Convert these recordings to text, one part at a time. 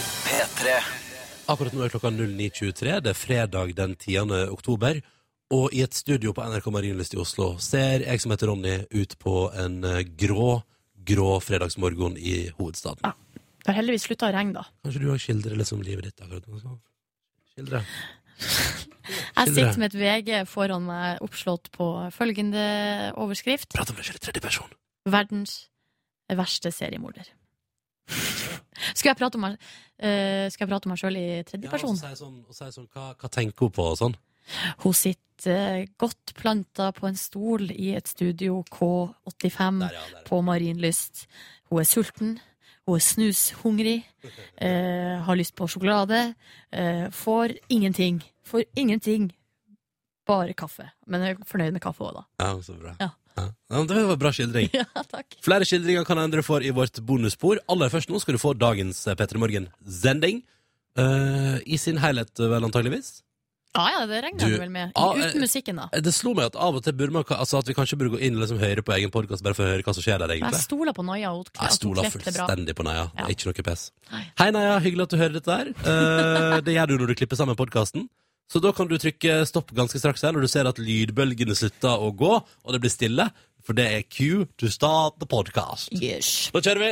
P3. Akkurat nå er klokka 09.23. Det er fredag den 10. oktober. Og i et studio på NRK Marienlyst i Oslo ser jeg som heter Ronny ut på en eh, grå, grå fredagsmorgen i hovedstaden. Ja. Det har heldigvis slutta å regne, da. Kanskje du òg skildrer litt om livet ditt akkurat nå? sånn? Skildre. Jeg Skildre. sitter med et VG foran meg oppslått på følgende overskrift. Prat om deg selv i tredje person. Verdens verste seriemorder. Skal jeg prate om meg, eh, skal jeg prate om meg sjøl i tredje Ja, person? og så sier jeg sånn, og så sier jeg sånn hva, hva tenker hun på og sånn? Hun sitter eh, godt planta på en stol i et studio K85 Der, ja. Der. Mm. på Marienlyst. Hun er sulten, hun er snushungrig, eh, har lyst på sjokolade. Eh, får ingenting. Får ingenting. Bare kaffe. Men jeg er fornøyd med kaffe òg, da. ja så bra. Ja. Ja. men Det var en bra skildring. Ja, takk. Flere skildringer kan endre for i vårt bonusspor. Aller først nå skal du få dagens eh, P3 Morgen-sending. eh, I sin helhet, vel antageligvis. Ja, ja, det regner Du- jeg vel med. Ah, eh, Uten musikken, da. Eh, Det slo meg at av og til burde man ka- altså at vi kanskje burde gå inn og liksom høre på egen podkast bare for å høre hva som skjer der, Men jeg egentlig. stoler på Naja. og Hun Jeg kle- at hun stoler kledde det bra. fullstendig på Naja. Det Ja. er Ikke noe pes. Nei. Hei, Naja. Hyggelig at du hører dette der. Eh, det gjør du når du klipper sammen podkasten. Så da kan du trykke stopp ganske straks her når du ser at lydbølgene slutter å gå, og det blir stille. For det er cue to start the podcast. Yes. Da kjører vi!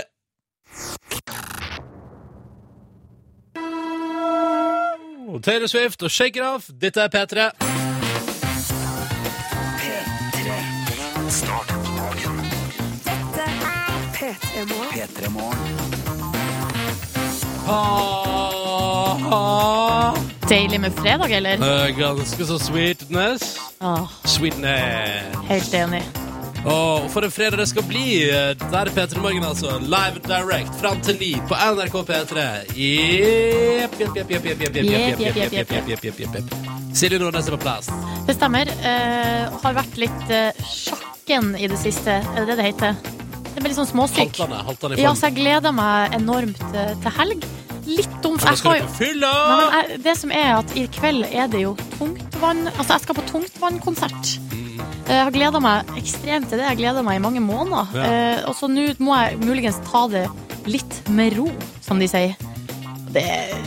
Taylor Swift og Shake It Off. Dette er P3. P3 Morgen. Ah, ah. Deilig med fredag, eller? Eh, Ganske så sweetness. Ah, Sweetness. helt enig. Åh, for en fredag det skal bli. Eh, Der er P3 Morgen, altså. Live and direct fram til ni på NRK P3. Jepp, jepp, jepp, jepp, jepp, jepp, jepp, jepp, jepp, jepp, jepp, jepp, jepp, jepp, jepp, jepp. Silje Nordnes er på plass. Det stemmer. Eh, har vært litt eh, sjakken i det siste. Er det det det heter? Det blir litt sånn småsyk. Haltende, haltende i Ja, form. så jeg gleder meg enormt eh, til helg. Litt dumt. Nå skal Jeg skal du jo på fylla! Nei, men jeg, det som er at I kveld er det jo tungtvann Altså, jeg skal på tungtvannkonsert. Eh, Jeg har gleda meg ekstremt til det. Jeg gleder meg i mange måneder. Ja. Eh, og så nå må jeg muligens ta det litt med ro, som de sier. Det,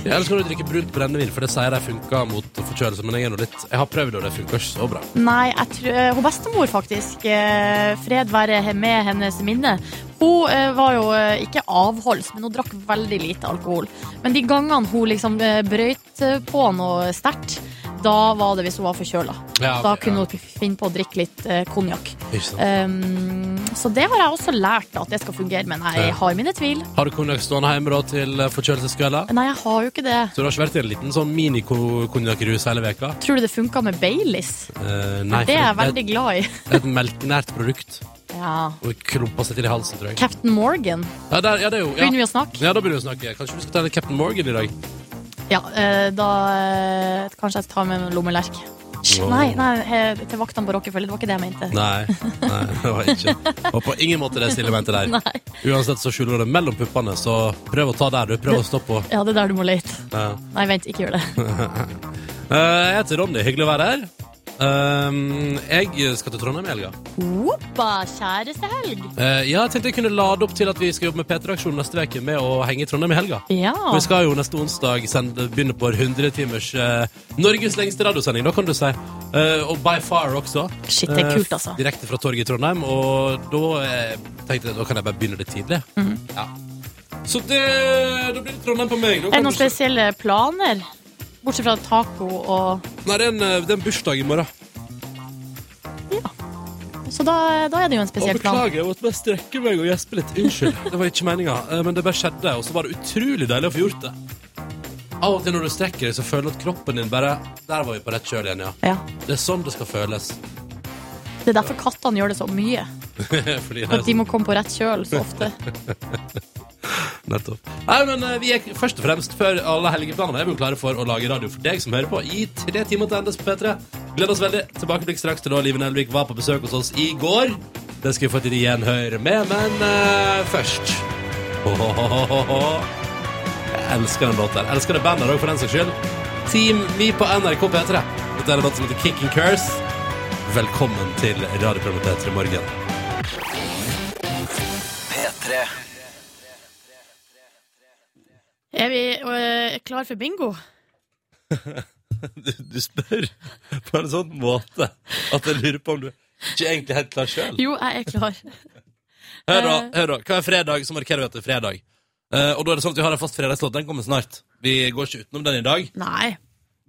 Ja, Eller skal du drikke brunt brennevin, for det sier de funker mot forkjølelse. Men jeg, er nå litt, jeg har prøvd, og det funker ikke så bra. nei, jeg tror eh, Hun bestemor, faktisk, eh, fred være he- med hennes minne, hun eh, var jo eh, ikke avholds, men hun drakk veldig lite alkohol. Men de gangene hun liksom eh, brøyt eh, på noe sterkt, da var det hvis hun var forkjøla. Ja, Da ok, kunne ja. hun finne på å drikke litt eh, konjakk. Ikke sant. Um, så det har jeg også lært at det skal fungere, men Ja. jeg har mine tvil. Har du konjakk stående hjemme da, til eh, forkjølelseskvelder? Nei, jeg har jo ikke det. Så du har ikke vært i en liten sånn mini-konjakkrus hele veka? Tror du det funka med Baileys? Eh, nei, Det er jeg for veldig glad i. det er et melkenært produkt. Ja. Og klumpa seg til i halsen, tror jeg. Captain Morgan. Ja, der, ja, det er jo, ja. Begynner vi å snakke? ja, da begynner vi å snakke. Kanskje du skal ta litt Captain Morgan i dag? Ja, eh, da eh, kanskje jeg tar med meg en lommelerk. Sj, Wow. Nei, nei, eh, til vaktene på Rockefeller. Det var ikke det jeg mente. Nei, nei det var ikke. Og på ingen måte det stille mente der. Nei. Uansett så skjuler du det mellom puppene, så prøv å ta der, du. Prøv å stå på. Ja, det er der du må lete. Ja. Nei, vent, ikke gjør det. Eh, jeg heter Ronny. Hyggelig å være her. Um, jeg skal til Trondheim i helga. Hoppa, kjæreste helg. Eh, ja, jeg tenkte jeg kunne lade opp til at vi skal jobbe med P3-aksjonen neste uke med å henge i Trondheim i helga. Ja. Vi skal jo neste onsdag sende, begynne på 100 timers eh, Norges lengste radiosending, da kan du si. Eh, og by far også. Shit, det er Eh, kult, altså. direkte fra torget i Trondheim. Og da eh, tenkte jeg da kan jeg bare begynne det tidlig. Mhm. Ja. Så det, da blir det Trondheim på meg. Da Er det kan noen du se- spesielle planer? Bortsett fra taco og Nei, det er en, eh, det er en bursdag i morgen. Så da, da er det jo Å, en spesiell plan. beklager, jeg måtte bare strekke meg og gjespe litt. Unnskyld. det var ikke meninga. Eh, Men det bare skjedde, og så var det utrolig deilig å få gjort det. Av og til når du strekker deg, så føler du at kroppen din bare Der var vi på rett kjøl igjen, ja. Ja. Det er sånn det skal føles. Det er derfor kattene gjør det så mye. Fordi det er For at de må komme på rett kjøl så ofte. Nettopp. Nei, men eh, vi er først og fremst før alle helgeplanene er vi jo klare for å lage radio for deg som hører på i tre timer til endes på P3. Gleder oss veldig. Tilbakeblikk straks til da Liven Elvik var på besøk hos oss i går. Det skal vi få til igjen høre med, men eh, først Ohohohoho. Jeg elsker den låten. Jeg elsker det bandet òg, for den saks skyld. Team Vi på NRK P3. Dette er en låt som heter Kicking Curse. Velkommen til radioprogrammet P3 Morgen. P3. Eh, Er vi øh, klar for bingo? Du, du spør på en sånn måte at jeg lurer på om du ikke egentlig er helt klar sjøl. Jo, jeg er klar. Hør da, Eh. hør da. Hva er fredag, så markerer vi at det er fredag. Eh, og da er det sånn at vi har en fast fredagslåt. Den kommer snart. Vi går ikke utenom den i dag. Nei.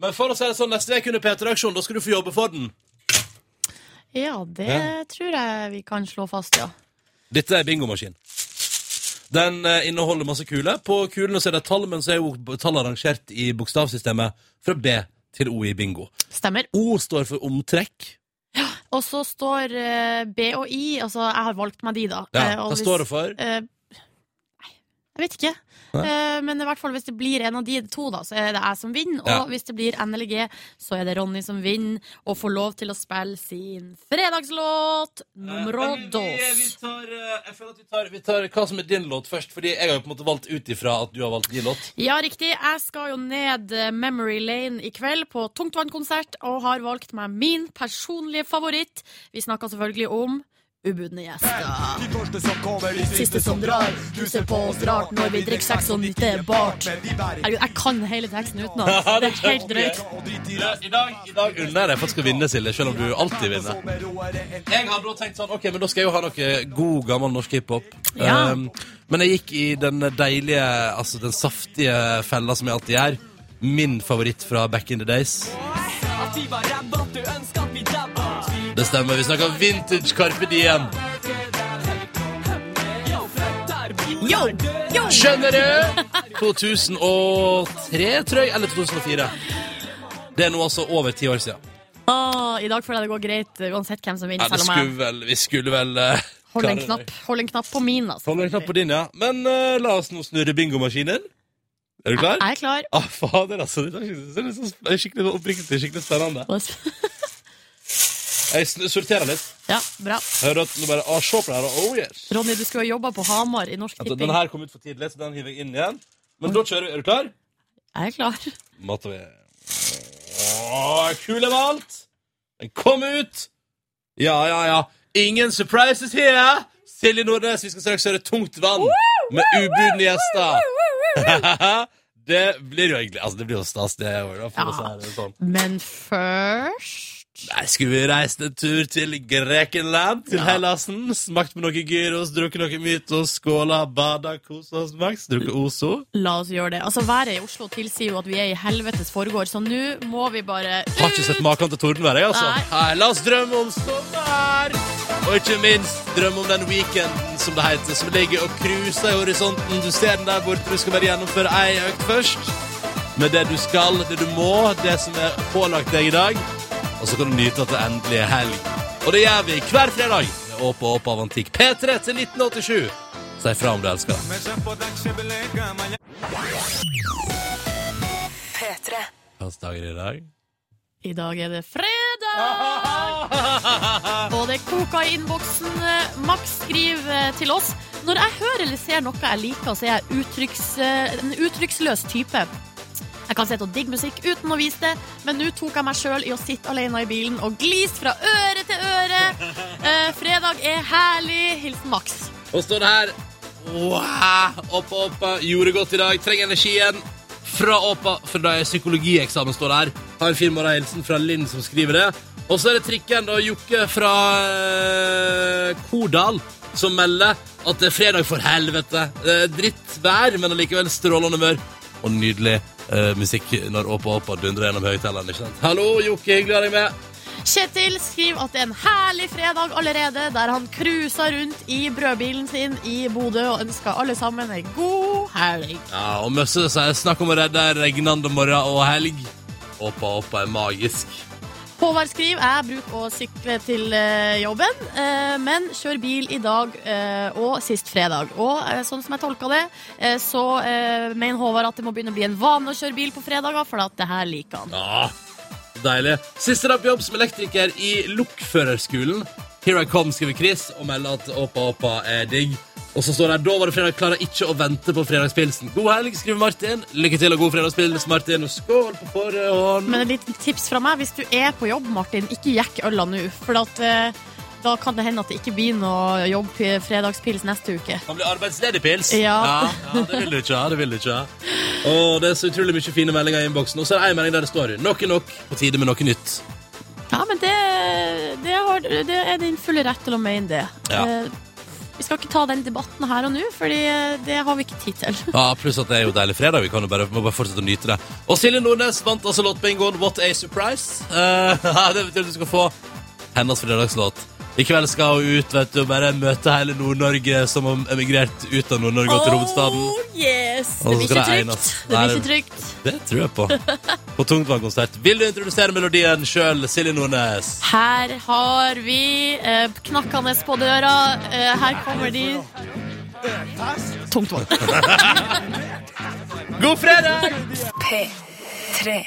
Men for å si det sånn, neste uke under P3-aksjonen, da skal du få jobbe for den. Ja, det Ja. tror jeg vi kan slå fast, ja. Dette er bingomaskin. Den eh, inneholder masse kuler. På kulene så er det tall, men så er jo tallene rangert i bokstavsystemet fra B til O i bingo. Stemmer. O står for omtrekk. Og så står eh, B og I, altså jeg har valgt meg de, da. Eh, Ja, hva og hvis- står det for? Eh, Nei, jeg vet ikke. Nei. Eh, men i hvert fall hvis det blir en av de to, da, så er det jeg som vinner. Ja. Og hvis det blir N eller G, så er det Ronny som vinner og får lov til å spille sin fredagslåt numero dos. eh, jeg føler at vi tar, hva som er din låt først, fordi jeg har jo på en måte valgt ut ifra at du har valgt din låt. Ja, riktig. Jeg skal jo ned eh, Memory Lane i kveld på Tungtvannkonsert og har valgt meg min personlige favoritt. Vi snakker selvfølgelig om Ubudne gjester. De første som kommer, de Siste som drar. Du ser på oss rart når vi drikker sex og nyter bart. Herregud, jeg kan hele teksten utenat. Det er helt drøyt. I dag, i dag unner jeg faktisk å vinne, Silje, selv om du alltid vinner. Jeg hadde da tenkt sånn, ok, men da skal jeg jo ha noe god, gammel norsk hiphop. Ja. Um, men jeg gikk i den deilige, altså den saftige fella som jeg alltid gjør. Min favoritt fra back in the days. Det stemmer, vi snakker vintage Carpe Diem. Yo! Yo! Skjønner du? 2003, tror jeg, eller 2004. Det er nå altså over ti år siden. Åh, Ah, I dag føler jeg det går greit, uh, uansett hvem som Ja, vinner. det selv om jeg skulle vel, vi skulle vel... eh, holder klare en det. knapp, holder en knapp på min. Altså. Hold en knapp på din, ja. Men eh, la oss nå snurre bingomaskinen. Er du klar? Jeg er klar. Ah, fader, altså. Det er skikkelig, det er så sp- skikkelig, oppriktig, skikkelig spennende. Jeg sn- sorterer litt. Ja, bra. Hører at nå bare ah, Se på det her. da. Oh, yes. Ronny, du skulle ha jobba på Hamar i Norsk Altså, Tipping. den her kom ut for tidlig, så den hiver jeg inn igjen. Men da kjører vi. Er du klar? Jeg er klar. Matter vi Åh, Kul er valgt. Den kom ut. Ja, ja, ja. Ingen surprises here. Silje Nordnes, vi skal straks høre Tungt vann med ubudne gjester. det blir jo egentlig Altså, det blir jo stas, det òg, da. For Ja. å si det sånn. Men først Nei, skulle vi reist en tur til Grekenland, til Hellasen, smakt med noe gyros, drukket noe mytos, skåla, bada, kosa oss maks, drukket ozo. La oss gjøre det. Altså, Været i Oslo tilsier jo at vi er i helvetes forgård, så nå må vi bare Har ikke sett maken til tordenvær, jeg, altså. Nei. Nei, la oss drømme om sommer! Og ikke minst drømme om den weekenden som det heter, som ligger og cruiser i horisonten. Du ser den der borte, du skal bare gjennomføre ei økt først. Med det du skal, det du må, det som er pålagt deg i dag. Og så kan du nyte at det endelig er helg. Og det gjør vi hver fredag med Åp og Åp av Antikk. P3 til 1987. Si fra om du elsker det. P3. Hvilken dag er det i dag? I dag er det fredag! Og det koker i innboksen. eh, Max skriver eh, til oss. Når jeg hører eller ser noe jeg liker, så er jeg uttrykks, eh, en uttrykksløs type. Jeg kan sitte og digge musikk uten å vise det, men nå tok jeg meg sjøl i å sitte alene i bilen og glise fra øre til øre. Eh, fredag er herlig. Hilsen Max. Og står det her Wow! Oppa, oppa, gjorde godt i dag. Trenger energien. Fra Åpa, for da er psykologieksamen står det her. Har en fin morgenhilsen fra Linn som skriver det. Og så er det trikken da, Jokke fra eh, Kodal som melder at det er fredag for helvete. Eh, dritt vær, men allikevel strålende humør. Og nydelig eh, musikk når Åpa Åpa dundrer gjennom høyttaleren. ikke sant? Hallo, Jokke, hyggelig å ha deg med. Kjetil skriver at det er en herlig fredag allerede, der han cruisa rundt i brødbilen sin i Bodø og ønsker alle sammen ei god helg. Ja, og Møsse sier snakk om å redde en regnende morgen og helg. Åpa Åpa er magisk. Håvard skriver jeg bruker å sykle til eh, jobben, eh, men kjører bil i dag eh, og sist fredag. Og eh, sånn som jeg tolka det, eh, så eh, mener Håvard at det må begynne å bli en vane å kjøre bil på fredager, for at det her liker han. Ja, deilig. Siste dag på jobb som elektriker i lokførerskolen. Here I come, skriver Chris, og melder at Åpa Åpa er digg. Og så står det her, da var det fredag, klarer ikke å vente på fredagspilsen. God helg, skriver Martin. Lykke til og god fredagspils, Martin, og skål på forhånd. Men et lite tips fra meg, hvis du er på jobb, Martin, ikke jekk øla nå. For at, eh, da kan det hende at det ikke blir noe jobb fredagspils neste uke. Kan bli arbeidsledig pils. Ja. ja, ja, det vil du ikke ha, det vil du ikke ha. Og det er så utrolig mye fine meldinger i innboksen. Og så er det en melding der det står nok er nok, på tide med noe nytt. Ja, men det, det, har, det er din fulle rett til å mene det. Ja. Eh, Vi skal ikke ta den debatten her og nå, Fordi eh, det har vi ikke tid til. Ja, Pluss at det er jo deilig fredag. Vi kan jo bare, må bare fortsette å nyte det. Og Silje Nordnes vant altså låtbingoen What a surprise. Eh, det betyr at du skal få hennes fredagslåt. I kveld skal hun ut vet du, og bare møte hele Nord-Norge som har emigrert ut av Nord-Norge og til hovedstaden. Oh, yes! Og så Det skal blir ikke det trygt. egnes. Det Nei, blir det- ikke trygt. Det tror jeg på. På tungtvannkonsert. Vil du introdusere melodien sjøl, Silje Nordnes? Her har vi eh, knakkende på døra. Eh, her kommer de. Tungt vann. God fredag! P3.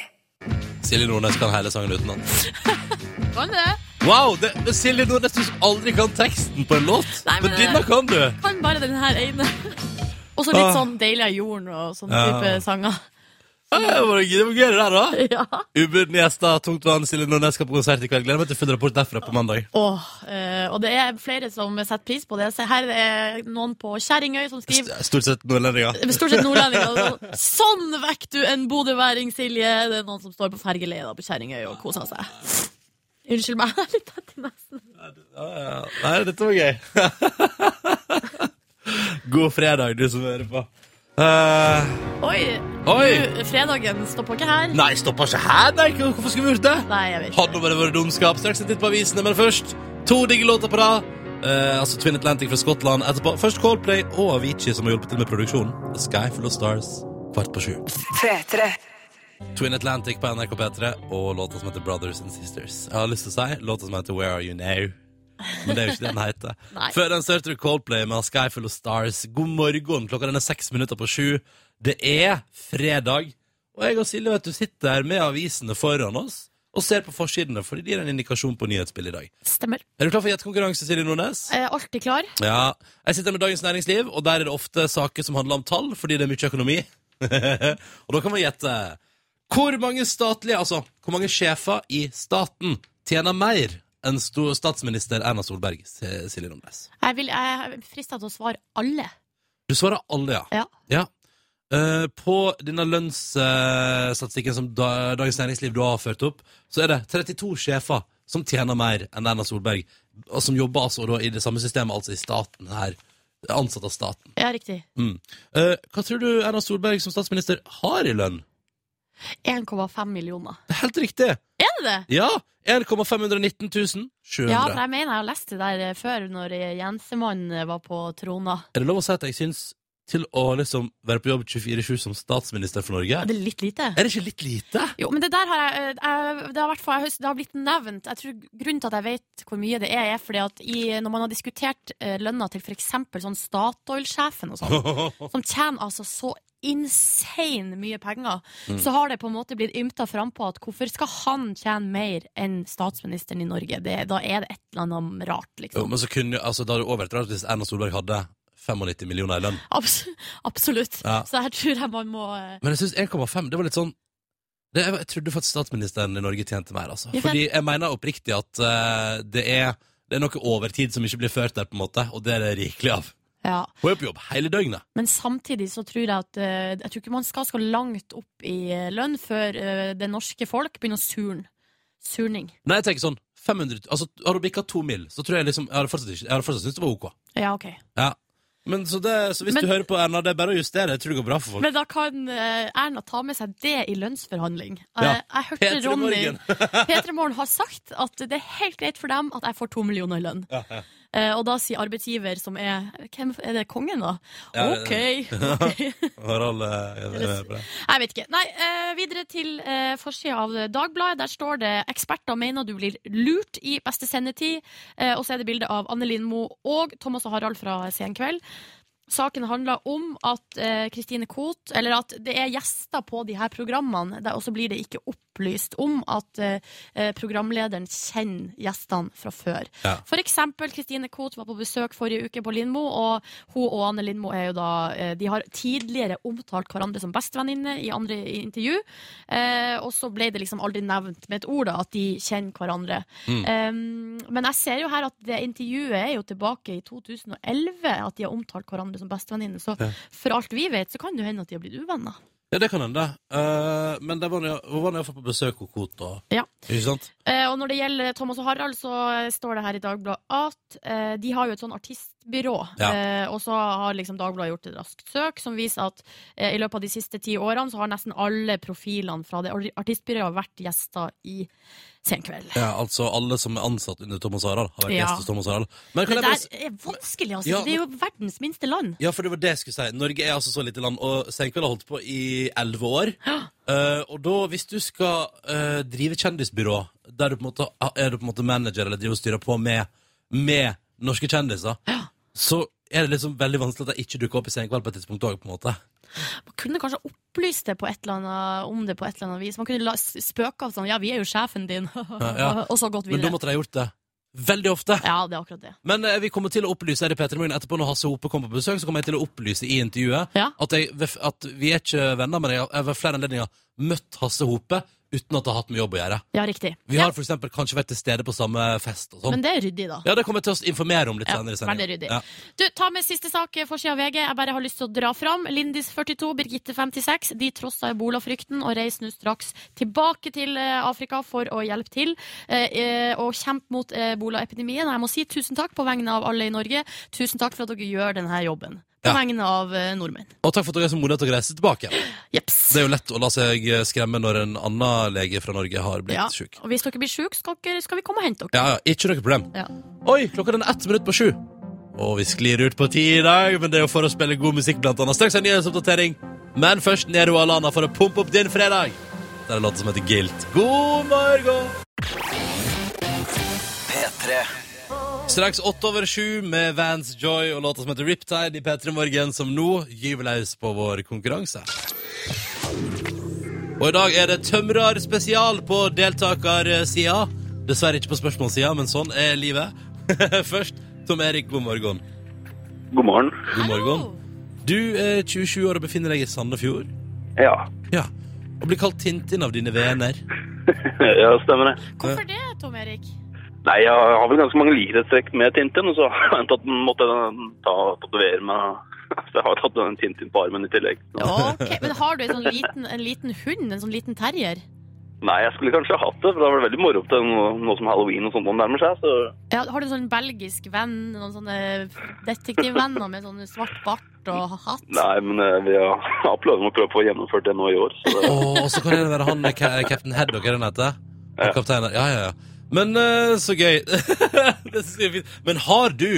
Silje Nordnes kan hele sangen utenat. Kan det? Wow! Det, men Silje Nordnes du som aldri kan teksten på en låt. Nei, men men eh, det- denne kan du. Kan bare den her ene. Og så litt sånn deilig av jorden og sånn Ah. Ja. type sanger. Ja, Det var det var gøy, det der, da. Ja. Ubudne gjester, tungt vann, Silje Nordnes skal på konsert i kveld. Gleder meg til full rapport derfra på mandag. Åh, eh, og det er flere som setter pris på det. Se, her er noen på Kjerringøy som skriver St- Stort sett nordlendinger. Stort sett nordlendinger. og Sånn vekk du en bodøværing, Silje! Det er noen som står på fergeleia på Kjerringøy og koser seg. Unnskyld meg, jeg er litt tett i nesen. Ja, ja. Nei, dette var gøy. God fredag, du som hører på. Eh, Oi! Oi. Du, fredagen stopper ikke her. nei, stoppa ikke her, nei! Hvorfor skulle vi gjort det? Nei, jeg vet Hadde ikke. nå bare vært dumskap. Straks en titt på avisene, men først to digge låter på rad. Eh, altså Twin Atlantic fra Skottland. Etterpå først Coldplay og Avicii, som har hjulpet til med produksjonen. A Sky Full of Stars, kvart på sju. P3. Twin Atlantic på NRK P3 og låta som heter Brothers and Sisters. Jeg har lyst til å si låta som heter Where Are You Now. Men det er jo ikke det den heter. Nei. Før den så hørte du Coldplay med A Sky Full of Stars. God morgen, klokka den er seks minutter på sju. Det er fredag, og jeg og Silje vet du sitter her med avisene foran oss og ser på forsidene, fordi de gir en indikasjon på nyhetsbildet i dag. Stemmer. Er du klar for gjettekonkurranse, Silje Nordnes? Eh, alltid klar. Ja. Jeg sitter med Dagens Næringsliv, og der er det ofte saker som handler om tall, fordi det er mye økonomi. og da kan man gjette hvor mange statlige, altså hvor mange sjefer i staten tjener mer enn sto- statsminister Erna Solberg, S- Silje Nordnes. Jeg, vil, jeg er frista til å svare alle. Du svarer alle, ja. Ja. Eh, på denne lønnsstatistikken som da, Dagens Næringsliv du har ført opp, så er det 32 sjefer som tjener mer enn Erna Solberg, og som jobber altså da i det samme systemet, altså i staten her, ansatt av staten. Ja, riktig. Mm. Eh, hva tror du Erna Solberg som statsminister har i lønn? 1,5 millioner. Det er helt riktig! Er det det? Ja! 1,519 700. Ja, for jeg mener jeg har lest det der eh, før, når eh, Jensemann eh, var på trona. Er det lov å si at jeg syns til å liksom være på jobb 24-7 som statsminister for Norge Er det litt lite? Er det ikke litt lite? Jo, men det der har jeg, eh, jeg Det har, vært for, jeg hus- det har blitt nevnt. Jeg tror Grunnen til at jeg vet hvor mye det er, er fordi at i, når man har diskutert eh, lønna til f.eks. sånn Statoil-sjefen og sånn, som tjener altså så insane mye penger, så har det på en måte blitt ymta frampå at hvorfor skal han tjene mer enn statsministeren i Norge? Det, da er det et eller annet rart, jo, liksom. men så kunne jo altså, Da hadde det overtatt rart hvis Erna Solberg hadde 95 millioner i lønn. Abs absolutt. Ja. Så her tror jeg man må eh, Men jeg syns 1,5 det var litt sånn det, Jeg trodde faktisk statsministeren i Norge tjente mer, altså. Ja, for- Fordi jeg mener oppriktig at eh, det, er, det er noe overtid som ikke blir ført der, på en måte, og det er det rikelig av. ja. Hun er på jobb hele døgnet. Men samtidig så tror jeg at eh, Jeg tror ikke man skal så langt opp i eh, lønn før eh, det norske folk begynner å surne. Surning. Nei, jeg tenker sånn 500, altså Har du bikka to mil, så tror jeg liksom Jeg hadde fortsatt, ikke, jeg hadde fortsatt syntes det var ok. Ja, ok. Ja. Men så, det, så hvis Men- du hører på Erna, det er bare å justere. Jeg tror det går bra for folk. Men da kan eh, Erna ta med seg det i lønnsforhandling. Eh, Ja. Jeg hørte Petre Ronny Morgen. Petre Morgen har sagt at det er helt greit for dem at jeg får to millioner i lønn. Eh, og da sier arbeidsgiver, som er Hvem er det? Kongen, da? Ja, OK. ok. Harald, eh, jeg- jeg- jeg- jeg- Jeg vet ikke. Nei, eh, videre til uh, forsida av Dagbladet. Der står det 'Eksperter mener du blir lurt i beste sendetid'. Eh, og så er det bilde av Anne Lindmo og Thomas og Harald fra Sen kveld. Saken handler om at eh, Kristine Koht, eller at det er gjester på de her programmene, der- og så blir det ikke opplyst om at eh, eh, programlederen kjenner gjestene fra før. Ja. For eksempel Kristine Koht var på besøk forrige uke på Lindmo, og hun og Anne Lindmo er jo da eh, De har tidligere omtalt hverandre som bestevenninne i andre i intervju, eh, og så ble det liksom aldri nevnt med et ord da, at de kjenner hverandre. Eh, men jeg ser jo her at det intervjuet er jo tilbake i 2011, at de har omtalt hverandre som bestevenninne, så for alt vi vet, så kan det jo hende at de har blitt uvenner. Ja, det kan hende. Eh, men der var nå- hun var nå iallfall på besøk hos Koto. Ja. Ikke sant? Eh, og når det gjelder Thomas og Harald, så eh, står det her i Dagbladet at eh, de har jo et sånn artistbyrå. Ja. Eh, og så har liksom Dagbladet gjort et raskt søk som viser at eh, i løpet av de siste ti årene så har nesten alle profilene fra det ar- artistbyrået vært gjester i Senkveld. Ja, altså alle som er ansatt under Thomas Harald, har vært Ja. gjest hos Thomas Harald. Men kan jeg Det bare... der s- er vanskelig, altså. Ja, for det er jo verdens minste land. Ja, for det var det jeg skulle si. Norge er altså så lite land, og Senkveld har holdt på i elleve år. Eh, og da, hvis du skal eh, drive kjendisbyrå, der du på en måte ah, er du på en måte manager eller driver og styrer på med, med norske kjendiser, så er det liksom veldig vanskelig at de ikke dukker opp i Senkveld på et tidspunkt òg, på en måte. Man kunne kanskje opplyst det på et eller annet, om det på et eller annet vis. Man kunne la, s- spøke av sånn 'ja, vi er jo sjefen din', ja. og så gått Men da videre. måtte de ha gjort det veldig ofte. Ja, det er akkurat det. Men eh, vi kommer til å opplyse her i Petter Morgen etterpå når Hasse Hope kommer på besøk, så kommer jeg til å opplyse i intervjuet Ja. at, jeg, at vi er ikke venner, men jeg har- jeg har ved flere anledninger møtt Hasse Hope uten at det har hatt med jobb å gjøre. Ja, riktig. Vi har for eksempel kanskje vært til stede på samme fest og sånn. Men det er ryddig, da. Ja, det kommer jeg til å informere om litt Ja, senere i veldig sendingen. ryddig. Ja. Du, Ta med siste sak, forsida av VG. Jeg bare har lyst til å dra fram. Lindis 42, Birgitte 56. De trossa ebolafrykten og reiser nå straks tilbake til eh, Afrika for å hjelpe til eh, eh, og kjempe mot eh, ebolaepidemien. Og Jeg må si tusen takk på vegne av alle i Norge. Tusen takk for at dere gjør denne jobben. På Ja. vegne av eh, nordmenn. Og takk for at dere er så modige til å reise tilbake. Jeps. Det er jo lett å la seg eh, skremme når en annen lege fra Norge har blitt Ja. syk. Og hvis dere blir syke, skal, dere- skal vi komme og hente dere. Ja, ja, ikke noe problem. Ja. Oi, klokka den er ett minutt på sju. Og vi sklir ut på ti i dag, men det er jo for å spille god musikk, blant annet. Straks en nyhetsoppdatering. Men først Nero Alana for å pumpe opp din fredag. Det er en låt som heter Guilt. God morgen! Straks åtte over sju med Vans Joy og låta som heter Riptide i P3 Morgen, som nå gyver løs på vår konkurranse. Og i dag er det tømrer spesial på deltakersida. Dessverre ikke på spørsmålssida, men sånn er livet. Først Tom Erik, god morgen. God morgen. God morgen. Hallo. Du er 27 år og befinner deg i Sandefjord. Ja. Ja. Og blir kalt Tintin av dine venner. ja, stemmer det. Hvorfor det, Tom Erik? Nei, jeg har vel ganske mange likhetstrekk med Tintin, og så har jeg tatt, måtte jeg ta tatovere meg. Så jeg har tatt en Tintin på armen i tillegg. Så. Ja, ok. Men har du en sånn liten, en liten hund? En sånn liten terrier? Nei, jeg skulle kanskje hatt det, for da var det veldig moro til noe, noe som halloween og sånt som nærmer seg. Så Ja, har du en sånn belgisk venn, noen sånne detektivvenner med sånn svart bart og hatt? nei, men eh, vi har, har planer om å prøve å få gjennomført det nå i år. Så det, Åh, Og så kan det være han eh, Ka- Captain Haddock, er det han heter? Ja. Kapteinen. Ja, ja, ja. Men eh, så gøy. det synes jeg er fint. Men har du,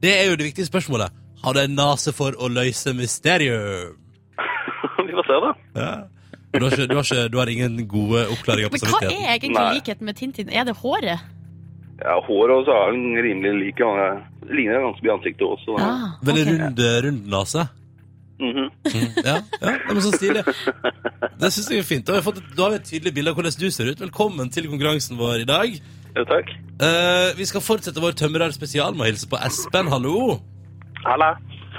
det er jo det viktige spørsmålet, har du en nase for å løse mysterium? vi får se, da. Ja. Du har, ikke, du, har ikke, du har ingen gode oppklaringer på Men hva samvittigheten? er egentlig Nei. likheten med Tintin? Er det håret? Ja, håret også er jo rimelig lik. og jeg Ligner ganske mye i ansiktet også. Da. Ah, Veldig ok. rund, eh, rund nase. Mhm. Mm, ja, ja, det er så stilig. Det syns jeg er fint. Da har, vi fått, da har vi et tydelig bilde av hvordan du ser ut. Velkommen til konkurransen vår i dag. Ja, takk. Eh, vi skal fortsette vår tømrer spesial med å hilse på Espen. Hallo. Halla.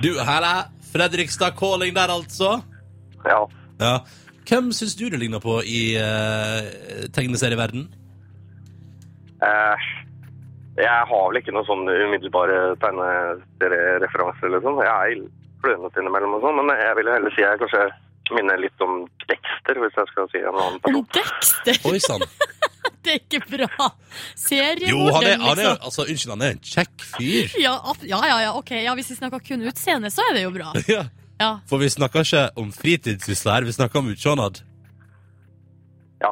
Du, her er Fredrikstad Calling der, altså. Ja. Ja. Hvem syns du du ligner på i uh, tegneserieverden? Eh, jeg har vel ikke noe sånn umiddelbare tegneseriereferanser eller sånn. Jeg er klønete innimellom og sånn, men jeg vil jo heller si jeg kanskje minner litt om Dexter, hvis jeg skal si en Om annen person. Dexter! Oi sann. Det er ikke Jo, bra! han er, Seriemorderen, han er, liksom. altså, unnskyld, han er en kjekk fyr. Ja, ab- ja, ja, ja, ok. Ja, hvis vi snakker kun utseende, så er det jo bra. Ja. Ja. For vi snakker ikke om fritidssysler, vi snakker om utsjånad. Ja.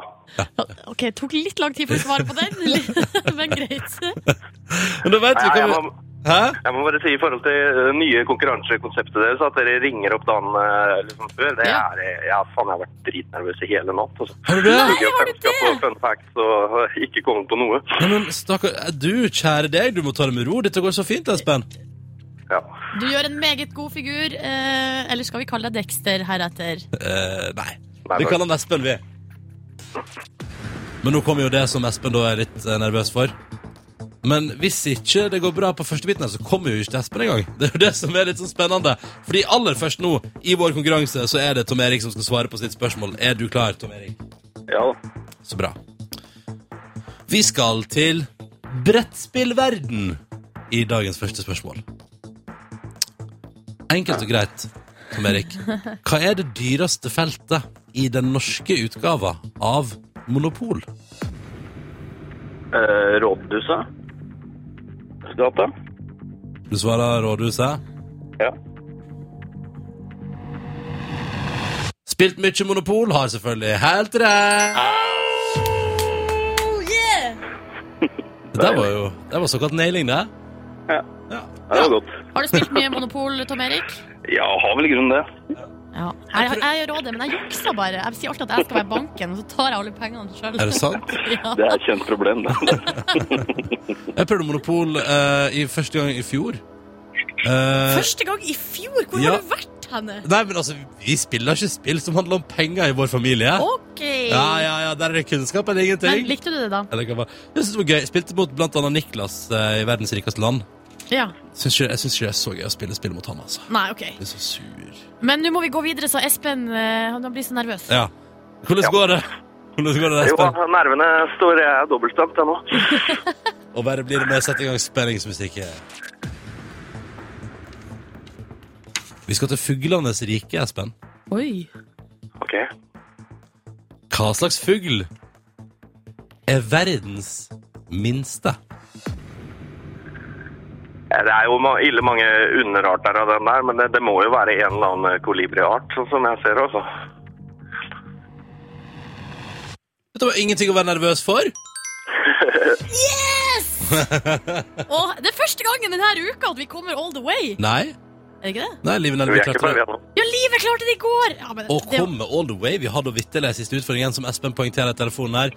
Ok, tok litt lang tid for å svare på den, men greit. Men da vet vi Nei, hva vi jeg, må, Hæ? jeg må bare si i forhold til det nye konkurransekonseptet deres, at dere ringer opp dagen eh, liksom før. Det Ja. er, ja, faen, jeg har vært dritnervøs i hele natt. Altså. Har du det? Nei, Jeg har du skal på det? fun facts og eh, ikke kommet på noe. Nei, men stakkar Du, kjære deg, du må ta det med ro. Dette går så fint, Espen. Ja. Du gjør en meget god figur. Eh, eller skal vi kalle deg Dexter heretter? Eh, nei. Nei, Vi takk. kaller han Espen, vi. Men nå kommer jo det som Espen da er litt eh, nervøs for. Men hvis ikke det går bra på første biten, her, så kommer jo ikke Espen engang. Det er jo det som er litt sånn spennende. Fordi aller først nå, i vår konkurranse, så er det Tom Erik som skal svare på sitt spørsmål. Er du klar, Tom Erik? Ja. Så bra. Vi skal til brettspillverden i dagens første spørsmål. Enkelt og greit. Tom Erik. Hva er det dyreste feltet i den norske utgava av Monopol? Eh, Rådhuset? Gata? Du svarer Rådhuset. Ja. Spilt mye Monopol, har selvfølgelig helt rett. Det der var jo det var såkalt nailing, det. Ja. Ja. Det var godt. Har du spilt mye Monopol, Tom Erik? Ja, har vel i grunnen det. Ja. Jeg, jeg, jeg gjør også det, men jeg jukser bare. Jeg sier alltid at jeg skal være banken, og så tar jeg alle pengene sjøl. Er det sant? Ja. Det er et kjent problem, det. Jeg prøvde Monopol eh, i første gang i fjor. Eh, Første gang i fjor! Hvor Ja. har du vært henne? Nei, men altså, vi spiller ikke spill som handler om penger i vår familie. OK. Ja, ja, ja, Der er det kunnskap eller Men ingenting. likte du det, da? Ja, det kan være- Jeg synes det var gøy. Jeg spilte mot blant annet Niklas eh, i Verdens rikeste land. Ja. Synes ikke, jeg syns ikke det er så gøy å spille spill mot han, altså. Nei, OK. Jeg blir så sur. Men nå må vi gå videre, sa Espen. eh, Han blir så nervøs. Ja. Hvordan går det? Hvordan går det, Jo, Espen? nervene står jeg er dobbeltstemt jeg nå. Og bare blir det med å sette i gang spenningsmusikk her. Vi skal til fuglenes rike, Espen. Oi. Ok. Hva slags fugl er verdens minste? Ja, Det er jo ma- ille mange underarter av den der, men det, det må jo være en eller annen kolibriart, sånn som jeg ser også. Vet du hva, ingenting å være nervøs for? Og det er første gangen denne uka at vi kommer all the way. Nei. Er det ikke det? Nei, livet Vi nærmere er ikke ferdige klatre. nå. Ja, livet klarte det i går! Ja, men Og det, komme all the way. Vi hadde vitterlig en siste utfordring igjen, som Espen poengterer i telefonen her.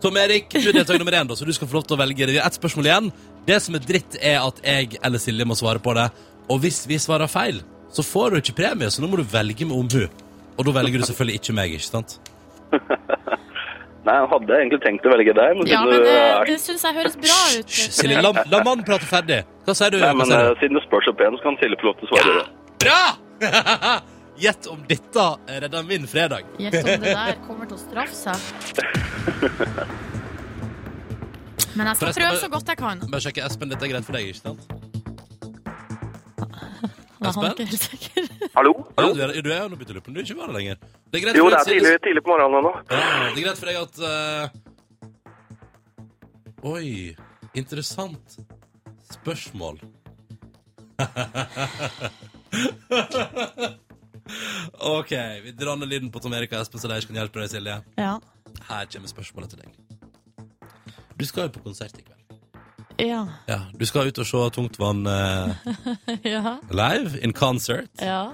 Tom Erik, du er deltaker nummer én, da, så du skal få lov til å velge. Vi har ett spørsmål igjen. Det som er dritt, er at jeg eller Silje må svare på det. Og hvis vi svarer feil, så får du ikke premie, så nå må du velge med omhu. Og da velger du selvfølgelig ikke meg, ikke sant? Nei, jeg hadde egentlig tenkt å velge deg, men, ja, siden men eh, du det, er- det syns jeg høres bra ut. Hysj, Silje, la, la mannen prate ferdig. Hva sier du? Nei, Hva men sier du? eh, siden du spør så pent, så kan Silje få lov til å svare. det. Bra! Gjett om dette redder min fredag. Gjett om det der kommer til å straffe seg. Men jeg skal Forresten, prøve bare- så godt jeg kan. Bare sjekke, Espen, dette er greit for deg, ikke sant? Da er han Espen? ikke helt sikker. Hallo? Ja, du, er, du er jo nå bytte lupen, du er ikke bare lenger. Det er greit Jo, for det deg, er tidlig, Silje. tidlig på morgenen nå. Ja, det er greit for deg at eh, Oi, interessant spørsmål. OK, vi drar ned lyden på Tom Erik og Espen, så de ikke kan hjelpe deg, Silje. Ja. Her kommer spørsmålet til deg. Du skal jo på konsert i kveld. Ja. Ja, Du skal ut og se Tungtvann eh, Ja. live in concert. ja.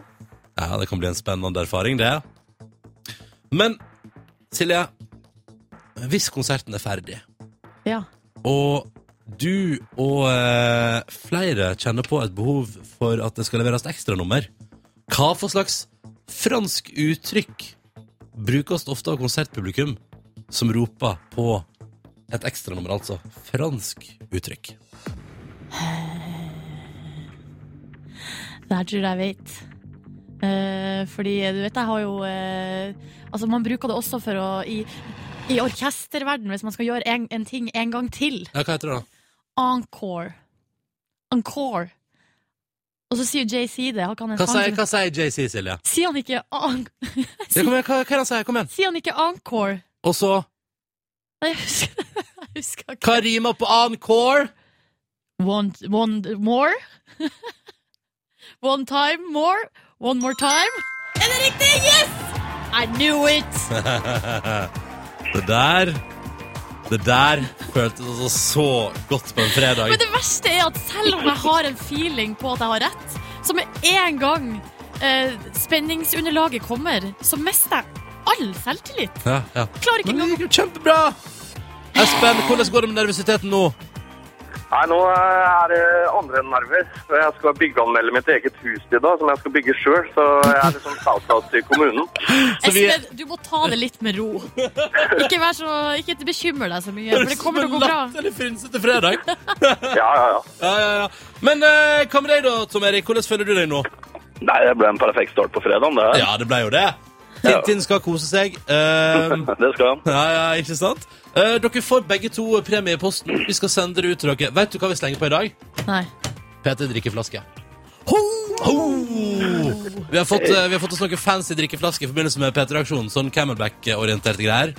Ja, Det kan bli en spennende erfaring, det. Men Silje, hvis konserten er ferdig, ja. og du og eh, flere kjenner på et behov for at det skal leveres ekstranummer, hva for slags fransk uttrykk brukes ofte av konsertpublikum som roper på et ekstranummer, altså fransk uttrykk? Det her tror jeg jeg vet. Eh, fordi du vet, jeg har jo eh, Altså, man bruker det også for å I, i orkesterverden, hvis man skal gjøre en, en ting en gang til. Ja, Hva heter det, da? Encore. Encore. Og så sier JC det. Har ikke han en Hva sang sier, som- hva sier JC, Silje? Sier han ikke an Ja, kom igjen, hva, hva er det han sier? Kom igjen. Sier han ikke encore? Og så Nei, Jeg husker, jeg husker ikke. Hva rimer på encore? One, one more? one time more? One more time? Er det riktig? Yes! I knew it! Det der Det der føltes altså så godt på en fredag. Men det verste er at selv om jeg har en feeling på at jeg har rett, så med en gang eh, spenningsunderlaget kommer, så mister jeg all selvtillit. Ja, ja. Klarer ikke Men det engang gikk jo kjempebra! Espen, hvordan går det med nervøsiteten nå? Nei, nå eh, er det andre enn nerver. Jeg skal byggeanmelde mitt eget hus til da, som jeg skal bygge sjøl. Så jeg er liksom outhouse til kommunen. Så vi- Espen, du må ta det litt med ro. Ikke, vær så, ikke bekymre deg så mye, for det kommer til å gå bra. Latterlig frynsete fredag. Ja, ja, ja. Ja, ja, ja. Men eh, hva med deg, da, Tom Erik? Hvordan føler du deg nå? Nei, det ble en perfekt start på fredagen, det. Ja, det ble jo det. Tintin skal kose seg. Eh, Det skal han. Ja, ja, ikke sant? Eh, dere får begge to premie i posten. Vi skal sende det ut til dere. Vet du hva vi slenger på i dag? Nei. Peter drikker flaske. Ho! Ho! Vi har fått, eh, vi har fått oss noen fancy drikkeflasker i forbindelse med P3-aksjonen. Sånn Camelback-orienterte greier.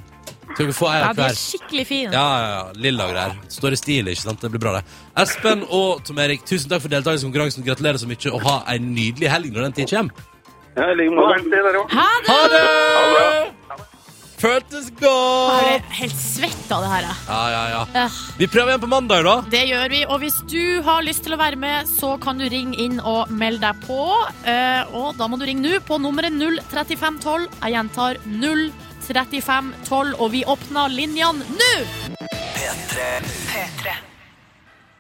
Skal vi få ei Ja, av de er hver? skikkelig fine. Ja, ja, ja. Lilla greier. Står i stil, ikke sant? Det blir bra, det. Espen og Tom Erik, tusen takk for deltakelse i konkurransen. Gratulerer så mye, og ha ei nydelig helg når den tid kommer. Ja, i like God måte. helg til dere også. Hæ, det Ha det! Føltes jeg godt! er helt svett av det her. jeg. Ja, ja, ja. Eh, Vi prøver igjen på mandag, da. Det gjør vi. Og hvis du har lyst til å være med, så kan du ringe inn og melde deg på. Eh, Og da må du ringe nå på nummeret 03512. Jeg gjentar 03512, og vi åpner linjene nå! P3.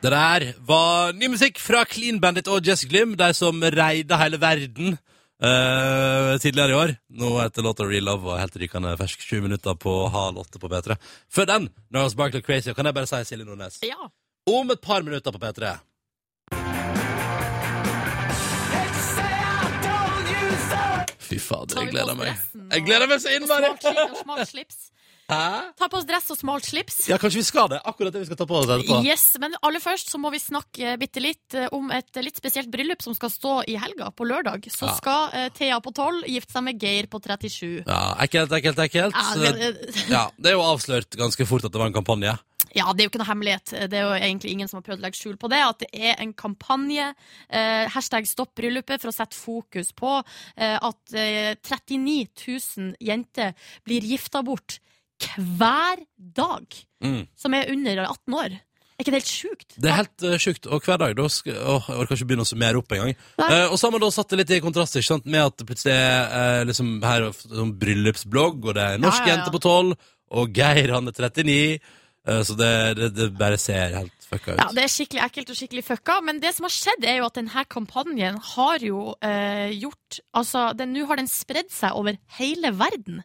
Det der var ny musikk fra Clean Bandit og Jess Glim, de som reida hele verden eh, tidligere i år. Nå heter låta Real Love og er helt rykende fersk. Sju minutter på halv åtte på P3. Før den, Norse Barkley Crazy, og kan jeg bare si Silje Nordnes Ja. om et par minutter på P3. Fy fader, jeg gleder meg. Jeg gleder meg så innmari! Og smalt, sli- og smalt slips. Hæ? Ta på oss dress og smalt slips. Ja, kanskje vi skal det? Akkurat det vi skal ta på oss etterpå. Yes, Men aller først så må vi snakke eh, bitte litt eh, om et eh, litt spesielt bryllup som skal stå i helga, på lørdag. Så Ja. skal eh, Thea på 12 gifte seg med Geir på 37. Ja, ekkelt, ekkelt, ekkelt. Ja, det, Ja, det er jo avslørt ganske fort at det var en kampanje. Ja, det er jo ikke noe hemmelighet. Det er jo egentlig ingen som har prøvd å legge skjul på det. At det er en kampanje, eh, hashtag stopp bryllupet, for å sette fokus på eh, at eh, 39 000 jenter blir gifta bort hver dag Mm. som er under 18 år. Er ikke det helt sjukt? Det er helt uh, sjukt. Og hver dag da sk- åh, Jeg orker ikke begynne å summere opp engang. Nei. Uh, og sammen da satt det litt i kontrast ikke sant? med at det plutselig er eh, liksom, her er sånn bryllupsblogg, og det er en norsk Ja, ja, ja. jente på 12, og Geir han er 39, eh, så det, det, det bare ser helt fucka ut. Ja, det er skikkelig ekkelt og skikkelig fucka. Men det som har skjedd, er jo at denne kampanjen har jo eh, gjort Altså, den- nå har den spredd seg over hele verden.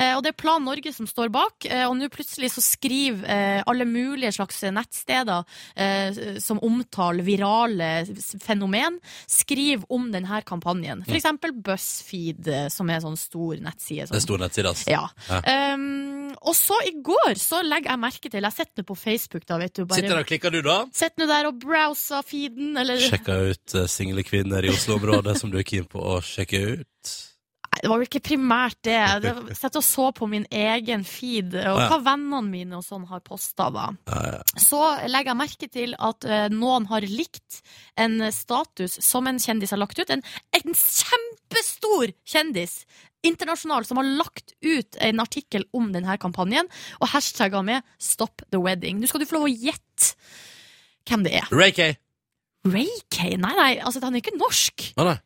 Eh, og det er Plan Norge som står bak, eh, og nå plutselig så skriver eh, alle mulige slags nettsteder eh, som omtaler virale s- fenomen, skriver om denne kampanjen. For eksempel BuzzFeed, eh, som er sånn stor Det nettside. er Som altså. stor nettside, ass. ja. Ja. Um, og så i går så legger jeg merke til Jeg setter det på Facebook, da, vet du. Bare, Sitter der og klikker du, da? Sett nå der og browsa feeden, eller Sjekker ut eh, single kvinner i Oslo-området som du er keen på å sjekke ut? Nei, det var jo ikke primært det. det var- Sett og så på min egen feed, og Ja. hva vennene mine og sånn har posta, da. Ja, ja. Så legger jeg merke til at eh, noen har likt en status som en kjendis har lagt ut. En, en kjempestor kjendis internasjonal som har lagt ut en artikkel om denne kampanjen, og hashtagga med 'Stop the wedding'. Nå skal du få lov å gjette hvem det er. Ray Kay. Ray Kay? Nei, nei, altså, han er ikke norsk. Å, nei.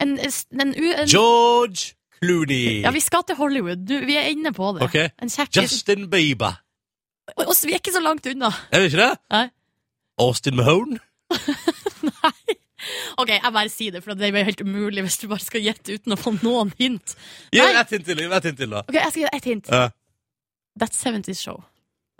En, en, u- en, George Clooney. ja, vi skal til Hollywood. Du, vi er inne på det. Ok. En kjekkis. Justin Bieber. Oi, oss, vi er ikke så langt unna. Er det ikke det? Nei. Austin Mahone? Ok, jeg bare sier det, for det er jo helt umulig hvis du bare skal gjette uten å få noen hint. Gi Nei. meg ett hint til, gi meg ett hint til, da. Ok, jeg skal gi deg et hint. Ja. That 70's Show.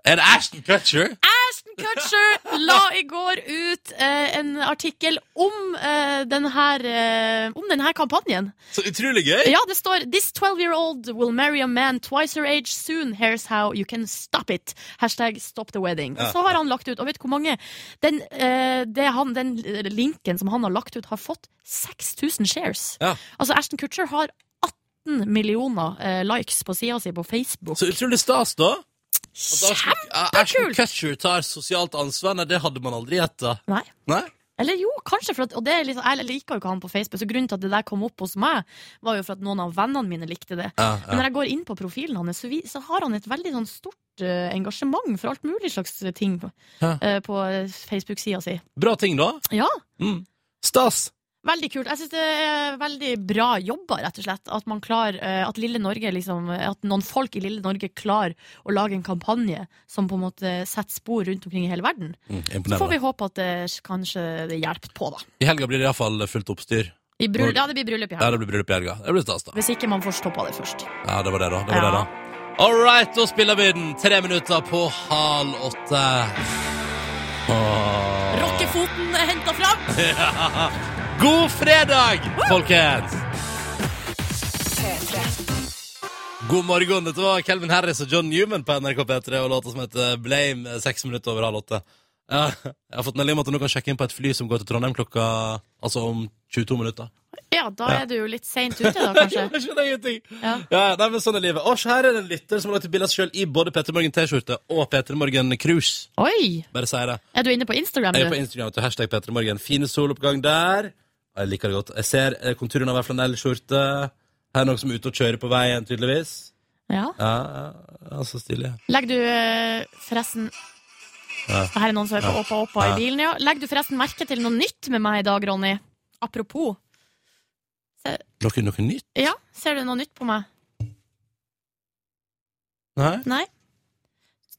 Er det Ashton Cutcher? Ashton Kutcher la i går ut eh, en artikkel om eh, denne eh, om den her kampanjen. Så utrolig gøy! Ja, det står This 12-year-old will marry a man twice her age soon. Here's how you can stop it. Hashtag stop the wedding. Og Ja. så har han lagt ut, og vet du hvor mange den, eh, det han, den linken som han har lagt ut, har fått 6000 shares. Ja. Altså Ashton Kutcher har 18 millioner eh, likes på sida si på Facebook. Så utrolig stas, da. At Ashton, Kjem- ja, Ashton Cutcher tar sosialt ansvar. Nei, det hadde man aldri gjetta. Nei. Nei? Eller jo, kanskje, for at, og det er liksom, jeg liker jo ikke han på Facebook, så grunnen til at det der kom opp hos meg, var jo for at noen av vennene mine likte det. Ja, Men når jeg går inn på profilen hans, så, vi, så har han et veldig sånn stort eh, engasjement for alt mulig slags ting Ja. eh, på eh, Facebook-sida si. Bra ting, da. Ja, Mm. Stas. veldig kult. Jeg syns det er veldig bra jobba, rett og slett. At man klarer, eh, at lille Norge liksom, at noen folk i lille Norge klarer å lage en kampanje som på en måte setter spor rundt omkring i hele verden. Mm, Så får imponerende. vi håpe at det kanskje det hjelper på, da. I helga blir det iallfall fullt oppstyr. I bryll- ja, det blir bryllup i Ja, helga. det blir bryllup i helga. Det blir stas, da. Hvis ikke man får stoppa det først. Ja, det var det, da. Det var Ja. det da. All right, da spiller vi den. Tre minutter på halv åtte. Åh. Rockefoten er henta fram! God fredag, folkens! God morgen. Dette var Calvin Harris og John Newman på NRK P3 og låta som heter Blame, eh, seks minutter over halv åtte. Ja, Jeg har fått melding om at jeg nå kan sjekke inn på et fly som går til Trondheim klokka Altså om 22 minutter. Ja, da er du jo litt seint ute, da, kanskje. Jeg skjønner ingenting. Ja. Ja, nei, men sånn er livet. Og her er det en lytter som har lagt ut bilde av seg sjøl i både Petter Morgen T-skjorte og Petter Morgen Cruise. Oi! Bare sier det. Er du inne på Instagram, Jeg er på du? Instagram til hashtag Petter Morgen. Fin soloppgang der. Jeg liker det godt. Jeg ser eh, konturen av ei flanellskjorte. Her er noen som er ute og kjører på veien, tydeligvis. Ja. Ja, ja, ja, så stilig. Legger du eh, forresten Ja. Her er noen som er på Ja. Åpa Åpa Ja. i bilen, ja. Legger du forresten merke til noe nytt med meg i dag, Ronny? Apropos. Noe, noe nytt? Ja, ser du noe nytt på meg? Nei? Nei?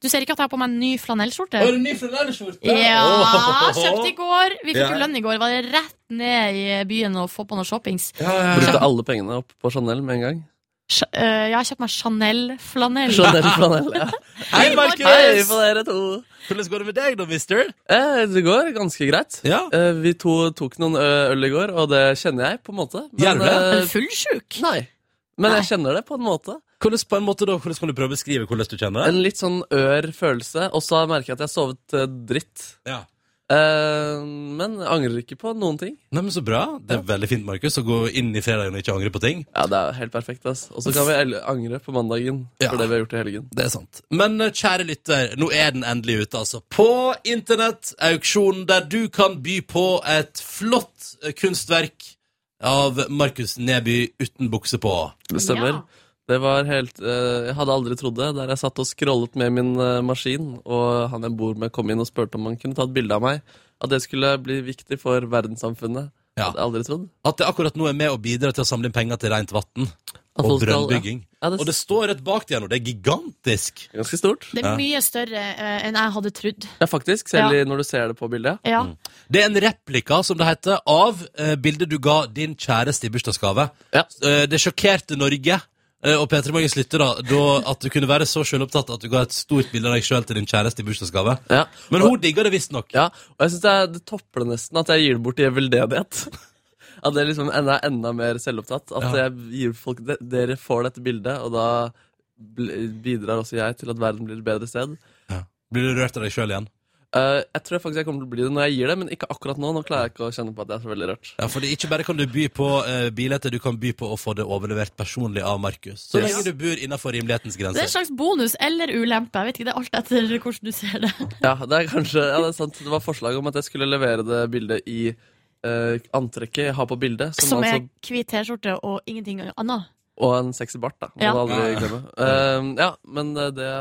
Du ser ikke at jeg har på meg en ny flanellskjorte? Å, er det ny flanellskjorte? Ja, Åh. kjøpte i går. Vi fikk Ja. jo lønn i går. Var det rett ned i byen og få på noe shoppings. Ja, ja, ja. Brukte alle pengene opp på Chanel med en gang. Sj- øh, jeg har kjøpt meg Chanel-flanell. Chanel, Chanel, ja. Hei, Hei Markus! på dere to! Hvordan går det med deg, da, mister? Eh, det går ganske greit. Ja. Eh, vi to tok noen ø- øl i går, og det kjenner jeg på en måte. Gjør du det? eh, Er du fullsjuk? nei. Men Nei. jeg kjenner det på en måte. Hvordan, på en måte, da, hvordan kan du prøve å beskrive hvordan du kjenner det? En litt sånn ør følelse. Og så merker jeg at jeg har sovet eh, dritt. Ja. Eh, men jeg angrer ikke på noen ting. Nei, men Så bra. Det er veldig fint Markus, å gå inn i fredagen og ikke angre på ting. Ja, det er helt perfekt, ass. Og så kan vi el- angre på mandagen Ja. for det vi har gjort i helgen. Det er sant. Men eh, kjære lytter, nå er den endelig ute, altså. På internett, auksjonen der du kan by på et flott eh, kunstverk av Markus Neby uten bukse på. Det stemmer. Ja. Det var helt eh, Jeg hadde aldri trodd det. Der jeg satt og scrollet med min eh, maskin, og han jeg bor med, kom inn og spurte om han kunne ta et bilde av meg. At det skulle bli viktig for verdenssamfunnet. Ja. Hadde jeg aldri trodd. At det akkurat nå er med og bidrar til å samle inn penger til rent vann At og folk skal- brønnbygging. Ja, det Og det står rett bak deg nå. Det er gigantisk. er ganske stort. Det er mye større øh, enn jeg hadde trodd. Ja, faktisk. Selv Ja. i- når du ser det på bildet. Ja. Mm. Det er en replika, som det heter, av eh, bildet du ga din kjæreste i bursdagsgave. Ja. Eh, det sjokkerte Norge eh, og P3 Morgens lyttere da, da at du kunne være så selvopptatt at du ga et stort bilde av deg sjøl til din kjæreste i bursdagsgave. Ja. Men hun digga det visstnok. Ja, og jeg synes det, er- det topper det nesten at jeg gir det bort i veldedighet. At det liksom enda, enda mer selvopptatt. At Ja. jeg gir folk de, Dere får dette bildet, og da bl- bidrar også jeg til at verden blir et bedre sted. Blir du rørt av deg sjøl igjen? Eh, jeg tror faktisk jeg kommer til å bli det når jeg gir det, men ikke akkurat nå. Nå klarer jeg ikke å kjenne på at jeg er så veldig rørt. Ja, fordi Ikke bare kan du by på uh, billetter, du kan by på å få det overlevert personlig av Markus. Så Yes. lenge du bor innafor rimelighetens Det er en grenser. slags bonus eller ulempe. Jeg vet ikke, Det er alt etter hvordan du ser det. Ja, det er kanskje Ja, det er sant. Det var forslag om at jeg skulle levere det bildet i eh, antrekket jeg har på bildet, som, Som er altså, hvit T-skjorte og ingenting annet. og en sexy bart, da. Må Ja. du aldri Ja. glemme. Eh, ja, men eh, det,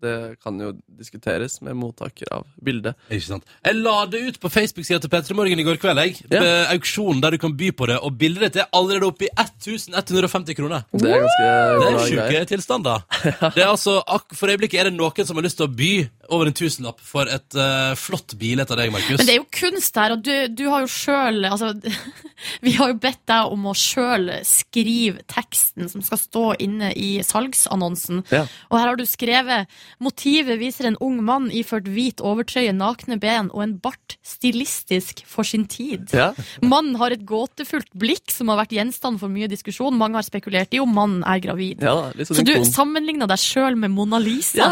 det kan jo diskuteres med mottaker av bildet. Ikke sant? Jeg la det ut på Facebook-sida til P3 Morgen i går kveld. jeg Ja. Med Auksjonen der du kan by på det, og bildet ditt er allerede oppe i 1150 kroner. Det er ganske Det bra er greier. sjuke tilstander. Det er altså, ak- for øyeblikket er det noen som har lyst til å by over en tusenlapp for et eh, flott bilett av deg, Markus. Men det er jo kunst her, og du, du har jo sjøl altså, Vi har jo bedt deg om å sjøl skrive teksten som skal stå inne i salgsannonsen. Ja. Og her har du skrevet 'Motivet viser en ung mann iført hvit overtrøye, nakne ben og en bart stilistisk for sin tid'. Ja. Mannen har et gåtefullt blikk som har vært gjenstand for mye diskusjon. Mange har spekulert i om mannen er gravid. ja da, litt sånn Så du ikon. sammenligna deg sjøl med Mona Ja, Lisa.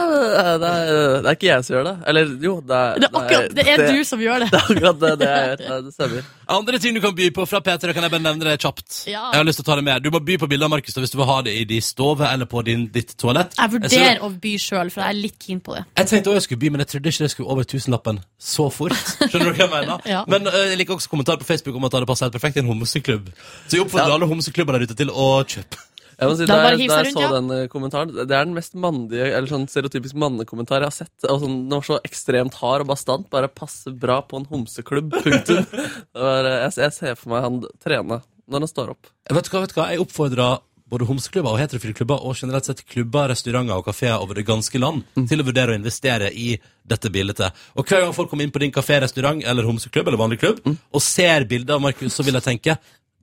det er, det er ikke jeg som gjør det. Eller jo, det er Det er akkurat det er du som gjør det. Det er akkurat det, det jeg gjør. Det, det stemmer. Andre ting du kan by på fra P3, kan jeg bare nevne det kjapt. Ja. Jeg har lyst til å ta det med. Du må by på bildet av Markus da, hvis du vil ha det i din stove eller på din, ditt toalett. Jeg Jeg, vurderer å by sjøl, for jeg er litt keen på det. så, jeg tenkte også jeg skulle by, men jeg trodde ikke det skulle over tusenlappen så fort. Skjønner du hva jeg mener? Ja. Men eh, jeg liker også kommentar på Facebook om at det hadde passet helt perfekt i en homseklubb. Så jeg oppfordrer alle homseklubbene der ute til å kjøpe. Jeg må si, Da da bare jeg, hiv da seg jeg rundt, så ja. den eh, kommentaren Det er den mest mandige, eller sånn stereotypisk mannekommentar jeg har sett. Og sånn, den var så ekstremt hard og bastant. Bare passer bra på en homseklubb. Punktum. Det var, eh, Jeg, jeg ser for meg han trene når han står opp. Vet du hva, vet du hva? Jeg oppfordrer både homseklubber og heterofile klubber og generelt sett klubber, restauranter og kafeer over det ganske land til å vurdere å investere i dette bildet. Og hver gang folk kommer inn på din kafé, restaurant eller homseklubb eller vanlig klubb og ser bildet av Markus, så vil jeg tenke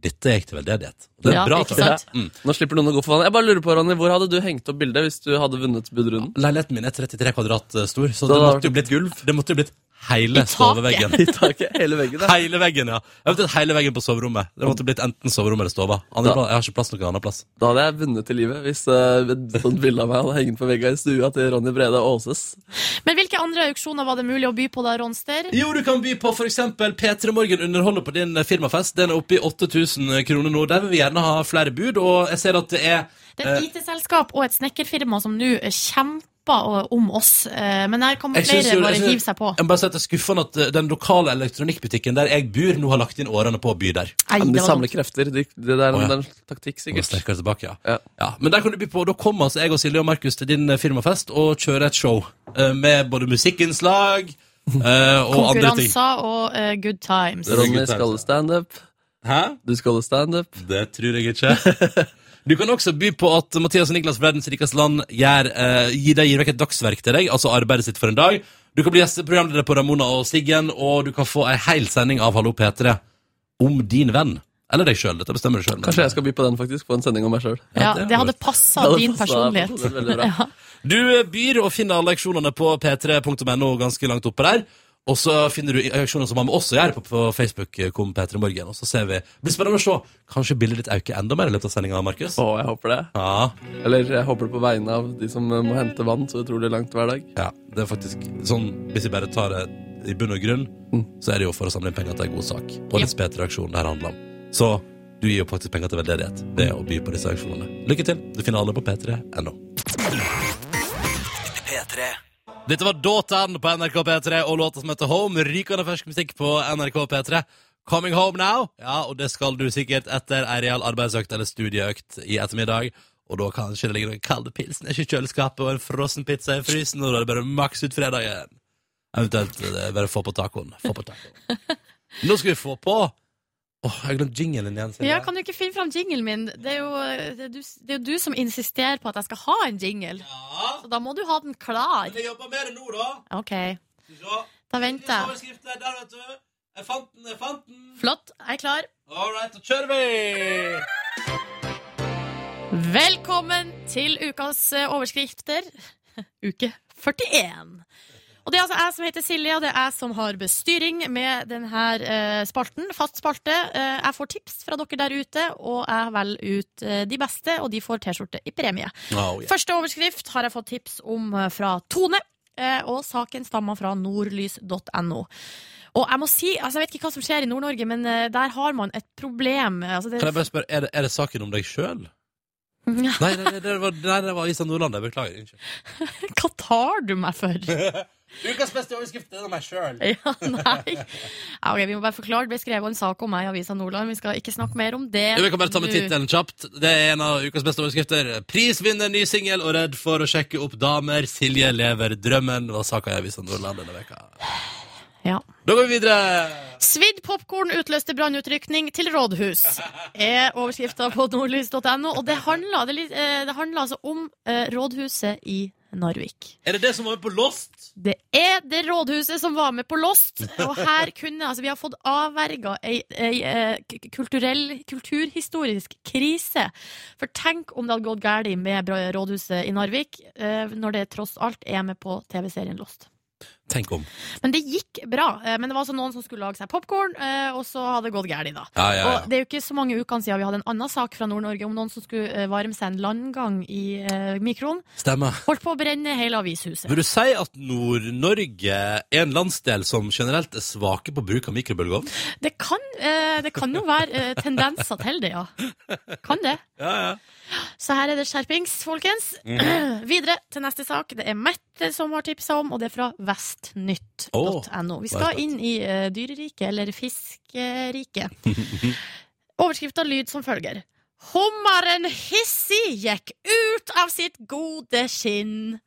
dette gikk til veldedighet. Det er Ja, bra. ikke takk. sant? Mm. Nå slipper noen å gå for vannet. Jeg bare lurer på, Ronny, Hvor hadde du hengt opp bildet hvis du hadde vunnet budrunden? Leiligheten min er 33 kvadrat eh, stor, så Da det hadde måtte jo blitt gulv. Det måtte jo blitt hele taket. soveveggen. I taket, hele veggen der. Hele veggen, ja. Eventuelt hele veggen på soverommet. Det måtte blitt enten soverommet eller stova. Andre Da- plass- Jeg har ikke plass noen annen plass. Da hadde jeg vunnet i livet hvis eh, et sånt bilde av meg hadde hengt på vegga i stua til Ronny Brede Aases. Men hvilke andre auksjoner var det mulig å by på da, Ronster? Jo, du kan by på for eksempel P3 Morgen underholder på din eh, firmafest. Den er oppe i 8000 kroner nå. Der vil vi gjerne ha flere bud, og jeg ser at det er Det er et IT-selskap og et snekkerfirma som nå eh, kjemper eh, om oss. eh, Men her kan Jeg synes flere jo- bare jeg synes- hive seg på. Jeg må bare si at det er skuffende at eh, den lokale elektronikkbutikken der jeg bor, nå har lagt inn årene på å by der. Nei, Men det de var samler dumt. krefter. De, det der, Å, ja. det er en taktikk, Og sikkert. sterkere tilbake, ja. Ja. Men der kan du by på, og da kommer altså jeg og Silje og Markus til din eh, firmafest og kjører et show eh, med både musikkinnslag eh, og andre ting. Konkurranser og eh, good times. Det er Ronny gutter, skal altså. holde standup. Hæ? Du skal holde standup. Det tror jeg ikke. Du kan også by på at Mathias og Niklas Verdens rikeste land gjør, eh, gir, deg, gir vekk et dagsverk til deg, altså arbeidet sitt for en dag. Du kan bli gjesteprogramleder på Ramona og Siggen, og du kan få ei hel sending av Hallo P3 om din venn. Eller deg sjøl. Dette bestemmer du sjøl. Kanskje jeg skal by på den, faktisk. På en sending om meg sjøl. Ja, det er det hadde godt. passa din personlighet. Veldig bra. Du eh, byr og finner alle auksjonene på p3.no ganske langt oppe der. Og så finner du auksjoner som har med oss å gjøre på, på Facebook. eh, Kom P3 Morgen, og så ser vi. Det blir spennende å se. Kanskje bildet ditt øker enda mer i løpet av sendinga, Markus. Å, jeg håper det. Ja, Eller jeg håper det på vegne av de som eh, må hente vann så utrolig langt hver dag. ja, det er faktisk sånn Hvis jeg bare tar det i bunn og grunn, så er det jo for å samle inn penger til en god sak. Og det er P3-aksjonen det her handler om. Så du gir jo faktisk penger til veldedighet ved å by på disse auksjonene. Lykke til. Du finner alle på p3.no. Dette var Dåtan på NRK P3 og låta som heter Home. Rykende fersk musikk på NRK P3. Coming home now. Ja, og det skal du sikkert etter ei real arbeidsøkt eller studieøkt i ettermiddag. Og da kanskje det ligger noen kalde pilsner i kjøleskapet og en frossen pizza i frysen, og da er det bare maks ut fredagen. Eventuelt eh, bare få på tacoen. Få på tacoen. Nå skal vi få på Åh, jeg har glemt jingelen igjen. Silje. Ja, kan du ikke finne fram jinglen min? Det er, jo, eh, det, er du, det er jo du som insisterer på at jeg skal ha en jingle. Ja, Så da må du ha den klar. men jeg jobber med det nå, da. OK, Skal vi se. da venter jeg. Overskriften er der, vet du. Jeg fant den, jeg fant den. Flott, jeg er klar. All right, da kjører vi! Velkommen til ukas eh, overskrifter. Uke 41. Og det er altså jeg som heter Silje, og det er jeg som har bestyring med denne eh, spalten. Fast spalte. Eh, jeg får tips fra dere der ute, og jeg velger ut eh, de beste, og de får T-skjorte i premie. Oh, yeah. Første overskrift har jeg fått tips om eh, fra Tone, eh, og saken stammer fra nordlys.no. Og jeg må si, altså jeg vet ikke hva som skjer i Nord-Norge, men eh, der har man et problem. Altså det, Kan jeg bare spørre, er det, er det saken om deg sjøl? Nei, nei, nei, det var, nei, det var Isa Nordland. Jeg beklager. Unnskyld. hva tar du meg for? Ukas beste overskrift er meg sjøl. Ja, nei. Ja, ok, vi må bare forklare. Det ble skrevet en sak om meg i Avisa Nordland. Vi skal ikke snakke mer om det. Vi kan bare ta med nå. tittelen kjapt. Det er en av ukas beste overskrifter. Prisvinner ny singel og redd for å sjekke opp damer. Silje lever drømmen, var saka i Avisa Nordland denne veka. Ja. Da går vi videre. Svidd popkorn utløste brannutrykning til rådhus, er overskrifta på nordlys.no. Og det handler, det, er litt- eh, det handler altså om eh, rådhuset i Narvik. Er det det som var med på Lost? Det er det rådhuset som var med på Lost, og her kunne altså, vi har fått avverga ei, ei, eh, k- kulturell, kulturhistorisk krise. For tenk om det hadde gått galt med bra- rådhuset i Narvik, eh, når det tross alt er med på TV-serien Lost. Tenk om. Men det gikk bra. eh, Men det var altså noen som skulle lage seg popkorn, og så hadde det gått galt, da. Ja, ja, Og det er jo ikke så mange ukene siden vi hadde en annen sak fra Nord-Norge om noen som skulle eh, varme seg en landgang i eh, mikroen. ja. Stemmer. Holdt på å brenne hele avishuset. Vil du si at Nord-Norge er en landsdel som generelt er svake på bruk av mikrobølgeovn? Det kan, eh, det kan jo være eh, tendenser til det, ja. Kan det. Ja, ja. Så her er det skjerpings, folkens. Videre til neste sak. Det er Mette som har tipsa om, og det er fra vestnytt.no. da er Vi jeg skal inn i eh, dyreriket, eller fiskeriket. Overskrifta lyd som følger. Hummeren Hissi gikk ut av sitt gode skinn.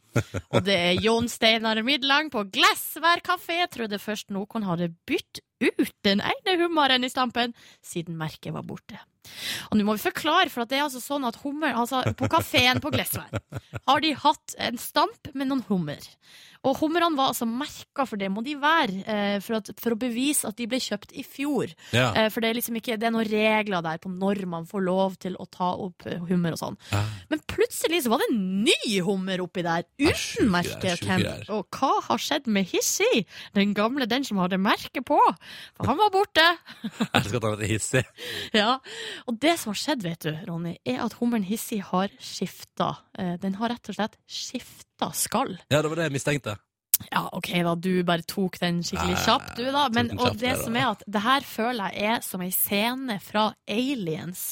Og det er Jon Steinar Midlang på Glassvær kafé trodde først noen hadde bytt ut den ene hummeren i stampen, siden merket var borte. Og nå må vi forklare, for at det er altså sånn at hummer, altså på kafeen på Glesvær har de hatt en stamp med noen hummer. Og hummerne var altså merka, for det må de være, eh, for, at, for å bevise at de ble kjøpt i fjor. ja. Eh, For det er liksom ikke, det er noen regler der på når man får lov til å ta opp eh, hummer og sånn. Ja. Men plutselig så var det en ny hummer oppi der, Ja, sjuke uten merke, greier, sjuke Ken. greier. Og hva har skjedd med Hissi? Den gamle, den som hadde merke på. For han var borte. Jeg elsker at han er hissig. Ja, og det som har skjedd, vet du, Ronny, er at hummeren Hissi har skifta. eh, Den har rett og slett skifta skall. Ja, det var det jeg mistenkte. Ja, OK, da, du bare tok den skikkelig Nei, kjapt, du, da. tok Men, den og kjapt det der, som da. er at det her føler jeg er som ei scene fra Aliens.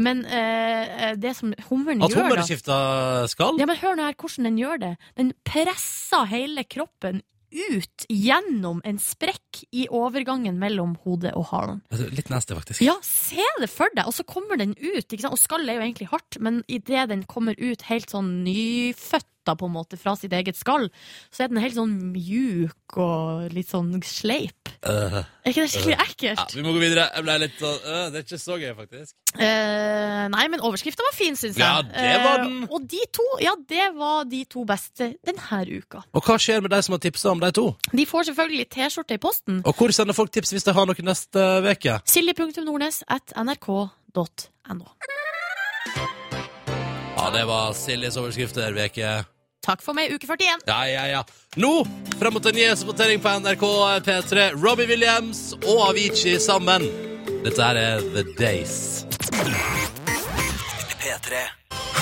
Men eh, det som hummeren At gjør, hummer da skifta skall? Ja, men hør nå her hvordan den gjør det. Den presser hele kroppen ut gjennom en sprekk i overgangen mellom hodet og halen. Altså, Litt nasty, faktisk. Ja, se det for deg! Og så kommer den ut. ikke sant? Og skallet er jo egentlig hardt, men idet den kommer ut helt sånn nyføtta på en måte fra sitt eget skall, så er den helt sånn mjuk og litt sånn sleip. Øh. Er ikke det skikkelig ja, ekkelt? vi må gå videre. Jeg ble litt sånn øh, Det er ikke så gøy, faktisk. Eh, nei, men overskrifta var fin, syns jeg. Ja, det var den. Eh, og de to, ja, det var de to beste denne uka. Og hva skjer med de som har tipsa om de to? De får selvfølgelig T-skjorte i posten. Og hvor sender folk tips hvis de har noe neste uke? Silje.nordnes at nrk.no. Ja, det var Siljes overskrifter, veke. Takk for meg, uke 41. Ja, ja, ja. Nå, frem mot en nyhetsvotering på NRK P3, Robbie Williams og Avicii sammen. Dette her er The Days.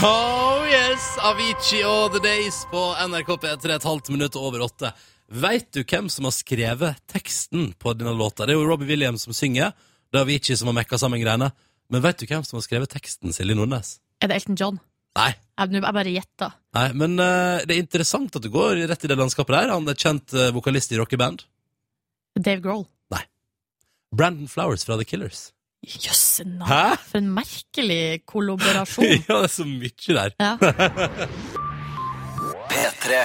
Oh yes, Avicii og The Days på NRK P3, et halvt minutt over åtte. Veit du hvem som har skrevet teksten på denne låta? Det er jo Robbie Williams som synger. Det er Avicii som har mekka sammen greiene. Men veit du hvem som har skrevet teksten, Silje Nordnes? Er det Elton John? Nei. Jeg, nå- jeg bare gjetta. Nei, men eh, det er interessant at du går rett i det landskapet der. Han er kjent eh, vokalist i rockeband. Dave Grohl. Brandon Flowers fra The Killers. Jøsse navn. Hæ? For en merkelig kollaborasjon. ja, det er så mye der. Ja. P3.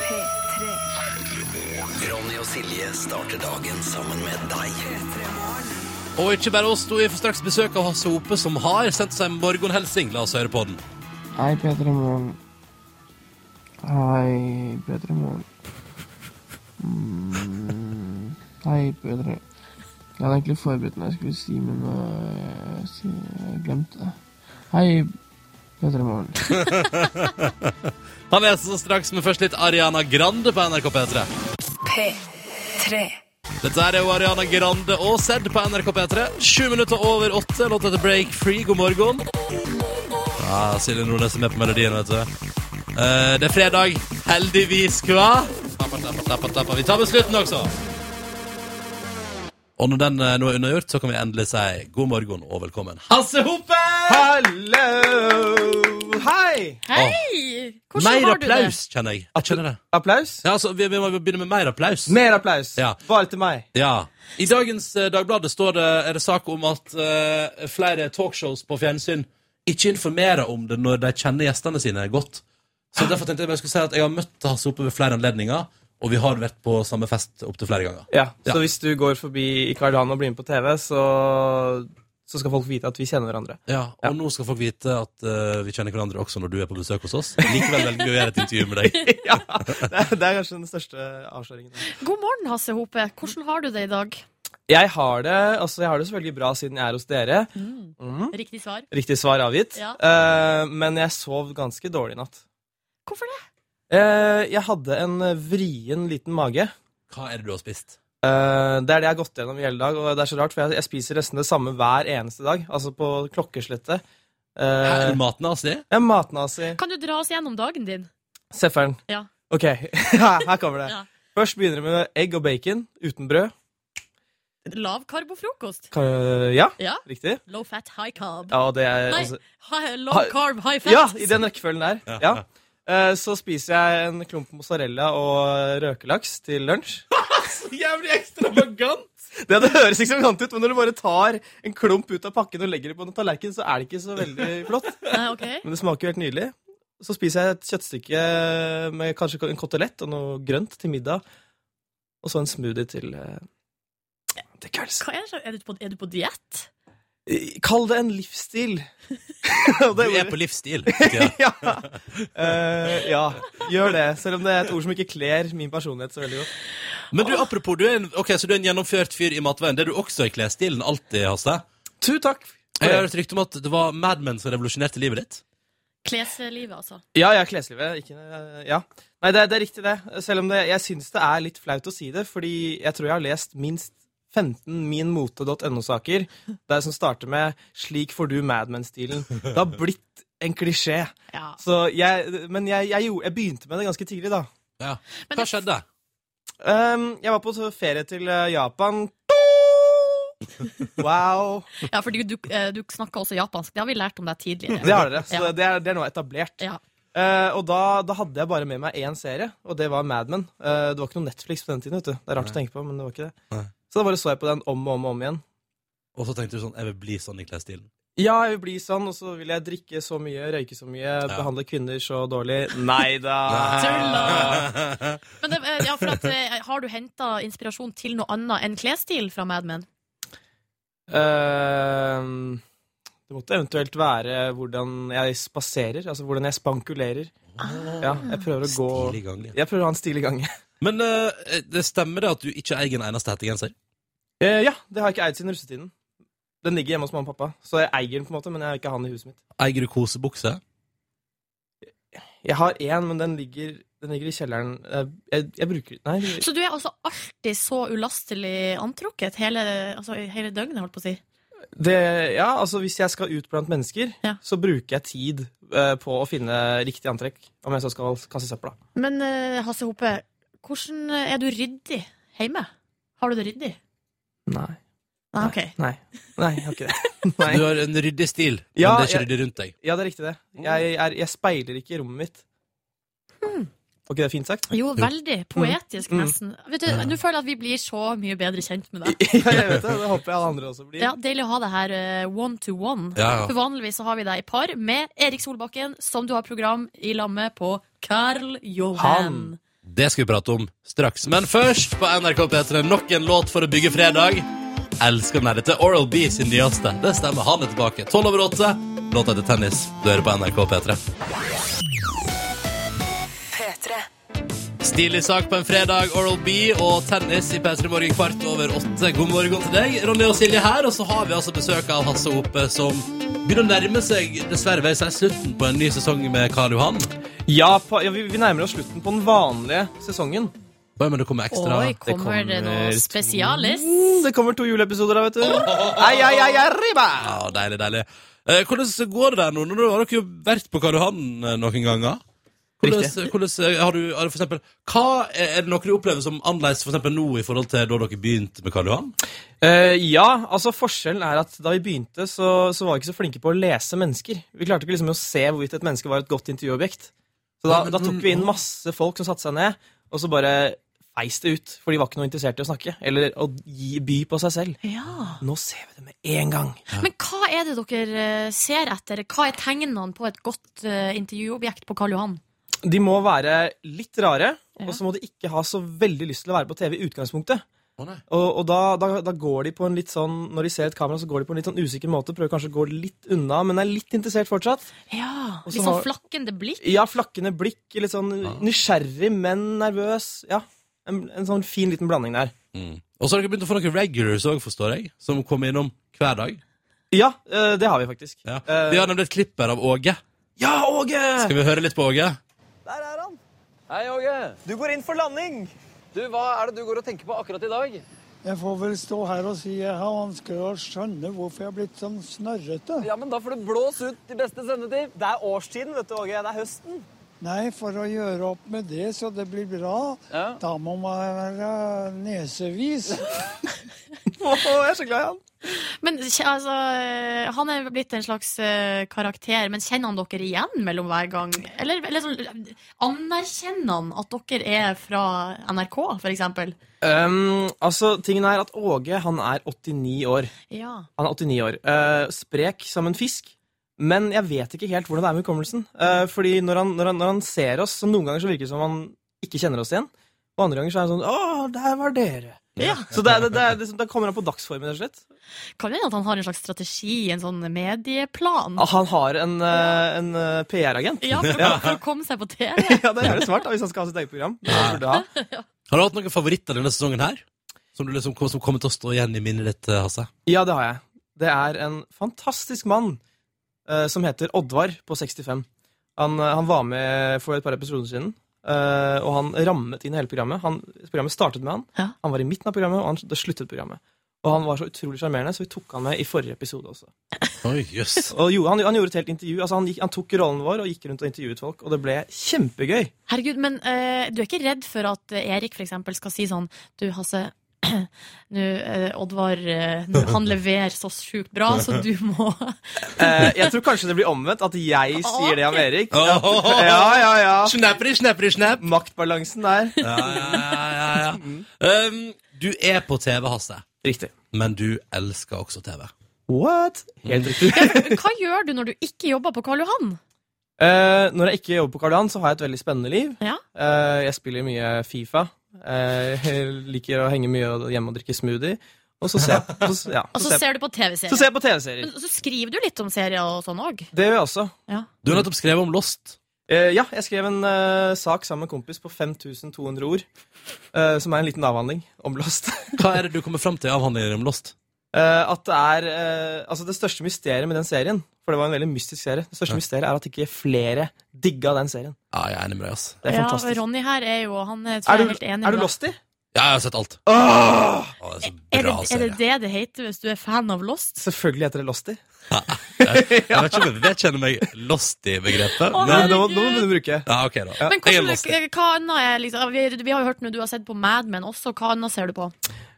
P3. Ronny og Silje starter dagen sammen med deg. Og ikke bare oss to, vi får straks besøk av Hasse Hope, som har sendt oss en morgenhelsing. La oss høre på den. Hei, Petre Morgen. Hei, Petre Morgen. Mm, hei, Petre. Jeg hadde egentlig forberedt meg jeg skulle si, men øh, si- jeg glemte det. Hei, Petre Morgen. Han leser oss straks, men først litt Ariana Grande på NRK P3. P3. Dette her er jo Ariana Grande og Sedd på NRK P3. Sju minutter over åtte. Låt etter Break Free. God morgen. Ja, Silje Nordnes er med på melodien, vet du. Eh, det er fredag. Heldigvis, kva? Tappa, tappa, tappa, tappa. Vi tar med slutten også. Og når den eh, nå er unnagjort, så kan vi endelig si god morgen og velkommen. Hasse Hope! Hallo! Hei! Hei! Hvordan Mer har du det? applaus, kjenner jeg. Jeg kjenner det. Applaus? Ja, altså, vi, vi må begynne med mer applaus. Mer applaus. Ja. Bare til meg. Ja. I dagens eh, Dagbladet står det, er det sak om at eh, flere talkshows på fjernsyn ikke informerer om det når de kjenner gjestene sine godt. Så derfor tenkte jeg bare jeg skulle si at jeg har møtt Hasse oppe ved flere anledninger, og vi har vært på samme fest opptil flere ganger. Ja, Ja. Så hvis du går forbi Karl Han og blir med på TV, så, så skal folk vite at vi kjenner hverandre. Ja, Og nå skal folk vite at eh, vi kjenner hverandre også når du er på besøk hos oss. Likevel velger vi å gjøre et intervju med deg. ja, det er, det er kanskje den største avsløringen. God morgen, Hasse Hope. Hvordan har du det i dag? Jeg har det altså jeg har det selvfølgelig bra siden jeg er hos dere. Mhm. Riktig svar. Riktig svar avgitt. Ja. Eh, men jeg sov ganske dårlig i natt. Hvorfor det? Eh, jeg hadde en vrien liten mage. Hva er det du har spist? Eh, det er det jeg har gått gjennom i hele dag, og det er så rart, for jeg, jeg spiser nesten det samme hver eneste dag. Altså på klokkeslettet. Her Eh, er maten hans, det? jeg er matnazi. Kan du dra oss gjennom dagen din? Sefferen. Ja. Ok, her kommer det. Ja. Først begynner det med egg og bacon uten brød. Lav karbofrokost. Ka- Ja, Ja. riktig. Low fat, high carb. Ja, og det er Nei, altså- hi- low Hi- carb, high fat. Ja, i den rekkefølgen der. Ja. Eh, Så spiser jeg en klump mozzarella og røkelaks til lunsj. Jævlig ekstravagant! Det, det høres ikke så elegant ut, men når du bare tar en klump ut av pakken og legger det på en tallerken, så er det ikke så veldig flott. Nei, ok. Men det smaker jo helt nydelig. Så spiser jeg et kjøttstykke med kanskje en kotelett og noe grønt til middag. Og så en smoothie til, eh, til kvelds. Hva er, det, så- er du på, er du på diett? Eh, Kall det en livsstil. Du er på livsstil. Ja. ja. Eh, ja, gjør det. Selv om det er et ord som ikke kler min personlighet så veldig godt. Men du, apropos, du er en, ok, så du er en gjennomført fyr i matveien. Det er du også i klesstilen alltid, Hasse. Tu takk. for Jeg det. har hørt rykte om at det var Mad Men som revolusjonerte livet ditt. Kleslivet, altså. Ja, ja, kleslivet. Ikke, eh, ja. Nei, det, er- det er riktig det. Selv om det, jeg syns det er litt flaut å si det, fordi jeg tror jeg har lest minst 15 minmote.no-saker der som starter med 'Slik får du Madman-stilen'. Det har blitt en klisjé. Ja. Så jeg, men jeg, jeg, gjorde- jeg begynte med det ganske tidlig, da. Ja. Men Hva det- skjedde? Ehm, jeg var på ferie til eh, Japan. Wow. Ja, fordi du, eh, du snakker også japansk. Det har vi lært om deg tidligere. Det har dere, så Ja. det, er, det er nå etablert. Ja. Eh, og da, da hadde jeg bare med meg én serie, og det var Mad Men. Eh, det var ikke noe Netflix på den tiden. vet du Det er rart å tenke på, men det var ikke det. Nei. Så da bare så jeg på den om og om og om igjen. Og så tenkte du sånn, jeg vil bli sånn i klesstilen. Ja, jeg vil bli sånn, og så vil jeg drikke så mye, røyke så mye, behandle kvinner så dårlig. Nei da! Tulla! Men det, eh, ja, for at, eh, har du henta inspirasjon til noe annet enn klesstil fra Mad Men? Ehm, det måtte eventuelt være hvordan jeg spaserer, altså hvordan jeg spankulerer. Ah. Ja, jeg prøver å gå Stilig gang, ja. Jeg prøver å ha en stilig gang. Men eh, det stemmer det at du ikke eier en eneste hettegenser? Eh, ja, det har jeg ikke eid siden russetiden. Den ligger hjemme hos mamma og pappa, så jeg eier den, på en måte, men jeg har ikke han i huset mitt. Eier du kosebukse? Jeg har én, men den ligger, den ligger i kjelleren. Eh, Jeg, jeg bruker Nei. Så du er altså alltid så ulastelig antrukket hele, altså, hele døgnet, holdt på å si. Det, ja, altså Hvis jeg skal ut blant mennesker, Ja. så bruker jeg tid eh, på å finne riktig antrekk. Om jeg så skal kaste søpla. Men eh, Hasse Hope, hvordan er du ryddig hjemme? Har du det ryddig? Nei. Nei, ok. Nei, nei, jeg har ikke det. Nei. Du har en ryddig stil, Ja, men det er ikke jeg- ryddig rundt deg. Ja, det er riktig, det. Jeg, er, jeg speiler ikke i rommet mitt. Hmm. Var ikke det fint sagt? Jo, veldig. Poetisk, Mm. nesten. Vet du, Nå føler jeg at vi blir så mye bedre kjent med deg. Ja, jeg vet det. Det håper jeg alle andre også blir. Ja, Deilig å ha deg her eh, one to one. Ja, ja. For Vanligvis så har vi deg i par med Erik Solbakken, som du har program i lag med på Karl Johan. Han. Det skal vi prate om straks. Men først på NRK P3 nok en låt for å bygge fredag. Elsker den her. Dette er Oral B sin nyeste. Det stemmer. Han er tilbake. 12 over 8. Låta heter Tennis. Du hører på NRK P3. P3. Stilig sak på en fredag. Oral B og tennis i P3 Morgen kvart over åtte. God morgen til deg. Ronny og Silje her. Og så har vi altså besøk av Hasse Hope, som begynner å nærme seg, dessverre, ved seg slutten på en ny sesong med Karl Johan. Ja, pa, ja vi, vi nærmer oss slutten på den vanlige sesongen. Oi, men det kommer ekstra. Oi, kommer det, noe kommer to- spesialis? Mm, Det kommer to juleepisoder da, vet du. Ei, ei, ei, arriba! Ja, deilig, deilig. Eh, hvordan går det der nå? Nå har dere jo vært på Karl Johan eh, noen ganger. Hvordan, Riktig. hvordan, eh, har du, har du for eksempel, hva er er det noe du opplever som annerledes for eksempel nå i forhold til da dere begynte med Karl Johan? Eh, ja, altså forskjellen er at da vi begynte, så, så var vi ikke så flinke på å lese mennesker. Vi klarte ikke liksom å se hvorvidt et menneske var et godt intervjuobjekt. Så da, Nei, men da tok vi inn masse folk som satte seg ned, og så bare feis det ut. For de var ikke noe interessert i å snakke, eller å gi, by på seg selv. Ja. Nå ser vi det med en gang. Men hva er det dere eh, ser etter? Hva er tegnene på et godt eh, intervjuobjekt på Karl Johan? De må være litt rare, Ja. og så må de ikke ha så veldig lyst til å være på TV i utgangspunktet. Å, nei. Og, og da, da, da går de på en litt sånn Når de ser et kamera, så går de på en litt sånn usikker måte. Prøver kanskje å gå litt unna, men er litt interessert fortsatt. Ja, Og så har- Litt sånn flakkende blikk? Ja, flakkende blikk, litt sånn nysgjerrig, men nervøs. Ja, en, en sånn fin liten blanding der. Og så har dere begynt å få noen regulars òg, forstår jeg, som kommer innom hver dag. Ja, eh, det har vi faktisk. Ja. Eh, Vi har nemlig et klipp her av Åge. ja, Åge! Skal vi høre litt på Åge? Der er han! Hei, Åge. Du går inn for landing! Du, Hva er det du går og tenker på akkurat i dag? Jeg får vel stå her og si jeg har vanskelig å skjønne hvorfor jeg har blitt sånn snørrete. Ja, men Da får du blåse ut de beste sendetid. Det er årstiden, vet du, Åge. Det er høsten. Nei, for å gjøre opp med det så det blir bra, Ja. da må man være nesevis. Åh, jeg er så glad i han. Men kje- altså, eh, Han er blitt en slags eh, karakter, men kjenner han dere igjen mellom hver gang? Eller, eller sånn, anerkjenner han at dere er fra NRK, for eksempel? Um, altså, tingen er at Åge, han er 89 år. Ja. Han er 89 år. Eh, sprek som en fisk. Men jeg vet ikke helt hvordan det er med hukommelsen. Eh, fordi når han, når, han, når han ser oss, så noen ganger så virker det som han ikke kjenner oss igjen. Og andre ganger så er han sånn Å, der var dere. ja. Så det, er- det, det, er liksom- det kommer han på dagsformen, rett og slett. Kan det hende at han har en slags strategi, en sånn medieplan? Ah, Han har en, eh, en eh, PR-agent. Ja, for, å- for å komme seg på TV. Ja, det er det smart da, hvis han skal ha sitt eget program. Det burde han ha. Har du hatt noen favoritter denne sesongen her? Som, du liksom, som kommer til å stå igjen i minnet ditt, eh, Hasse? Ja, det har jeg. Det er en fantastisk mann eh, som heter Oddvar på 65. Han, eh, han var med for et par episoder siden, eh, og han rammet inn hele programmet. Han, programmet startet med han, han var i midten av programmet, og han, det sluttet programmet. Og han var så utrolig sjarmerende, så vi tok han med i forrige episode også. Oi, jøss. Og jo, han, han gjorde et helt intervju. Altså han, gikk, han tok rollen vår og gikk rundt og intervjuet folk, og det ble kjempegøy. Herregud, men eh, du er ikke redd for at eh, Erik for eksempel skal si sånn Du, Hasse, nå eh, Oddvar eh, nå- Han leverer så sjukt bra, så du må Eh, jeg tror kanskje det blir omvendt, at jeg sier det om Erik. Ja, Åh. ja, ja. ja. Snapperi, snapperi, snapp. Maktbalansen der. Ja, ja, ja, ja, ja. Um, du er på TV, Hasse. Riktig. Men du elsker også TV. What? Helt riktig. Hva gjør du når du ikke jobber på Karl Johan? Eh, når jeg ikke jobber på Karl Johan, så har jeg et veldig spennende liv. Ja. Eh, jeg spiller mye Fifa. Eh, jeg liker å henge mye og- hjemme og drikke smoothie. Og så ser jeg, så, ja, Og så ser du på TV-serier. så ser jeg på TV-serier. Men så skriver du litt om serier og sånn òg. Det gjør jeg også. Ja. Du har nettopp skrevet om Lost. Eh, ja, jeg skrev en eh, sak sammen med en kompis på 5200 ord, eh, som er en liten avhandling om Lost. Hva er det du kommer fram til i avhandlingen om Lost? Eh, at det er eh, Altså, det største mysteriet med den serien, for det var en veldig mystisk serie, det største mysteriet er at ikke flere digga den serien. Ja, jeg er enig med deg, ass. Det er Ja, fantastisk. Ronny her er jo Han er, Er tror jeg du, er helt enig er du med deg. lost i? Ja, jeg har sett alt. Åh! Å, det er så Er det, bra er det serie. det det heter hvis du er fan av Lost? Selvfølgelig heter det Losty. Jeg vet ikke om jeg vedkjenner meg lost i begrepet. Å, Nei, Men, nå, nå må du bruke ja, ok da. Men Jeg er hvordan, lost i. hva annet er liksom, vi, vi har jo hørt når du har sett på Mad Men også. Hva annet ser du på?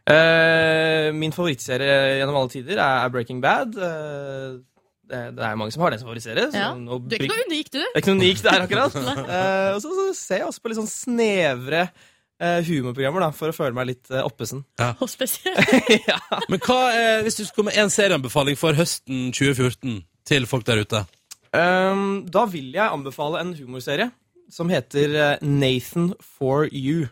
Eh, Min favorittserie gjennom alle tider er Breaking Bad. Eh, Det, det er mange som har den som favorittserie. så Ja. nå Du er blir- ikke noe unik, du. det er ikke noe unikt der, akkurat. Eh, Og så, så ser jeg også på litt sånn snevre eh, humorprogrammer da, for å føle meg litt eh, oppesen. Og spesielt. Men hva er, hvis du skulle komme med en serieanbefaling for høsten 2014 til folk der ute? Um, da vil jeg anbefale en humorserie som heter eh, Nathan for you.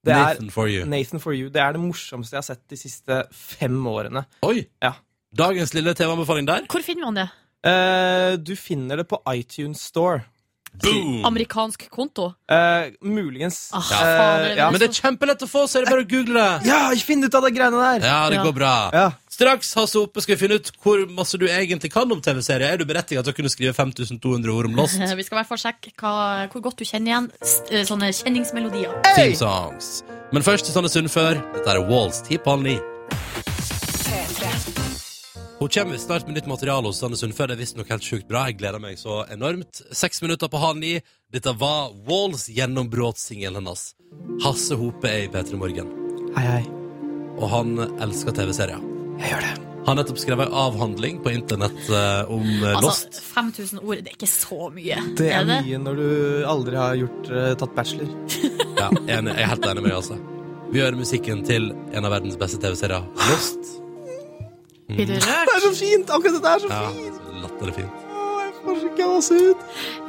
Det er, Nathan for you. Nathan for you. Det er det morsomste jeg har sett de siste fem årene. Oi! Ja. Dagens lille TV-anbefaling der. Hvor finner man det? Eh, du finner det på iTunes Store. Boom! Amerikansk konto? Eh, muligens. Ah, Eh, fader, ja. Men det er kjempelett å få, så er det bare å google det. ja, finn ut av de greiene der! Ja, det Ja. går bra. Ja. Straks Hasse Oppe skal vi finne ut hvor masse du egentlig kan om TV-serier. Er du berettiget til å kunne skrive 5200 ord om Lost? Vi skal i hvert fall sjekke hva, hvor godt du kjenner igjen st- eh, sånne kjenningsmelodier. Theme songs. Men først til Sanne Sundfør. Dette er Walls 10 på halv ni. Hun kommer snart med nytt materiale hos Sanne Sundfør. Det er visstnok helt sjukt bra. Jeg gleder meg så enormt. Seks minutter på halv ni. Dette var Walls gjennombrodsingelen hennes. Hasse Hope er i P3 Morgen. Hei, hei. og han elsker TV-serier. Jeg gjør det. Han har nettopp skrevet en avhandling på internett eh, om eh, Lost. Altså, 5000 ord, det er ikke så mye. Det er mye når du aldri har gjort, eh, tatt bachelor. Ja, enig, jeg er helt enig med deg, altså. Vi gjør musikken til en av verdens beste TV-serier, Lost. Blir du rørt? Det er så fint! Akkurat det er så Ja, fint! latter det fint. Åh, jeg får så gåsehud.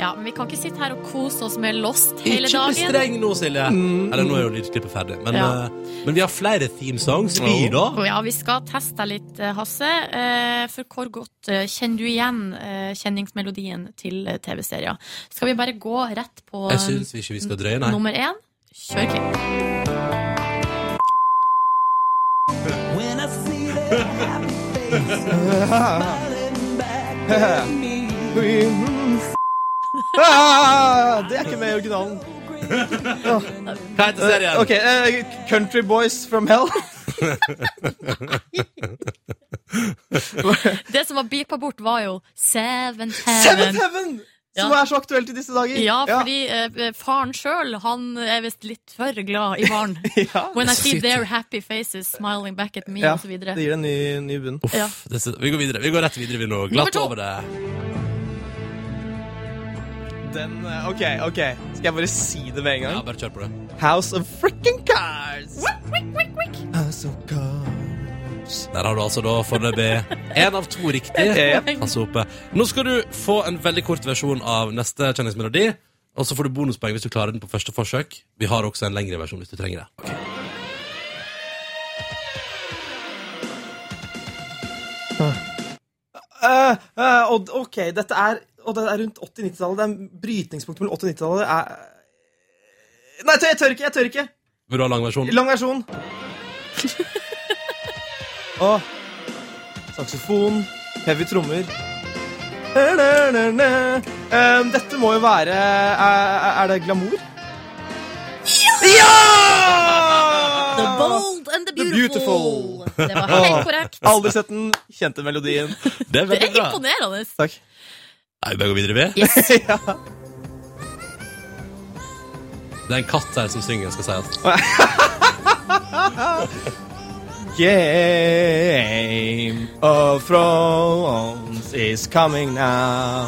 Ja, men vi kan ikke sitte her og kose oss med Lost hele Ikke bli dagen. streng nå, Silje. Mm. Eller nå er jo lydklippet ferdig. Men, Ja. eh, men vi har flere theme songs, vi, da. Og ja, vi skal teste deg litt, eh, Hasse. Eh, For hvor godt eh, kjenner du igjen eh, kjenningsmelodien til eh, TV-serier? Skal vi bare gå rett på Jeg syns ikke vi skal drøye, nei. nummer én? Kjør klipp. Ah, det er ikke med i originalen. Hva heter serien? Ok, eh, Country Boys from Hell. Det som var beepa bort, var jo Seven Seventh Heaven. Heaven! Som Ja. er så aktuelt i disse dager. Ja, fordi eh, faren sjøl, han er visst litt for glad i barn. Ja. When I see Shit. their happy faces smiling back at me, Ja, og så videre. Det gir en ny, ny bunn. Uff, Ja. det sy- vi går videre. Vi går rett videre, vi nå. Nummer Glatt to. over det. Den, eh, ok, ok. Skal jeg bare si det med en Ja, gang? bare kjør på det. House of Frickin' Cars. House of Cars. Der har du altså da foreløpig én av to riktig. Ja. Altså oppe. Nå skal du få en veldig kort versjon av neste kjenningsmelodi. Og så får du bonuspoeng hvis du klarer den på første forsøk. Vi har også en lengre versjon hvis du trenger det. Eh, eh, og, ok, dette er, og det er rundt 80-90-tallet. Det er brytningspunktet mellom 80-90-tallet er... Nei, jeg tør ikke! Jeg tør ikke! Vil du ha lang versjon? Lang versjon. Åh. Saksofon, heavy trommer Eh, Dette må jo være Er, er det glamour? The bold and the beautiful. Det var helt korrekt. Aldri sett den kjente melodien. Det Det er imponerende. Takk. Er vi bare går videre med? Yes. Det er en katt her som synger, skal sies. Game of Thrones is coming now.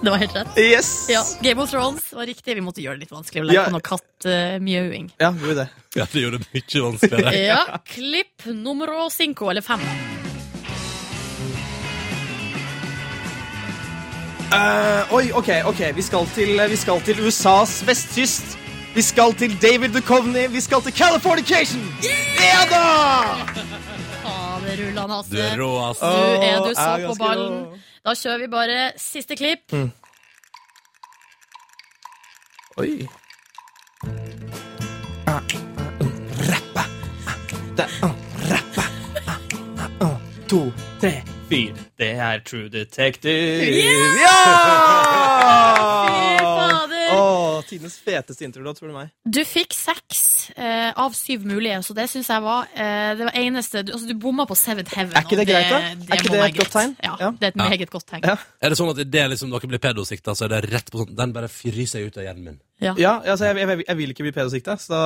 Det var helt rett. Yes! Ja, Game of Thrones var riktig. Vi måtte gjøre det litt vanskelig. og Ja. Legge på noe eh, kattmjauing. Ja, gjorde det. Ja, det gjorde det mye vanskeligere. Ja, klipp nummer cinco, eller fem. Eh, oi, ok, ok. Vi skal, til, vi skal til USAs vestkyst. Vi skal til David Duchovny. Vi skal til Californication! Ja da! Faderullan, Du er Hasse. rå, ass. Du er du Åh, så jeg er på ganske ballen. rå. Mm. Da kjører vi bare siste klipp. Oi. Rappa. Det er rappa. To, tre, fire. Det er True Detective. Fy Ja! fader. Åh, tidenes feteste introlåt, spør du meg. Du fikk seks eh, av syv mulige, så det syns jeg var eh, det var eneste du, altså, du bomma på Seventh Heaven. Er ikke det og greit, da? Er ikke må det være et godt greit. tegn? Ja, Ja. det er et meget godt tegn. Ja. Er det sånn at det er liksom noen blir pedosikta, så er det rett på sånn Den bare fryser ut av hjernen min. Ja, altså, jeg, jeg, jeg vil ikke bli pedosikta, så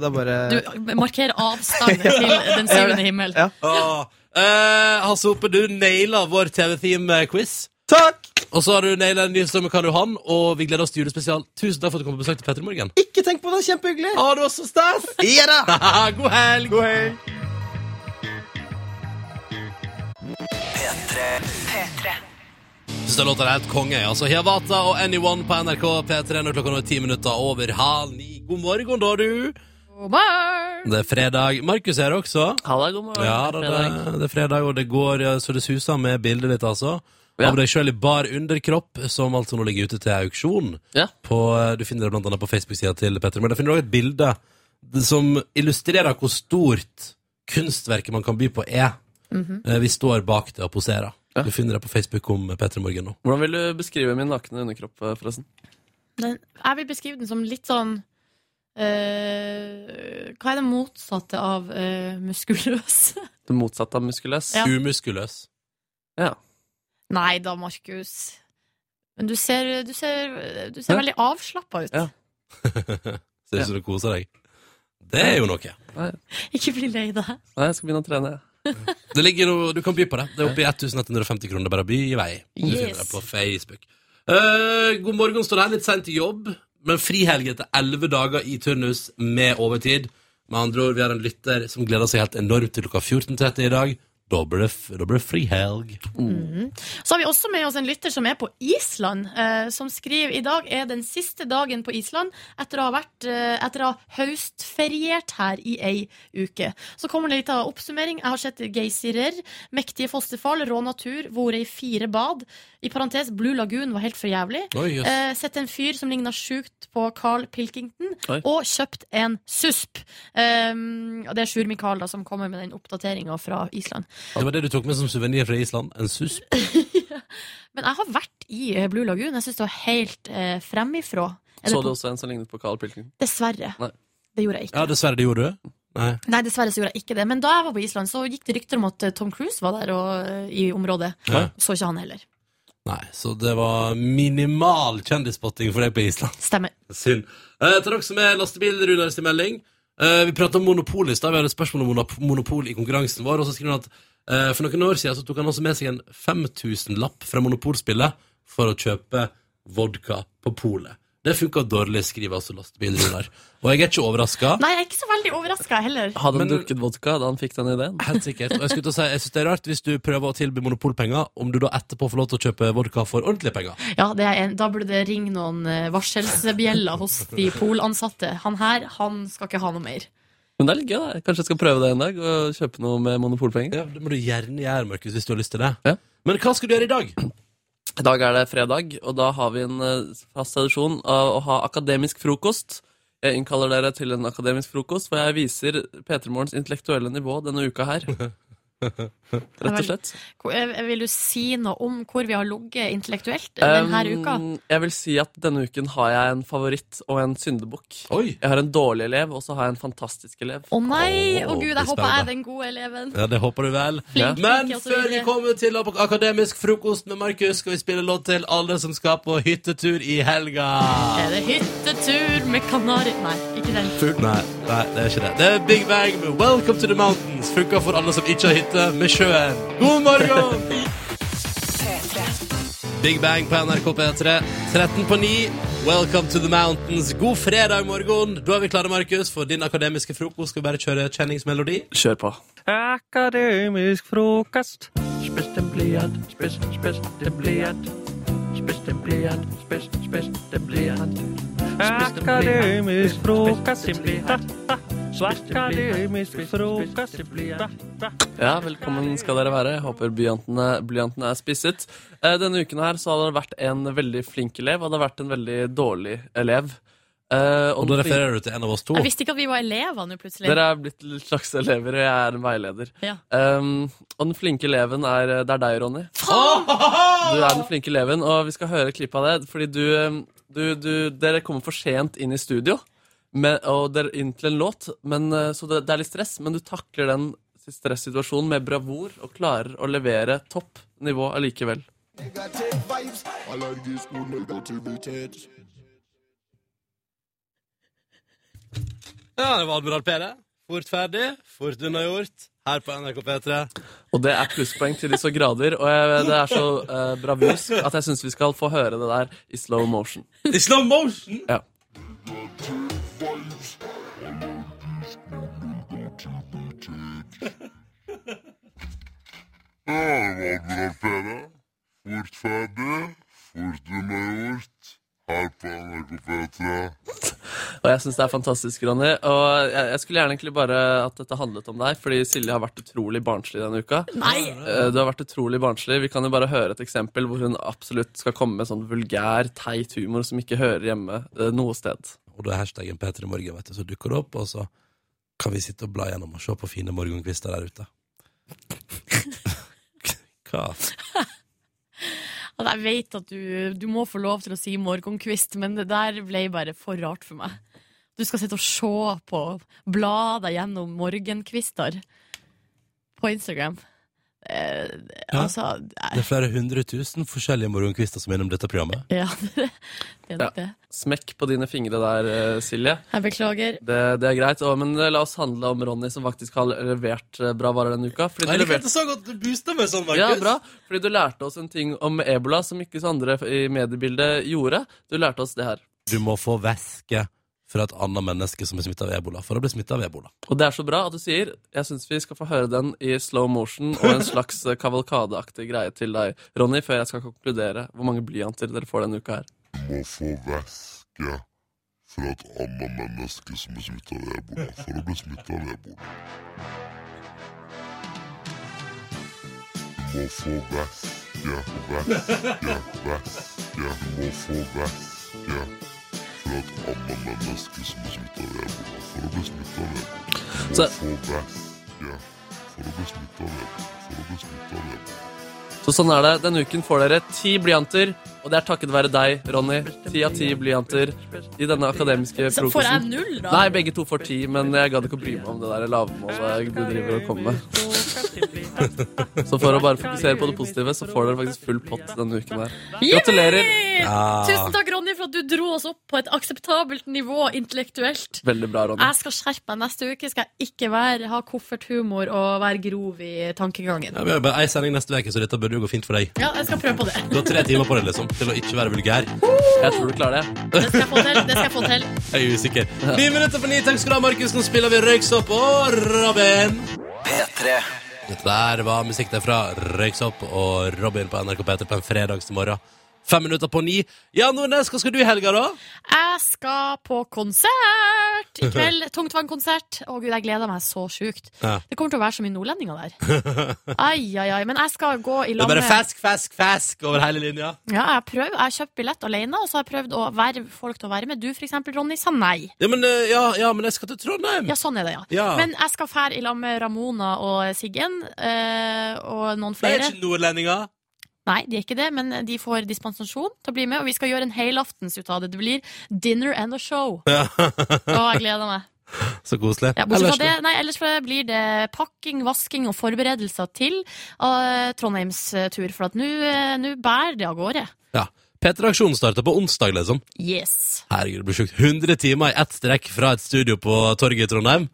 det er bare Du markerer avstand til den syvende himmel. Ja. Åh. Eh, Hasse Hope, du naila vår TV-theme-quiz. Takk! Og så har du naila en ny strøm med Karl Johan, og vi gleder oss til julespesial. Tusen takk for at du kom på besøk til Petter i Morgen. Ikke tenk på det, kjempehyggelig! Å, det var så stas! Ja da! God helg! God helg. Synes den låten er helt konge. Altså Hiawatha og Anyone på NRK P3 når klokka nå er ti minutter over halv ni. God morgen, da, du. God morgen! Det er fredag. Markus er her også. Halla, god morgen. Ja, da, det, det er fredag, og det går eh, så det suser med bildet ditt, altså. Ja. Av deg sjøl i bar underkropp, som altså nå ligger ute til auksjon. Ja. På, eh, du finner det blant annet på Facebook-sida til Petter. Men der finner du òg et bilde som illustrerer hvor stort kunstverket man kan by på er. Eh, Vi står bak det og poserer. Ja. Du finner det på Facebook om Petter Morgen nå. Hvordan vil du beskrive min nakne underkropp, eh, forresten? Den, jeg vil beskrive den som litt sånn eh, Hva er det motsatte av eh, muskuløs? Det motsatte av muskuløs? Ja. Umuskuløs. Nei da, Markus. Men du ser, du ser, du ser Ja. veldig avslappa ut. Ja. Ser ut som du koser deg. Det er jo noe. Ikke bli lei deg. Nei, jeg skal begynne å trene. jeg. Det ligger noe, Du kan by på det. Det er oppe i 1150 kroner. Bare by i vei. Du Yes. finner det på Facebook. Eh, god morgen, står det her. Litt seint til jobb, men frihelg etter elleve dager i turnus med overtid. Med andre ord, vi har en lytter som gleder seg helt enormt til klokka 14.30 i dag. Da blir det, f- da blir det frihelg. Så har vi også med oss en lytter som er på Island, eh, som skriver i dag er den siste dagen på Island etter å ha, vært, eh, etter å ha høstferiert her i ei uke. Så kommer det litt av oppsummering. Jeg har sett geysirer, mektige fosterfall, rå natur, vært i fire bad. I parentes, Blue Lagoon var helt for jævlig. Oi, jøss. Eh, sett en fyr som ligna sjukt på Carl Pilkington, Oi. og kjøpt en susp. Um, og det er Sjur Mikael da, som kommer med den oppdateringa fra Island. Det var det du tok med som suvenir fra Island. En susp. Men jeg har vært i eh, Blue Lagoon. Jeg syns det var helt eh, fremifrå. Er det Så på- du også en som lignet på Carl Pilkington? Dessverre. Nei. Det gjorde jeg ikke. Ja, dessverre, det gjorde du. Nei. Nei, dessverre så gjorde jeg ikke det. Men da jeg var på Island, så gikk det rykter om at eh, Tom Cruise var der og, eh, i området. Ja. Så ikke han heller. Nei. Så det var minimal kjendisspotting for deg på Island. Stemmer. Synd. Eh, til dere som er lastebilrullere sin melding. Eh, vi pratet om monopol i stad. Vi hadde et spørsmål om monop monopol i konkurransen vår. Og så skriver han at eh, for noen år siden så tok han også med seg en 5000-lapp fra Monopolspillet for å kjøpe vodka på polet. Det funka dårlig, skriver altså lastebilruller. Og jeg er ikke overraska. Nei, jeg er ikke så veldig overraska heller. Hadde han Men- drukket vodka da han fikk den ideen? Helt sikkert. Og jeg skulle til å si, jeg synes det er rart hvis du prøver å tilby monopolpenger, om du da etterpå får lov til å kjøpe vodka for ordentlige penger. Ja, det er en, Da burde det ringe noen eh, varselsbjeller hos de polansatte. Han her, han skal ikke ha noe mer. Men det er litt gøy, da. Kanskje jeg skal prøve det en dag, og kjøpe noe med monopolpenger. Ja, Det må du gjerne gjøre, Markus, hvis du har lyst til det. Ja. Men hva skal du gjøre i dag? I dag er det fredag, og da har vi en eh, fast tradisjon av å ha akademisk frokost. Jeg innkaller dere til en akademisk frokost, hvor jeg viser P3morgens intellektuelle nivå denne uka her. Rett og slett. Hvor- eh, Vil du si noe om hvor vi har ligget intellektuelt eh, denne Um, uka? Jeg vil si at denne uken har jeg en favoritt og en syndebukk. Jeg har en dårlig elev, og så har jeg en fantastisk elev. Å nei! Å Åh, gud, det er jeg håper jeg er spennende. den gode eleven. Ja, det håper du vel. Flink, Men flink, og så før vi videre. kommer til akademisk frokost med Markus, skal vi spille låt til alle som skal på hyttetur i helga. Er det hyttetur med kanari... Nei, ikke den. Nei, nei, det er ikke det. Det er Big Bang med Welcome to the Mountains. Funka for alle som ikke har hytte med sjøen. God morgen! Big Bang på NRK P3. 13 på 9. Welcome to the mountains. God fredag morgen. Da er vi klare, Markus, for din akademiske frokost. Skal vi bare kjøre kjenningsmelodi? Kjør på. Akademisk frokost. Spiss en blyant, spiss, spiss en blyant. Spiss en blyant, spiss, spiss en blyant. Akademisk frokost. Akademisk frokost. Ja, Velkommen skal dere være. Jeg håper blyantene, blyantene er spisset. Eh, Denne uken her så har det vært en veldig flink elev, og det har vært en veldig dårlig elev. Eh, Og da refererer du til en av oss to. Jeg visste ikke at vi var elever nå, plutselig. Dere er blitt litt slags elever, og jeg er en veileder. Ja. Ehm, og den flinke eleven er eh, Det er deg, Ronny. Du er den flinke eleven, og vi skal høre et klipp av det. Fordi du, ehm, du, du Dere kommer for sent inn i studio men, og dere inn til en låt, men, eh, så det, det er litt stress. Men du takler den stressituasjonen med bravur og klarer å levere topp nivå allikevel. Allergisk mot negativitet. Ja, det var Admiral P, det. Fort ferdig, fort unnagjort. Her på NRK P3. Og det er plusspoeng til de så grader, og jeg, det er så eh, bravursk at jeg syns vi skal få høre det der i slow motion. I slow motion? Ja. Fort ferdig, fort unnagjort. Her på NRK P3. Og jeg syns det er fantastisk, Ronny. Og jeg, jeg skulle gjerne egentlig bare at dette handlet om deg, fordi Silje har vært utrolig barnslig denne uka. Nei! Eh, Du har vært utrolig barnslig. Vi kan jo bare høre et eksempel hvor hun absolutt skal komme med sånn vulgær, teit humor som ikke hører hjemme eh, noe sted. Og da er hashtaggen P3morgen, vet du, så dukker det opp, og så kan vi sitte og bla gjennom og se på fine morgenkvister der ute. Hva? At Altså, jeg vet at du, du må få lov til å si morgenkvist, men det der ble bare for rart for meg. Du skal sitte og se på, bla deg gjennom morgenkvister på Instagram. Eh, altså, Det er flere hundre tusen forskjellige morgenkvister som er innom dette programmet. ja, det er nok det. Smekk på dine fingre der, eh, Silje. Jeg beklager. Det, det er greit, og, men eh, la oss handle om Ronny, som faktisk har levert eh, bra varer denne uka. Fordi du Jeg liker leverte- at det så godt du booster meg sånn, Markus. Ja, bra. Fordi du lærte oss en ting om ebola som ikke så andre i mediebildet gjorde. Du lærte oss det her. Du må få væske fra et annet menneske som er smitta av ebola, for å bli smitta av ebola. Og det er så bra at du sier Jeg syns vi skal få høre den i slow motion og en slags eh, kavalkadeaktig greie til deg, Ronny, før jeg skal konkludere hvor mange blyanter dere får denne uka her. Du må få væske fra et annet menneske som er smittet av ebola, for å bli smittet av ebola. Du må få væske, væske, væske. Du må få væske fra et annet menneske som er smittet av ebola, for å bli smittet av ebola. Du må Så- få væske for å bli smittet av ebola, for å bli smittet av ebola. Så sånn er det. Denne uken får dere ti blyanter, og det er takket være deg, Ronny. Ti av ti blyanter i denne akademiske Så frokosten. får jeg null, da? Nei, begge to får ti, men jeg gadd ikke å bry meg om det der lavmålet du driver og kommer med. Så for å bare fokusere på det positive, så får dere faktisk full pott denne uken her. Gratulerer! Jippi! Tusen takk, Ronny, for at du dro oss opp på et akseptabelt nivå intellektuelt. Veldig bra, Ronny. Jeg skal skjerpe meg neste uke. Skal jeg ikke være, ha kofferthumor og være grov i tankegangen. Ja, vi har bare ei sending neste uke, så dette burde jo gå fint for deg. Ja, jeg skal prøve på det. Du har tre timer på deg liksom, til å ikke være vulgær. Jeg tror du klarer Det skal jeg få til. Det skal jeg få til. Jeg er usikker. Ni minutter på ni. Takk skal du ha, Markus. Nå spiller vi Røyksopp og Robin. P3 Dette der var musikk derfra. Røyksopp og Robin på NRK P3 på en fredagsmorgen. Fem minutter på ni. Jan Nordnes, hva skal du i helga, da? Jeg skal på konsert I kveld Tungtvannkonsert. Å gud, jeg gleder meg så sjukt. Ja. Det kommer til å være så mye nordlendinger der. det Ai, ai, ai. Men jeg skal gå i lag er bare med- fesk, fesk, fesk over hele linja. Ja, jeg har prøvd. Jeg har kjøpt billett alene, og så har jeg prøvd å verve folk til å være med. Du, for eksempel, Ronny, sa nei. Ja, men, eh, ja, ja, men jeg skal til Trondheim. Ja, sånn er det, ja. Ja. Men jeg skal fære i lag med Ramona og Siggen eh, og noen Det flere. er ikke nordlendinger. Nei, de er ikke det, men de får dispensasjon til å bli med, og vi skal gjøre en helaftens ut av det. Det blir dinner and a show. Ja. Å, jeg gleder meg. Så koselig. Ja, bortsett Ellers- fra det, nei, ellers blir det pakking, vasking og forberedelser til eh, Trondheims eh, tur, for at nå eh, nå bærer det av gårde. Ja. P3-aksjonen starter på onsdag, liksom. Yes. Herregud, det blir sjukt. 100 timer i ett strekk fra et studio på torget i Trondheim.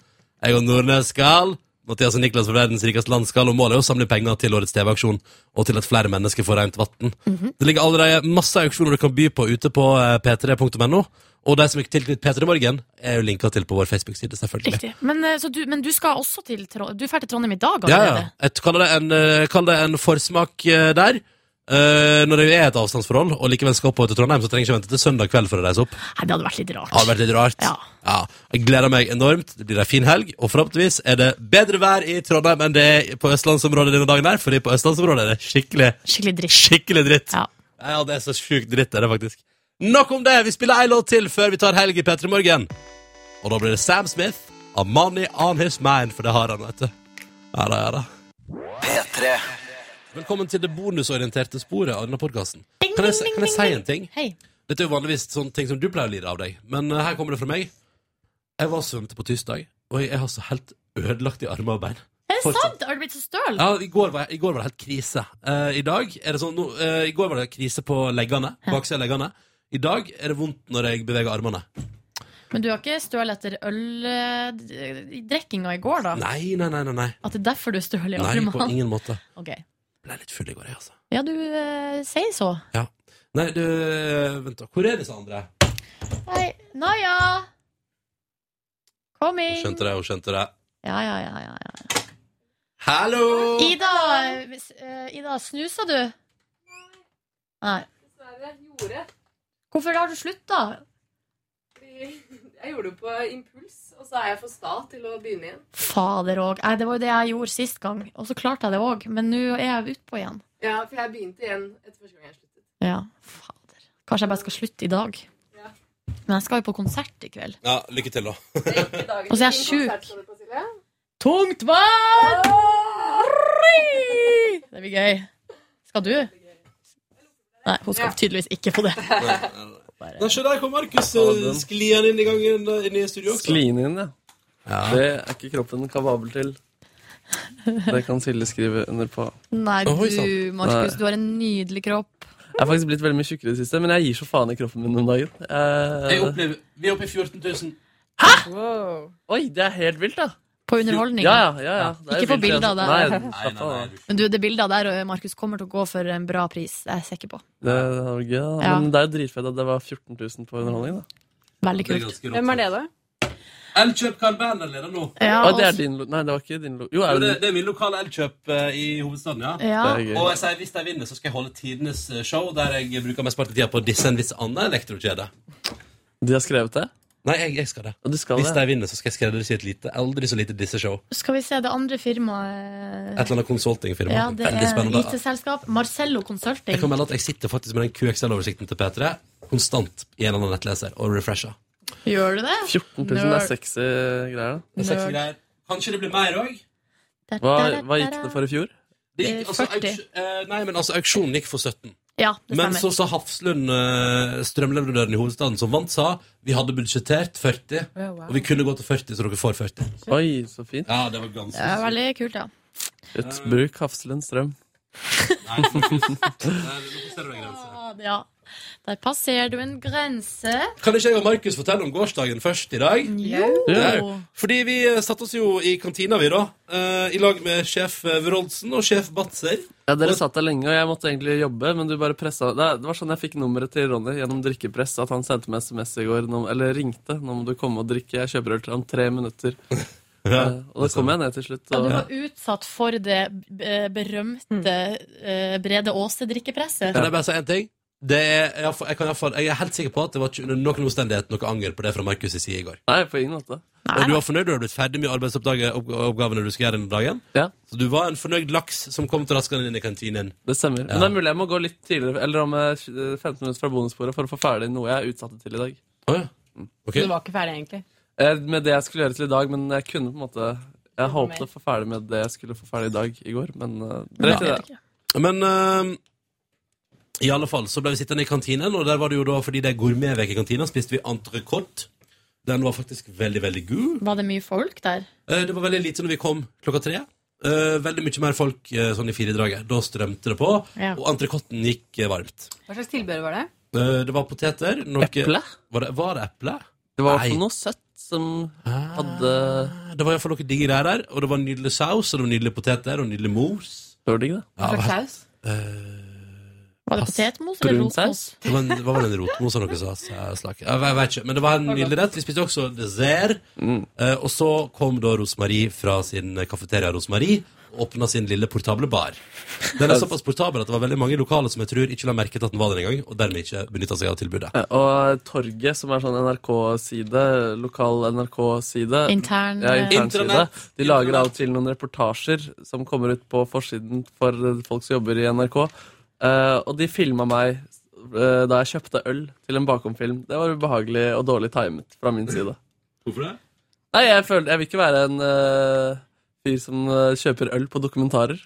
Jeg og Nordnes skal. Mathias og Niklas fra verdens rikeste land skal, og målet er å samle penger til årets TV-aksjon, og til at flere mennesker får rent vann. Mhm. Det ligger allerede masse auksjoner du kan by på ute på eh, p3.no, og de som er tilknyttet P3 Morgen, er jo linka til på vår Facebook-side, selvfølgelig. Riktig. Men, eh, så du, men du skal også til Trondheim? Du drar til Trondheim i dag Ja, allerede? ja. Jeg kaller det en, eh, kaller det en forsmak eh, der. Eh, når det jo er et avstandsforhold, og likevel skal oppover til Trondheim, så trenger jeg ikke vente til søndag kveld for å reise opp. Nei, det hadde vært litt rart. Det hadde vært litt rart. Ja. Jeg gleder meg enormt. Det blir ei en fin helg, og forhåpentligvis er det bedre vær i Trondheim enn det er på østlandsområdet denne dagen her, fordi på østlandsområdet er det skikkelig Skikkelig dritt. Skikkelig dritt. Ja. det er så sjukt dritt, er det faktisk. Nok om det! Vi spiller ei låt til før vi tar helg i P3 Morgen. Og da blir det Sam Smith av Money On His Mind, for det har han, vet du. Ja da, ja da. P3 Velkommen til det bonusorienterte sporet av denne podkasten. Kan, jeg- kan jeg si en ting? Hei. Dette er jo vanligvis sånne ting som du pleier å lide av deg, men eh, her kommer det fra meg. Jeg var og svømte på tirsdag, og jeg har så helt ødelagt i armer og bein. Er det Fortsatt. sant? Har du blitt så støl? Ja, i går, var, I går var det helt krise. Eh, I dag er det sånn nå, eh, I går var det krise på leggene. Baksida av leggene. I dag er det vondt når jeg beveger armene. Men du har ikke støl etter eh, øldrekkinga i går, da? Nei, nei, nei. nei, nei. At det er derfor du er støl i Nei, på armene? ingen måte. Ok. Ble litt full i går, jeg, altså. Ja, du eh, sier så. Ja. Nei, du Vent, da. Hvor er disse andre? Hei. Naja! Kom inn. Skjønte det, hun skjønte det. Ja, ja, ja, ja, ja. Hallo! Ida, eh, Ida snusa du? Nei. Hvorfor har du slutta? Jeg gjorde det på impuls, og så er jeg for sta til å begynne igjen. Fader òg. Nei, Det var jo det jeg gjorde sist gang, og så klarte jeg det òg. Men nå er jeg utpå igjen. Ja, for jeg begynte igjen etter første gang jeg sluttet. Ja, fader. Kanskje jeg bare skal slutte i dag. Men jeg skal jo på konsert i kveld. Ja, lykke til, da. Og så er Altså, jeg sjuk. Tungt vann! Ah! Det blir gøy. Skal du? Nei, hun skal tydeligvis ikke på det. Nei, se der kom Markus eh, skliende inn i gangen eh, inn i studio også. Skline inn, ja. Det er ikke kroppen kapabel til. Det kan Silje skrive under på. Nei, du, Markus, Nei. du har en nydelig kropp. Jeg er faktisk blitt veldig mye tjukkere i det siste, men jeg gir så faen i kroppen min om dagen. Eh, Jeg opplever, vi er oppe i 14 000. Oi, det er helt vilt, da. På underholdning. Ja, ja, ja, ja. Det er Ikke på vilt, bilder altså. der. Nei, Nei, slapp av, da. Men du, det bildet der, Markus, kommer til å gå for en bra pris. Det er jeg sikker på. Det, det var gøy, da. Ja. Men det er jo dritfett at det var 14 000 på underholdning, da. Veldig kult. Hvem er det, da? Elkjøp kan bandet leder nå. Ah, Å, Ah, det altså- er din lo... Nei, det var ikke din lo... Jo, er det, det det er min lokale elkjøp eh, i hovedstaden, ja. Ja. Det er gøy. Og jeg sier hvis de vinner, så skal jeg holde tidenes eh, show der jeg bruker mest parti tida på å disse en viss annen elektrokjede. De har skrevet det? Nei, jeg, jeg skal det. Og du skal hvis det? de vinner, så skal jeg skreddersy et lite, aldri så lite disse-show. Skal vi se det andre firmaet Et eller annet consultingfirma. Ja, det Veldig er spennende. IT-selskap. Marcello Consulting. Jeg kan melde at jeg sitter faktisk med den QXL-oversikten til P3 konstant i en eller annen nettleser og refresher. Gjør du det? 14 000 er sexy greier, da. Det er sexy greier. Kanskje det blir mer òg? Hva, hva gikk det for i fjor? Det gikk, altså, auks- eh, nei, men altså, auksjonen gikk for 17. Ja, det Men stemmer. så sa Hafslund, eh, strømleverandøren i hovedstaden som vant, sa vi hadde budsjettert 40, Ja, wow. og vi kunne gå til 40, så dere får 40. Oi, så fint. Ja, det var ganske Det er veldig kult, ja. Et bruk Hafslund strøm. Nei, Ja, det- ja. Der passerer du en grense. Kan ikke jeg og Markus fortelle om gårsdagen først i dag? Jo. Ja. Fordi vi eh, satte oss jo i kantina, vi, da. eh, I lag med sjef eh, Wroldsen og sjef Batzer. Ja, Dere satt der lenge, og jeg måtte egentlig jobbe, men du bare pressa Det det var sånn jeg fikk nummeret til Ronny gjennom drikkepress, at han sendte meg SMS i går, nå, eller ringte. 'Nå må du komme og drikke, jeg kjøper øl til deg om tre minutter'. Eh, og da kom jeg ned til slutt. Ja, Og, du var utsatt for det eh, berømte eh, Brede Aase-drikkepresset. Kan jeg bare si en ting? Det er, jeg, får- jeg, kan, i hvert fall- jeg er helt sikker på at det var ikke under noen omstendighet noe anger på det fra Markus' side i går. Nei, på ingen måte. Og du var fornøyd, du har blitt ferdig med arbeidsoppgavene du skal gjøre denne dagen. Så du var en fornøyd laks som kom til raskene inn i kantinen. Det stemmer. Men det er mulig jeg må gå litt tidligere, eller om eh, 15 minutter fra bonussporet, for å få ferdig noe jeg utsatte til i dag. Mm. Du var ikke ferdig, egentlig. Eh, Med det jeg skulle gjøre til i dag, men jeg kunne på en måte Jeg håpet å få ferdig med det jeg skulle få ferdig i dag i går, men eh, dreit i det. Men eh, i alle fall så ble vi sittende i kantinen, og der var det jo da fordi det er gourmetveke i kantina, spiste vi entrecôte. Den var faktisk veldig, veldig god. Var det mye folk der? Eh, Det var veldig lite når vi kom klokka tre. Eh, Veldig mye mer folk eh, sånn i firedraget. Da strømte det på, Ja. og entrecôten gikk eh, varmt. Hva slags tilbehør var det? Eh, Det var poteter. Noe... Eple? Var det, var det eple? Det var Nei. også noe søtt som hadde Ah, Det var iallfall noe digg greier der, og det var nydelig saus, og det var nydelige poteter, og nydelig mos. Det var digg, da. Ja, Hva det slags var- saus? Var det potetmos eller rotmos? Det var, en, det var vel en rotmos av noe sånt. Jeg, slak- jeg, jeg vet ikke. Men det var en Det var godt. nydelig rett. Vi spiste også dessert. Eh, og så kom da Rosmarie fra sin kafeteria Rosmarie og åpna sin lille portable bar. Den er såpass portabel at det var veldig mange lokale som jeg tror ikke la merke til at den var der engang, og dermed ikke benytta seg av tilbudet. Eh, Og Torget, som er sånn NRK-side, lokal NRK-side Intern, ja, eh, internside. Internett. De lager av og til noen reportasjer som kommer ut på forsiden for eh, folk som jobber i NRK. Eh, og de filma meg eh, da jeg kjøpte øl til en bakomfilm. Det var ubehagelig og dårlig timet fra min side. Hvorfor det? Nei, jeg, føler, jeg vil ikke være en eh, fyr som eh, kjøper øl på dokumentarer.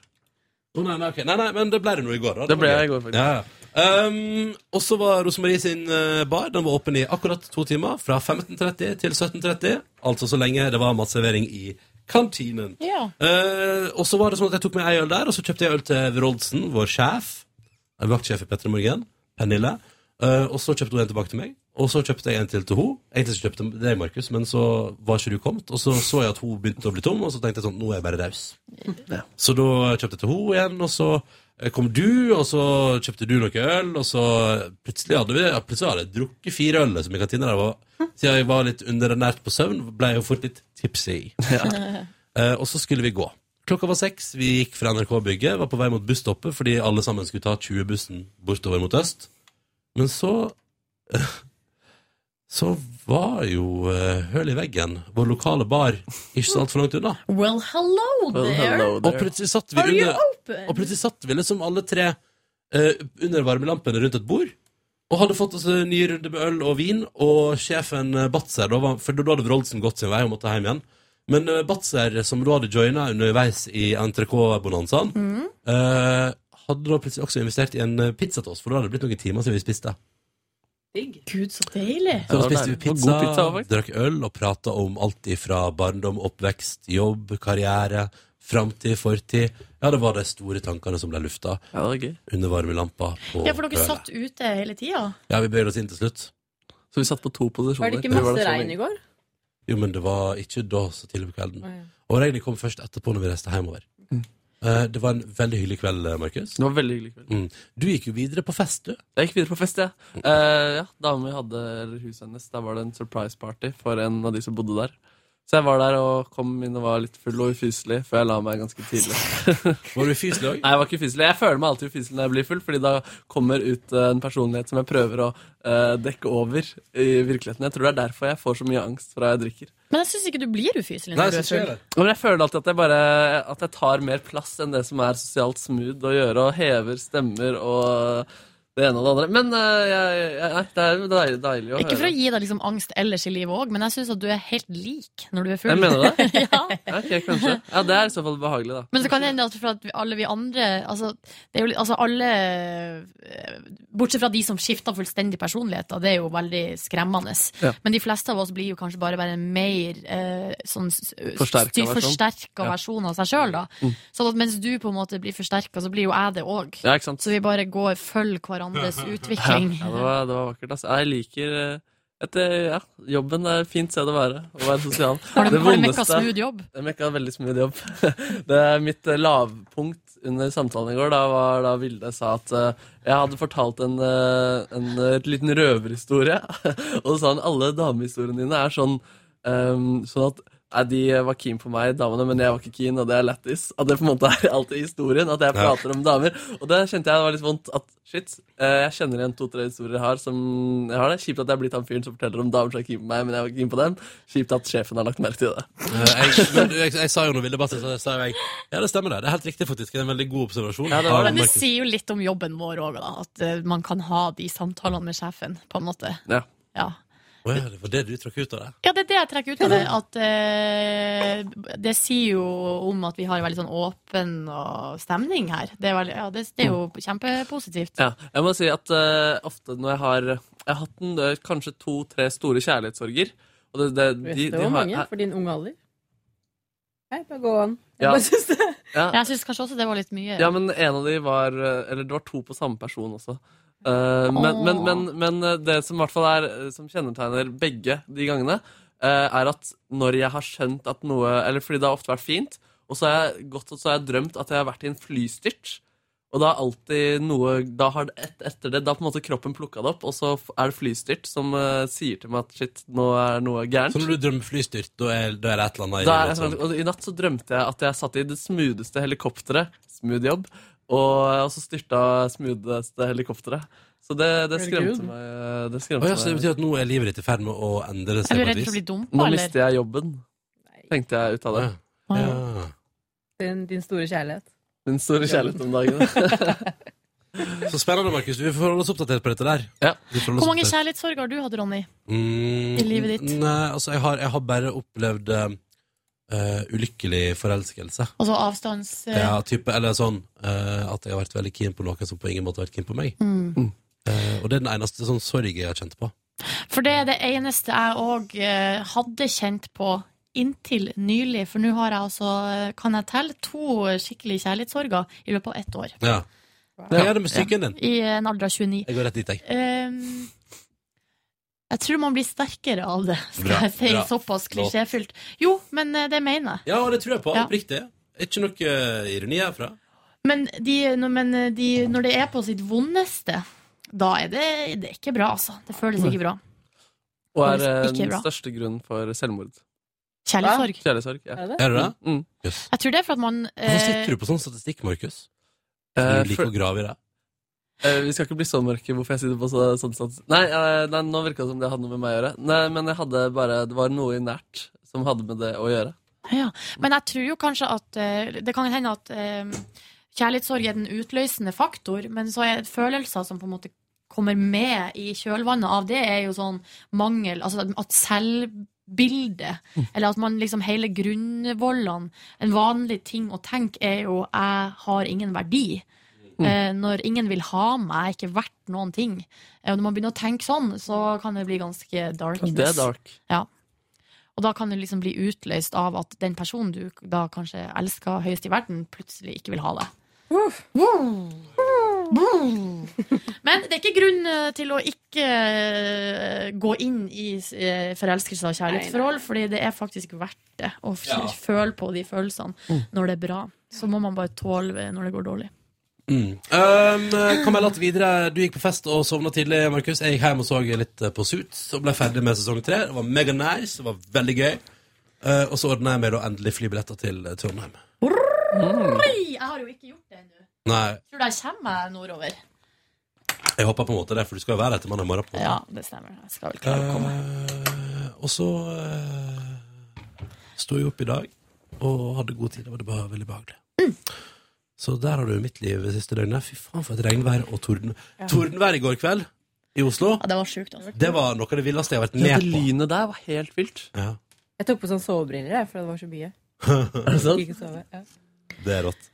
Å, nei, nei, ok. nei, nei, men det ble det nå i går. Da. Det ble var jeg i gøy. går, faktisk. Ja, ja. Um, og så var Rosemarie sin eh, bar. Den var åpen i akkurat to timer, fra 15.30 til 17.30. Altså så lenge det var matservering i kantinen. Ja. Eh, og så var det sånn at jeg tok med ei øl der, og så kjøpte jeg øl til Veroldsen, vår sjef. eh, Vaktsjef i Petter Morgen. Pernille. Eh, og så kjøpte hun en tilbake til meg, og så kjøpte jeg en til til hun. Egentlig så kjøpte jeg deg, Markus, men så var ikke du kommet. Og så så jeg at hun begynte å bli tom, og så tenkte jeg sånn, nå er jeg bare raus. Så da kjøpte jeg til hun igjen, og så eh, kom du, og så kjøpte du noe øl, og så eh, plutselig hadde vi ja, plutselig hadde jeg drukket fire øl som i kantina der var. Siden jeg var litt underernært på søvn, ble jeg jo fort litt tipsy. Eh, og så skulle vi gå. Klokka var seks, vi gikk fra NRK-bygget, var på vei mot busstoppet fordi alle sammen skulle ta 20-bussen bortover mot øst. Men så eh, Så var jo uh, Høl i veggen, vår lokale bar, ikke så altfor langt unna. Well, hello there. Og plutselig satt vi Are you under open? Og plutselig satt vi liksom alle tre eh, under varmelampene rundt et bord. Og hadde fått oss en ny runde med øl og vin, og sjefen eh, Batzer da var, For da hadde Wroldsen gått sin vei og måtte hjem igjen. Men eh, Batzer, som da hadde joina underveis i NTRK-bonanzaen, Mhm. eh, hadde da plutselig også investert i en eh, pizza til oss, for da hadde det blitt noen timer siden vi spiste. Gud, så deilig. Så spiste vi pizza, faktisk. drakk øl og prata om alt ifra barndom, oppvekst, jobb, karriere, framtid, fortid. Ja, det var de store tankene som ble lufta under varmelampa. på Ja, for dere Bøle. satt ute hele tida. Ja, vi bøyde oss inn til slutt. Så vi satt på to posisjoner. Var det ikke masse regn i går? Jo, men det var ikke da så tidlig på kvelden. Å, ja. Og regnet kom først etterpå når vi reiste hjemover. Eh, Det var en veldig hyggelig kveld, eh, Markus. Det var veldig hyggelig kveld. Mm. Du gikk jo videre på fest, du. Jeg gikk videre på fest, ja. Eh, ja Dama mi hadde eller huset hennes. Der var det en surprise party for en av de som bodde der. Så jeg var der og kom inn og var litt full og ufyselig, før jeg la meg ganske tidlig. var du ufyselig òg? Nei, jeg var ikke ufyselig. Jeg føler meg alltid ufyselig når jeg blir full, fordi da kommer ut eh, en personlighet som jeg prøver å eh, dekke over i virkeligheten. Jeg tror det er derfor jeg får så mye angst fra jeg drikker. Men jeg syns ikke du blir ufyselig når du er full. Ja, Men jeg føler alltid at jeg bare At jeg tar mer plass enn det som er sosialt smooth å gjøre, og hever stemmer og det ene og det andre. Men eh, jeg, jeg, nei, det er jo deilig, deilig å Ikke for å høre. gi deg liksom angst ellers i livet òg, men jeg syns at du er helt lik når du er full. Jeg mener det. ja. Ok, kanskje. Ja, det er i så fall behagelig, da. Men så kan det hende at for at vi, alle vi andre altså, det er jo, litt- altså alle eh, Bortsett fra de som skifter fullstendig personlighet, da, det er jo veldig skremmende. Ja. Men de fleste av oss blir jo kanskje bare, bare en mer eh, sånn Forsterket styr- versjon. forsterket Ja. versjon av seg sjøl. Mm. Sånn at mens du på en måte blir forsterka, så blir jo jeg det òg. Ja, ikke sant? Så vi bare går og følger hverandres utvikling. Ja, det, var, det var vakkert. Altså. Jeg liker eh, et, eh, ja, Jobben er et fint sted å være. Å være sosial. Har du- Det har du mekka vondeste- smooth jobb? Jeg mekka veldig smooth jobb. Det er mitt eh, lavpunkt under samtalen i går. Da var da Vilde sa at eh, jeg hadde fortalt en, eh, en eh, liten røverhistorie. Og så sa han alle damehistoriene dine er sånn, eh, sånn at Nei, De var keen på meg, damene, men jeg var ikke keen, og det er lættis. At det på en måte er alltid historien, at jeg Ja. prater om damer. Og det kjente jeg var litt vondt. At shit, eh, jeg kjenner igjen to-tre historier jeg har som jeg har det. Kjipt at jeg er blitt han fyren som forteller om damer som er keen på meg, men jeg var ikke keen på dem. Kjipt at sjefen har lagt merke til det. Eh, Jeg, men jeg, jeg sa jo når Vilde Basse sa det, sa jo jeg Ja, det stemmer det. Det er helt riktig, faktisk. Det er en veldig god observasjon. Ja, det av Men det Markus. sier jo litt om jobben vår òg, da. At eh, man kan ha de samtalene med sjefen, på en måte. Ja. Ja. Å ja, det var det du trakk ut av det? Ja, det er det jeg trekker ut av det. At eh, det sier jo om at vi har en veldig sånn åpen og stemning her. Det er, veldig, ja, det, det er jo kjempepositivt. Ja, jeg må si at eh, ofte når jeg har Jeg har hatt en, eh, kanskje to-tre store kjærlighetssorger. Og det, det, de, det de var har- mange for din unge alder. Nei, bare gå an. Jeg Ja. bare synes det. Ja. Jeg syns kanskje også det var litt mye. Ja, men en av de var eh, Eller det var to på samme person også. Eh, men, men, men, men det som i hvert fall er eh, Som kjennetegner begge de gangene, eh, er at når jeg har skjønt at noe Eller fordi det har ofte vært fint, og så har jeg gått og så har jeg drømt at jeg har vært i en flystyrt. Og da er alltid noe da har et, Etter det, da har på en måte kroppen plukka det opp, og så f- er det flystyrt som eh, sier til meg at shit, nå er noe gærent. Så når du drømmer flystyrt, da er, da er det et eller annet i Da er, livet jeg sånn, som- og I natt så drømte jeg at jeg satt i det smootheste helikopteret. Smooth jobb. Og, og så styrta smootheste helikopteret. Så det, det Herregud. skremte meg. Det Å skremte ja, så det betyr at nå er livet ditt i ferd med å endre seg? Er du på et redd for å vis? bli dumpa, Nå eller? mister jeg jobben, tenkte jeg ut av det. Ja. Din, din store kjærlighet. Min store kjærlighet om dagen. Så spennende, Markus. Vi får holde oss oppdatert på dette der. Vi får holde oss Hvor mange oppdatert. kjærlighetssorger har du hatt, Ronny? Mm, i livet ditt? Nei, altså, jeg har, jeg har bare opplevd eh, ulykkelig forelskelse. Altså avstands... eh, ja, type, eller sånn eh, at jeg har vært veldig keen på noen som på ingen måte har vært keen på meg. Mm. Eh, og det er den eneste sånn sorg jeg har kjent på. For det er det eneste jeg òg hadde kjent på inntil nylig. For nå har jeg altså, eh, kan jeg telle, to skikkelige kjærlighetssorger i løpet av ett år. Ja. Hva er det med psyken din? I eh, en alder av 29. Jeg går rett dit, jeg. Ehm, jeg tror man blir sterkere av det, skal Bra, jeg si. bra. Såpass Flott. klisjéfylt. Jo, men eh, det mener jeg. Ja, og det tror jeg på. Ja. Oppriktig. Ikke noe eh, ironi herfra. Men, de, når- men eh, de, når det er på sitt vondeste, da er det, det er ikke bra, altså. Det føles ikke bra. Og er eh, Ikke den bra. største grunnen for selvmord. Kjærlighetssorg. Kjærlighetssorg, ja. Er det det? Er det det? Mm. Jeg tror det er for at man Hvorfor eh, sitter du på sånn statistikk, Markus? Eh, Fordi Du liker for- å grave i det. Eh, vi skal ikke bli så mørke hvorfor jeg sitter på så, sånn sats. Nei, eh, nei, nå virka det som det hadde noe med meg å gjøre. Nei, men jeg hadde bare, det var noe i nært som hadde med det å gjøre. Ja, men jeg tror jo kanskje at eh, Det kan hende at eh, kjærlighetssorg er den utløsende faktor, men så er følelser som på en måte kommer med i kjølvannet av det, er jo sånn mangel Altså at selvbildet, Mm. eller at man liksom hele grunnvollene En vanlig ting å tenke er jo 'jeg har ingen verdi'. Mm. Eh, Når ingen vil ha meg, jeg er ikke verdt noen ting. Eh, og Når man begynner å tenke sånn, så kan det bli ganske darkness. Det er dark. Ja. Og da kan du liksom bli utløst av at den personen du da kanskje elsker høyest i verden, plutselig ikke vil ha deg. Men det er ikke grunn eh, til å ikke eh, gå inn i eh, forelskelse og kjærlighetsforhold, fordi det er faktisk verdt det å f- Ja. føle på de følelsene når det er bra. Så må man bare tåle når det går dårlig. Mm. Um, kan melde at videre Du gikk på fest og sovna tidlig, Markus. Jeg gikk hjem og så litt eh, på Suits og ble ferdig med sesong tre. Det var mega nice, det var veldig gøy. Eh, og så ordna jeg meg da endelig flybilletter til eh, Trondheim. Oi, jeg har jo ikke gjort det ennå. Nei, Tror du jeg kommer meg nordover? jeg håper på en måte det, for du skal jo være her til mandag morgen. på en måte. Ja, det stemmer. Jeg skal vel klare å komme. Eh, og så eh, sto jeg opp i dag og hadde god tid. Det var det bare veldig behagelig. Mm. Så der har du mitt liv det siste døgnet. Fy faen, for et regnvær og torden. Ja. Tordenvær i går kveld i Oslo. Ja, det var sjukt, altså. Det var noe av det villeste jeg har vært Ja, med det på. lynet der var helt vilt. Ja. Jeg tok på sånn sovebriller, jeg, for det var så mye. er det Ikke sove, ja. Det er rått.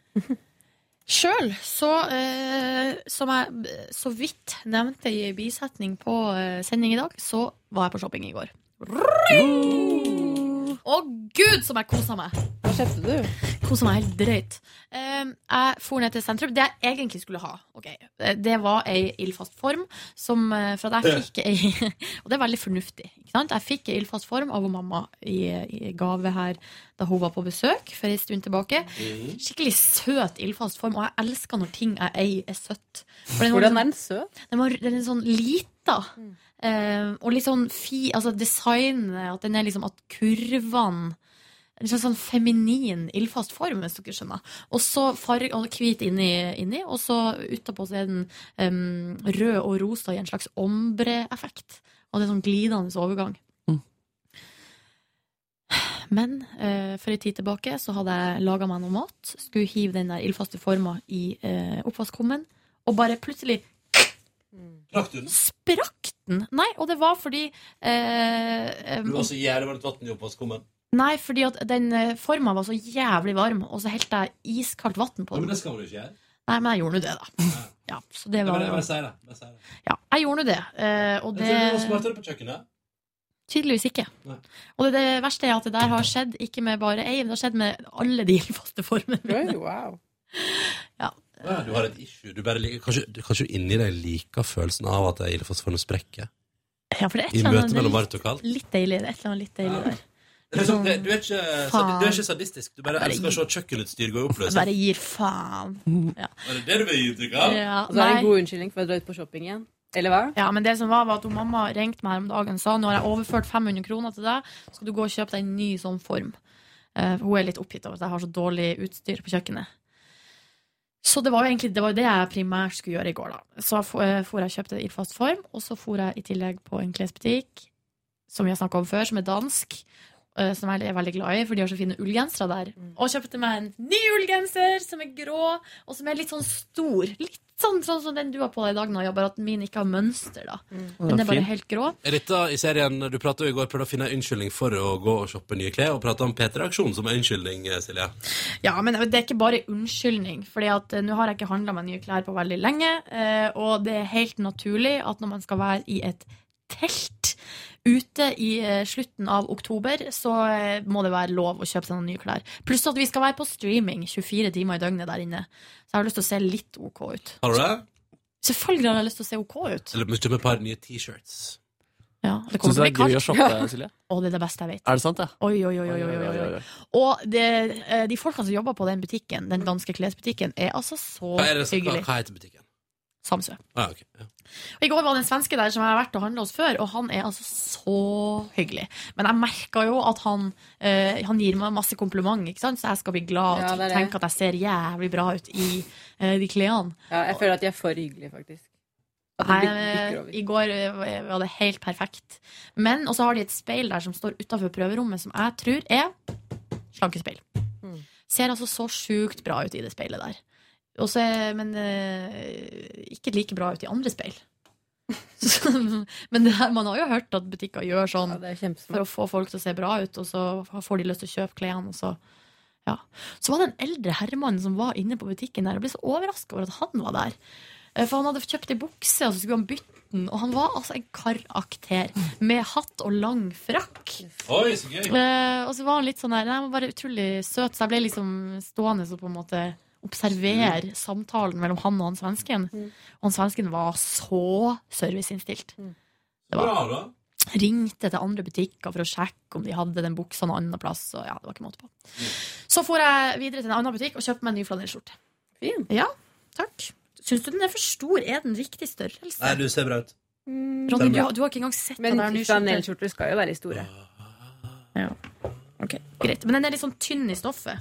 Sjøl så, eh, som jeg eh, så vidt nevnte i en bisetning på eh, sending i dag, så var jeg på shopping i går. Å gud, som jeg kosa meg! Hva kjøpte du? Kosa meg helt drøyt. Eh, jeg for ned til sentrum. Det jeg egentlig skulle ha, ok, eh, det var ei ildfast form som eh, For at jeg fikk ei Og det er veldig fornuftig. Ikke sant? Jeg fikk ei ildfast form av mamma i, i gave her da hun var på besøk for ei stund tilbake. Mhm. Skikkelig søt ildfast form, og jeg elsker når ting jeg eier, er søtt. For var Hvordan er liksom- den søt? Den, var, den er sånn lita. eh, og litt sånn fi, altså designet, at den er liksom at kurvene en slags sånn feminin, ildfast form, hvis dere skjønner. Og så farg, og hvit inni, inni, og så utapå så er den em, rød og rosa i en slags ombre-effekt. Og det er sånn glidende overgang. Men eh, for en tid tilbake så hadde jeg laga meg noe mat. Skulle hive den der ildfaste forma i eh, oppvaskkummen, og bare plutselig Rakk du den? sprakk den! Nei, og det var fordi eh, em, Du var så jævlig varmt vann i oppvaskkummen. Nei, fordi at den eh, forma var så jævlig varm, og så helte jeg iskaldt vann på Ja, men den. det skal man jo ikke gjøre. Nei, men jeg gjorde nå det, da. Ja, så det Jeg var bare, jeg bare sier det. Bare sier det. Ja, jeg gjorde nå det, eh, og det Jeg tror du var smartere på kjøkkenet. Tydeligvis ikke. Nei. Og det, det verste er at det der har skjedd ikke med bare ei, men det har skjedd med alle de faste formene mine. Ja, du har et issue. Du bare liker, kanskje, du- kanskje du inni deg liker følelsen av at ildfoss får noe sprekke? Ja, for det er et I eller annet møte mellom varmt og kaldt? Litt deilig. Det er et eller annet litt deilig der. Det er liksom- det- Du er ikke, Faen. du er ikke sadistisk. Du bare Jeg bare elsker å se kjøkkenutstyr gå i Jeg oppløsning. bare gir faen. Ja. Er det det du vil gi inntrykk av? Ja, Og så er det nei. en god unnskyldning for å dra ut på shopping igjen. Eller hva? Ja, men det som var, var at hun mamma ringte meg her om dagen og sa nå har jeg overført 500 kroner til deg, så skal du gå og kjøpe deg en ny sånn form. Eh, hun er litt oppgitt over at jeg har så dårlig utstyr på kjøkkenet. Så det var jo egentlig det, var jo det jeg primært skulle gjøre i går. da. Så jeg for, eh, for jeg og kjøpte det i fast form, og så for jeg i tillegg på en klesbutikk som vi har snakka om før, som er dansk. eh, Som jeg er veldig glad i, for de har så fine ullgensere der. Og kjøpte meg en ny ullgenser som er grå, og som er litt sånn stor. Litt sånn, sånn som den du har på deg i dag, Naja, bare at min ikke har mønster, da. Men den er bare Fin. helt grå. Er dette i serien Du pratet jo i går prøvde å finne en unnskyldning for å gå og shoppe nye klær, og prate om P3-aksjonen som en unnskyldning, eh, Silje. Ja, men det er ikke bare unnskyldning. Fordi at eh, nå har jeg ikke handla meg nye klær på veldig lenge. eh, Og det er helt naturlig at når man skal være i et telt ute i eh, slutten av oktober, så eh, må det være lov å kjøpe seg noen nye klær. Pluss at vi skal være på streaming 24 timer i døgnet der inne. Så jeg har lyst til å se litt OK ut. Har du det? Selvfølgelig har jeg lyst til å se OK ut. Eller mye med et par nye T-shirts. Ja, det kommer til Synes å det bli er gøy å kaldt. shoppe, Silje? Og det er det beste jeg vet. Er det sant, ja? Oi, oi, oi, oi, oi, oi, oi. Og det, eh, de folkene som jobber på den butikken, den danske klesbutikken, er altså så Hva, er det, som- hva, hyggelige. hva heter butikken? Samsø. Ah, ok. ja. Og I går var det en svenske der som jeg har vært og handla hos før, og han er altså så hyggelig. Men jeg merka jo at han, eh, han gir meg masse kompliment, ikke sant? så jeg skal bli glad Ja, og det er det. tenke at jeg ser jævlig bra ut i eh, de klærne. Ja, jeg føler at de er for hyggelige, faktisk. At Nei, de bikker over. I går eh, var det helt perfekt. Men, Og så har de et speil der som står utafor prøverommet, som jeg tror er slankespeil. Mm. Ser altså så sjukt bra ut i det speilet der. Og så er- men eh, ikke like bra ut i andre speil. Så, men det her, man har jo hørt at butikker gjør sånn for å få folk til å se bra ut, og så får de lyst til å kjøpe klærne, og så ja. Så var det en eldre herremann som var inne på butikken der. Jeg ble så overraska over at han var der. Eh, For han hadde kjøpt ei bukse, og så skulle han bytte den. Og han var altså en karakter med hatt og lang frakk. Oi, så gøy. Eh, og så var han litt sånn der Nei, han var bare utrolig søt, så jeg ble liksom stående og på en måte Mm. observere samtalen mellom han og han svensken. Og han svensken var så serviceinnstilt. Det Bra, var da. Ringte til andre butikker for å sjekke om de hadde den buksa noen annen plass. Og ja, det var ikke måte på. Mm. Så får jeg videre til en annen butikk og kjøper meg en ny flanellskjorte. Fin. Ja, takk. Syns du den er for stor? Er den riktig størrelse? Nei, du ser bra ut. Ronny, du, har- du har ikke engang sett Men at det er ny skjorte. flanellskjorter skal jo være store. Ja. Ok, greit. Men den er litt sånn tynn i stoffet.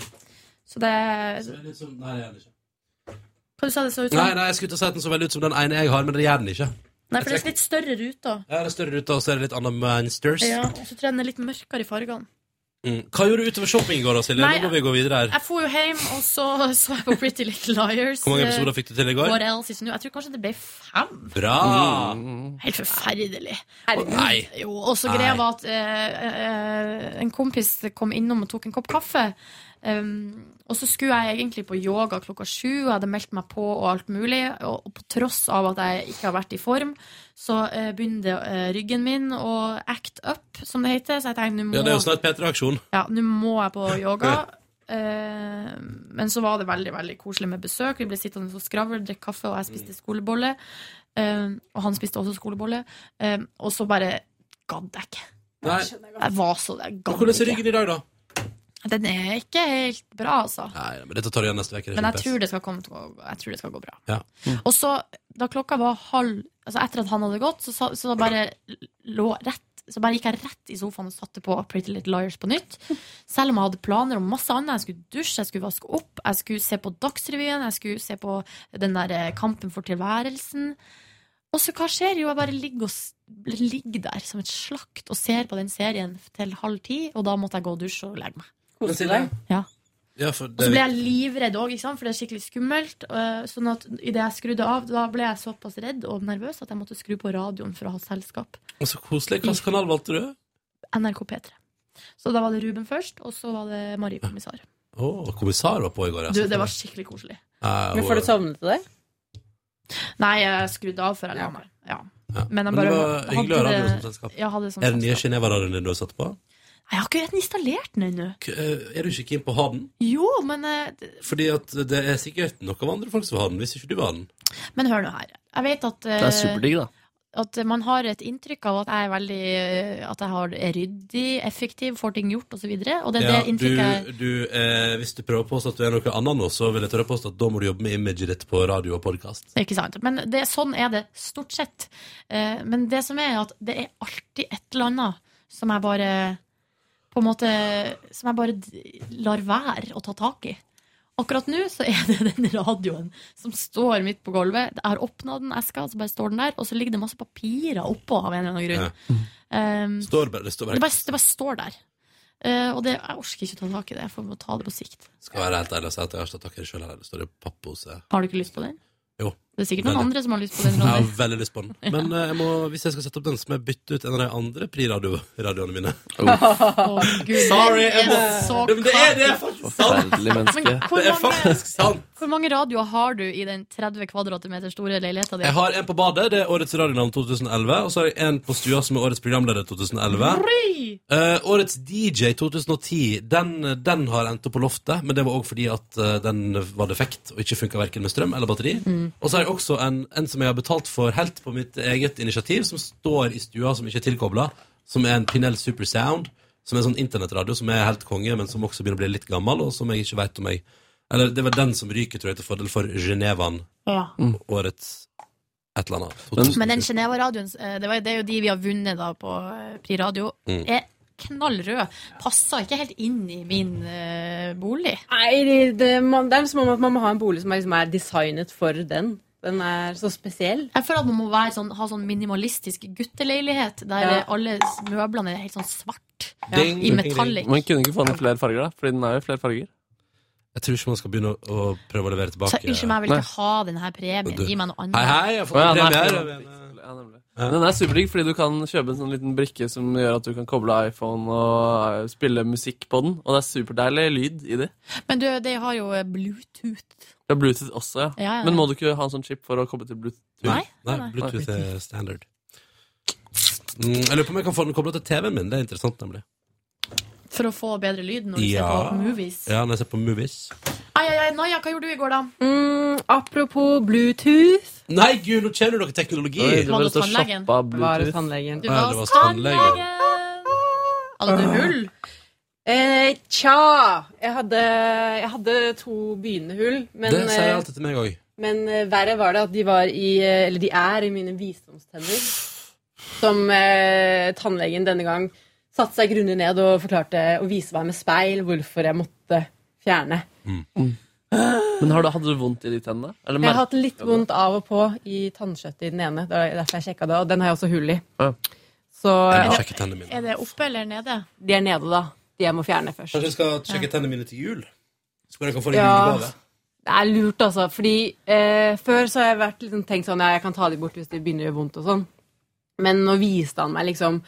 Så Altså, det Så er det litt sånn- Nei, det er det ikke. Hva du sa det så ut som? Nei, nei, jeg skulle til å si at den så veldig ut som den ene jeg har, men det gjør den ikke. Nei, for det er litt større ruter. Ja, det er større ruter, og så er det litt andre monsters. Ja, og så tror jeg den er litt mørkere i fargene. Mm. Hva gjorde du utover shopping i går, da, Silje? Nei, altså, Nå må vi gå videre her. Jeg dro jo hjem, og så så jeg på Pretty Little Liars. eh, Hvor mange episoder fikk du til i går? What else is new? Jeg tror kanskje det ble fem. Bra! Mm. Helt forferdelig. Og- Nei. Jo, og Nei. så greia var at eh, eh, en kompis kom innom og tok en kopp kaffe. Um, og så skulle jeg egentlig på yoga klokka sju, og jeg hadde meldt meg på og alt mulig. Og, og på tross av at jeg ikke har vært i form, så eh, begynte eh, ryggen min å act up, som det heter. Så jeg tenkte nå må Ja, det er jo snart P3-aksjon. ja, nå må jeg på yoga. Eh, men så var det veldig veldig koselig med besøk. Vi ble sittende og skravle, drikke kaffe, og jeg spiste skolebolle. Eh, og han spiste også skolebolle. Eh, og så bare gadd jeg ikke. Nei. Jeg var så jeg gadd Hvordan er ikke. ryggen i dag, da? Den er ikke helt bra, altså. Nei, men Dette tar du igjen neste uke. det er Men jeg kjempes. tror det skal, komme til å, jeg tror det skal gå bra. Ja. Og så, da klokka var halv altså Etter at han hadde gått, så, sa- så da bare lå rett Så bare gikk jeg rett i sofaen og satte på Pretty Little Liars på nytt. Selv om jeg hadde planer om masse annet. Jeg skulle dusje, jeg skulle vaske opp, jeg skulle se på Dagsrevyen, jeg skulle se på den der eh, Kampen for tilværelsen. Og så hva skjer? Jo, jeg bare ligger, og, s- ligger der som et slakt og ser på den serien til halv ti, og da måtte jeg gå og dusje og legge meg. Koser deg. Ja. Ja, for Og så ble jeg livredd òg, for det er skikkelig skummelt. eh, Sånn at idet jeg skrudde av, da ble jeg såpass redd og nervøs at jeg måtte skru på radioen for å ha selskap. Og så koselig. Hvilken kanal valgte du? NRK P3. Så da var det Ruben først, og så var det Marie Kommissar. Å, kommissar var på i går. Du, det var skikkelig koselig. Eh, Men får du sovnet til det? Nei, jeg skrudde av før jeg la meg. Ja. ja. Men Men jeg det bare var hyggelig å ha radio som selskap. Ja, hadde det som Er den nye selskap. Geneva-radioen din du har satt på? Nei, Jeg har ikke installert den ennå. K- eh, Er du ikke keen på å ha den? Jo, men eh, d- Fordi at det er sikkert noen av andre folk som har den, hvis ikke du har den. Men hør nå her. Jeg vet at eh, da. at man har et inntrykk av at jeg er veldig eh, At jeg har er ryddig, effektiv, får ting gjort, osv. Og det er det du, inntrykket jeg du, eh, hvis du prøver å påstå at du er noe annet nå, så vil jeg tørre å påstå at da må du jobbe med imaget ditt på radio og podkast. Ikke sant? Men det, sånn er det stort sett. Eh, men det som er, at det er alltid et eller annet som jeg bare På en måte Som jeg bare d- lar være å ta tak i. Akkurat nå så er det den radioen som står midt på gulvet. Jeg har åpna den eska, så bare står den der, og så ligger det masse papirer oppå av en eller annen grunn. Um, Står bare, det står det, bare bare, det bare står der. Eh, og det, jeg orker ikke å ta tak i det. Jeg får må ta det på sikt. Skal være helt ærlig og si at jeg har ikke tatt tak i det sjøl heller. Det står i pappose. Har du ikke lyst på den? Jo. Det er sikkert noen Veldig. andre som har lyst på den. Jeg har Ronny. veldig lyst på den. Men eh, jeg må, hvis jeg skal sette opp den, så må jeg bytte ut en av de andre Pri-radioene mine. Å, Gud, Sorry, jeg det må er så Det, men det er det er faktisk sant! kaotisk. Men hvor Det er mange- faktisk sant! Hvor mange radioer har du i den 30 kvadratmeter store leiligheta di? Jeg har en på badet, det er årets radionavn 2011. Og så har jeg en på stua som er årets programleder 2011. Ry! Eh, årets DJ 2010, den, den har endt opp på loftet, men det var òg fordi at eh, den var defekt og ikke funka verken med strøm eller batteri. Mm. Og så har jeg også en, en som jeg har betalt for helt på mitt eget initiativ, som står i stua som ikke er tilkobla, som er en Pinell Super Sound, som er en sånn internettradio som er helt konge, men som også begynner å bli litt gammel, og som jeg ikke veit om jeg Eller det var den som ryker, tror jeg, til fordel for Genevaen Ja. årets et eller annet. Men den Geneva-radioen, eh, det, var- det er jo de vi har vunnet da på eh, Pri Radio, Mm. er knallrød. Passer ikke helt inn i min eh, bolig. Nei, det, det, man, det er som om at man må ha en bolig som er, liksom er designet for den. Den er så spesiell. Jeg føler at man må være sånn, ha sånn minimalistisk gutteleilighet der Ja. eh, alle s- møblene er helt sånn svart. Ding, I metallic. Man kunne ikke få den i flere farger, da? Fordi den er jo i flere farger. Jeg tror ikke man skal begynne å, å prøve å levere Så tilbake. unnskyld meg, jeg vil ikke ha denne premien. Gi meg noe annet. Hei, hei, jeg har fått eh, Å, ja, en nei, premie for- her. Men Den er superdigg fordi du kan kjøpe en sånn liten brikke som gjør at du kan koble iPhone og eh, spille musikk på den. Og det er superdeilig lyd i det. Men du, de har jo eh, Bluetooth. Det er Bluetooth også, ja. Ja, ja, ja. Men må du ikke ha en sånn chip for å koble til Bluetooth? Nei, nei, nei. Bluetooth er standard. Mm, jeg lurer på om jeg kan få den kobla til TV-en min. Det er interessant, nemlig. For å få bedre lyd når du ser på movies. ja, når jeg ser på movies. Ai, ai, ai, Naja, hva gjorde du i går, da? Mm, apropos Bluetooth Nei, gud, nå kjenner dere teknologi! Oi, du Var bare det står og tannlegen? shopper Bluetooth. Var det Ja, tannlegen? det var Ah. Du var tannlegen. Hadde du hull? Eh, tja jeg hadde, jeg hadde to begynnende hull, men, Det sier jeg eh, alltid til meg òg. men eh, verre var det at de var i eh, Eller de er i mine visdomstenner. Som eh, tannlegen denne gang satte seg grundig ned og forklarte og viste meg med speil hvorfor jeg måtte fjerne. Men har du, hadde du vondt i de tennene? Eller Jeg har merket- hatt litt vondt av og på i tannkjøttet i den ene. Det er derfor jeg sjekket det, og den har jeg også hull i. Ja. Så eh, Jeg må sjekke tennene mine. Er det oppe eller nede? De er nede, da. De jeg må fjerne først. Kanskje jeg skal sjekke tennene mine til jul? Så kan jeg kan få en Ja. julegave. Det er lurt, altså. Fordi eh, før så har jeg vært liksom, tenkt sånn Ja, jeg kan ta de bort hvis det begynner å gjøre vondt og sånn. Men nå viste han meg liksom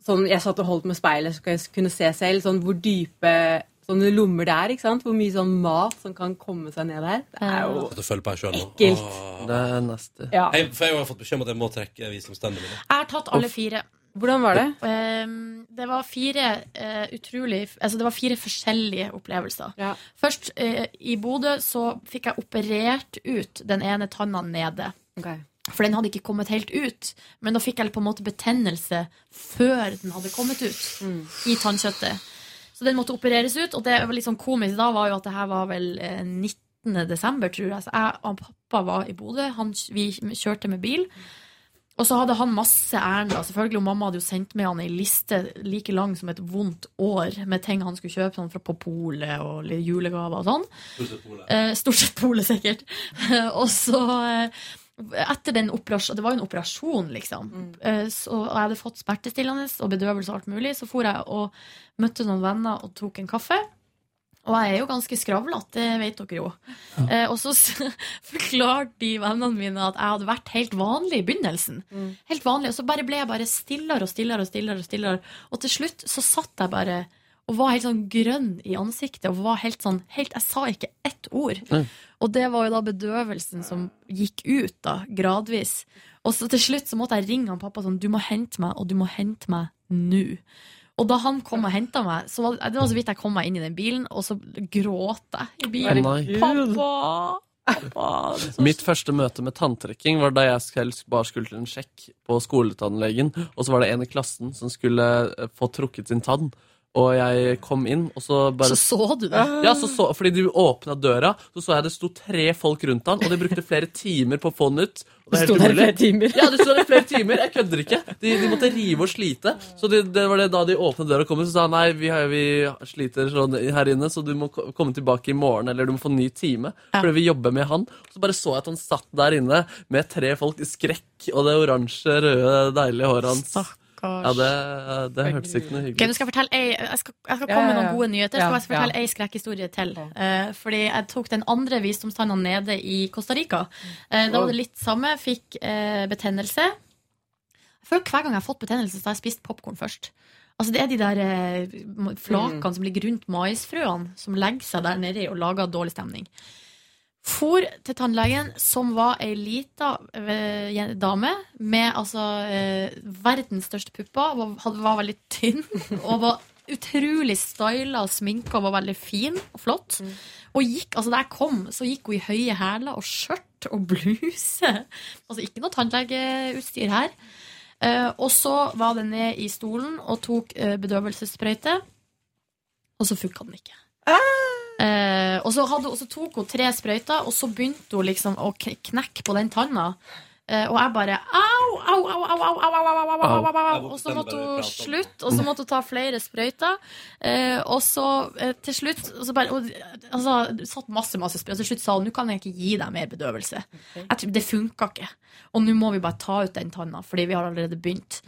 sånn, Jeg satt og holdt med speilet, så jeg kunne se selv sånn, hvor dype sånne lommer det er. ikke sant? Hvor mye sånn mat som kan komme seg ned der. Det er jo At jeg følger på her selv nå. Ekkelt. Åh. Det er neste. Ja. Jeg, for jeg har fått beskjed om at jeg må trekke visdomstennene mine. Jeg har tatt alle fire. Ehm, Hvordan var det? det var fire eh, utrolig Altså, det var fire forskjellige opplevelser. Først eh, i Bodø så fikk jeg operert ut den ene tanna nede. For den hadde ikke kommet helt ut. Men da fikk jeg på en måte betennelse før den hadde kommet ut i tannkjøttet. Så den måtte opereres ut, og det var litt sånn komisk da var jo at det her var vel eh, 19. desember, tror jeg. Så jeg og pappa var i Bodø, han, vi kjørte med bil. Og så hadde han masse ærend. da, Selvfølgelig, og Mamma hadde jo sendt med han ei liste like lang som et vondt år med ting han skulle kjøpe sånn fra på polet og litt julegaver og sånn. Eh, stort sett polet, sikkert. og så eh, etter den operasjonen, Det var jo en operasjon, liksom. Eh, så og jeg hadde fått smertestillende og bedøvelse og alt mulig. Så for jeg og møtte noen venner og tok en kaffe. Og jeg er jo ganske skravlete, det vet dere jo. Eh, og så s- forklarte de vennene mine at jeg hadde vært helt vanlig i begynnelsen. Helt vanlig, Og så bare ble jeg bare stillere og stillere og stillere. Og stillere Og til slutt så satt jeg bare og var helt sånn grønn i ansiktet. Og var helt sånn, helt, Jeg sa ikke ett ord. Og det var jo da bedøvelsen som gikk ut, da, gradvis. Og så til slutt så måtte jeg ringe han pappa sånn Du må hente meg, og du må hente meg nå. Og da han kom og henta meg, så var det var så vidt jeg kom meg inn i den bilen, og så gråt jeg i bilen. Å nei. pappa! Sånn. Mitt første møte med tanntrekking var da jeg selv bare skulle til en sjekk på skoletannlegen, og så var det en i klassen som skulle eh, få trukket sin tann. Og jeg kom inn, og så bare Så så du det? Ja, så så, fordi de åpna døra, så så jeg det sto tre folk rundt han, og de brukte flere timer på å få den ut. Og det er Sto helt der i umulig. flere timer? Ja, det sto der i flere timer. Jeg kødder ikke. De, de måtte rive og slite. Så det, det var det da de åpna døra og kom, ut, så sa han nei, vi, har, vi sliter sånn her inne, så du må ko- komme tilbake i morgen, eller du må få ny time. Fordi vi jobber med han. Så bare så jeg at han satt der inne med tre folk i skrekk, og det oransje, røde, deilige håret hans. Stakkars. Ja, det, det hørtes ikke Ok, noe nå hyggelig ut. skal jeg, fortelle ei, jeg, skal, jeg Ja, skal komme med ja, noen ja. gode nyheter. Ja, Skal jeg fortelle ja. ei skrekkhistorie til? Eh, fordi jeg tok den andre visdomstanna nede i Costa Rica. Eh, da var det litt samme. Fikk eh, betennelse. Jeg føler Hver gang jeg har fått betennelse, så har jeg spist popkorn først. Altså Det er de der eh, ma- flakene som ligger rundt maisfrøene, som legger seg der nedi og lager dårlig stemning. For til tannlegen, som var ei lita eh, jen- dame med altså eh, verdens største pupper, var, hadde- var veldig tynn og var utrolig styla og sminka og var veldig fin og flott. Og gikk, altså Da jeg kom, så gikk hun i høye hæler og skjørt og bluse. Altså ikke noe tannlegeutstyr her. Eh, og så var det ned i stolen og tok eh, bedøvelsessprøyte, og så funka den ikke. Eh, og, så hadde, hun- så tok hun tre sprøyter, og så begynte hun liksom å k- knekke på den tanna. Eh, og jeg bare au, au, au, au, au, au, au, au, au, au, au, au, au. Og så måtte hun slutte, og så måtte hun ta flere sprøyter. Eh, og så eh, til slutt og så bare, og, altså, det satt masse, masse sprøyter. Til slutt sa hun nå kan jeg ikke gi deg mer bedøvelse. Jeg tror, det funka ikke. Og nå må vi bare ta ut den tanna, fordi vi har allerede begynt.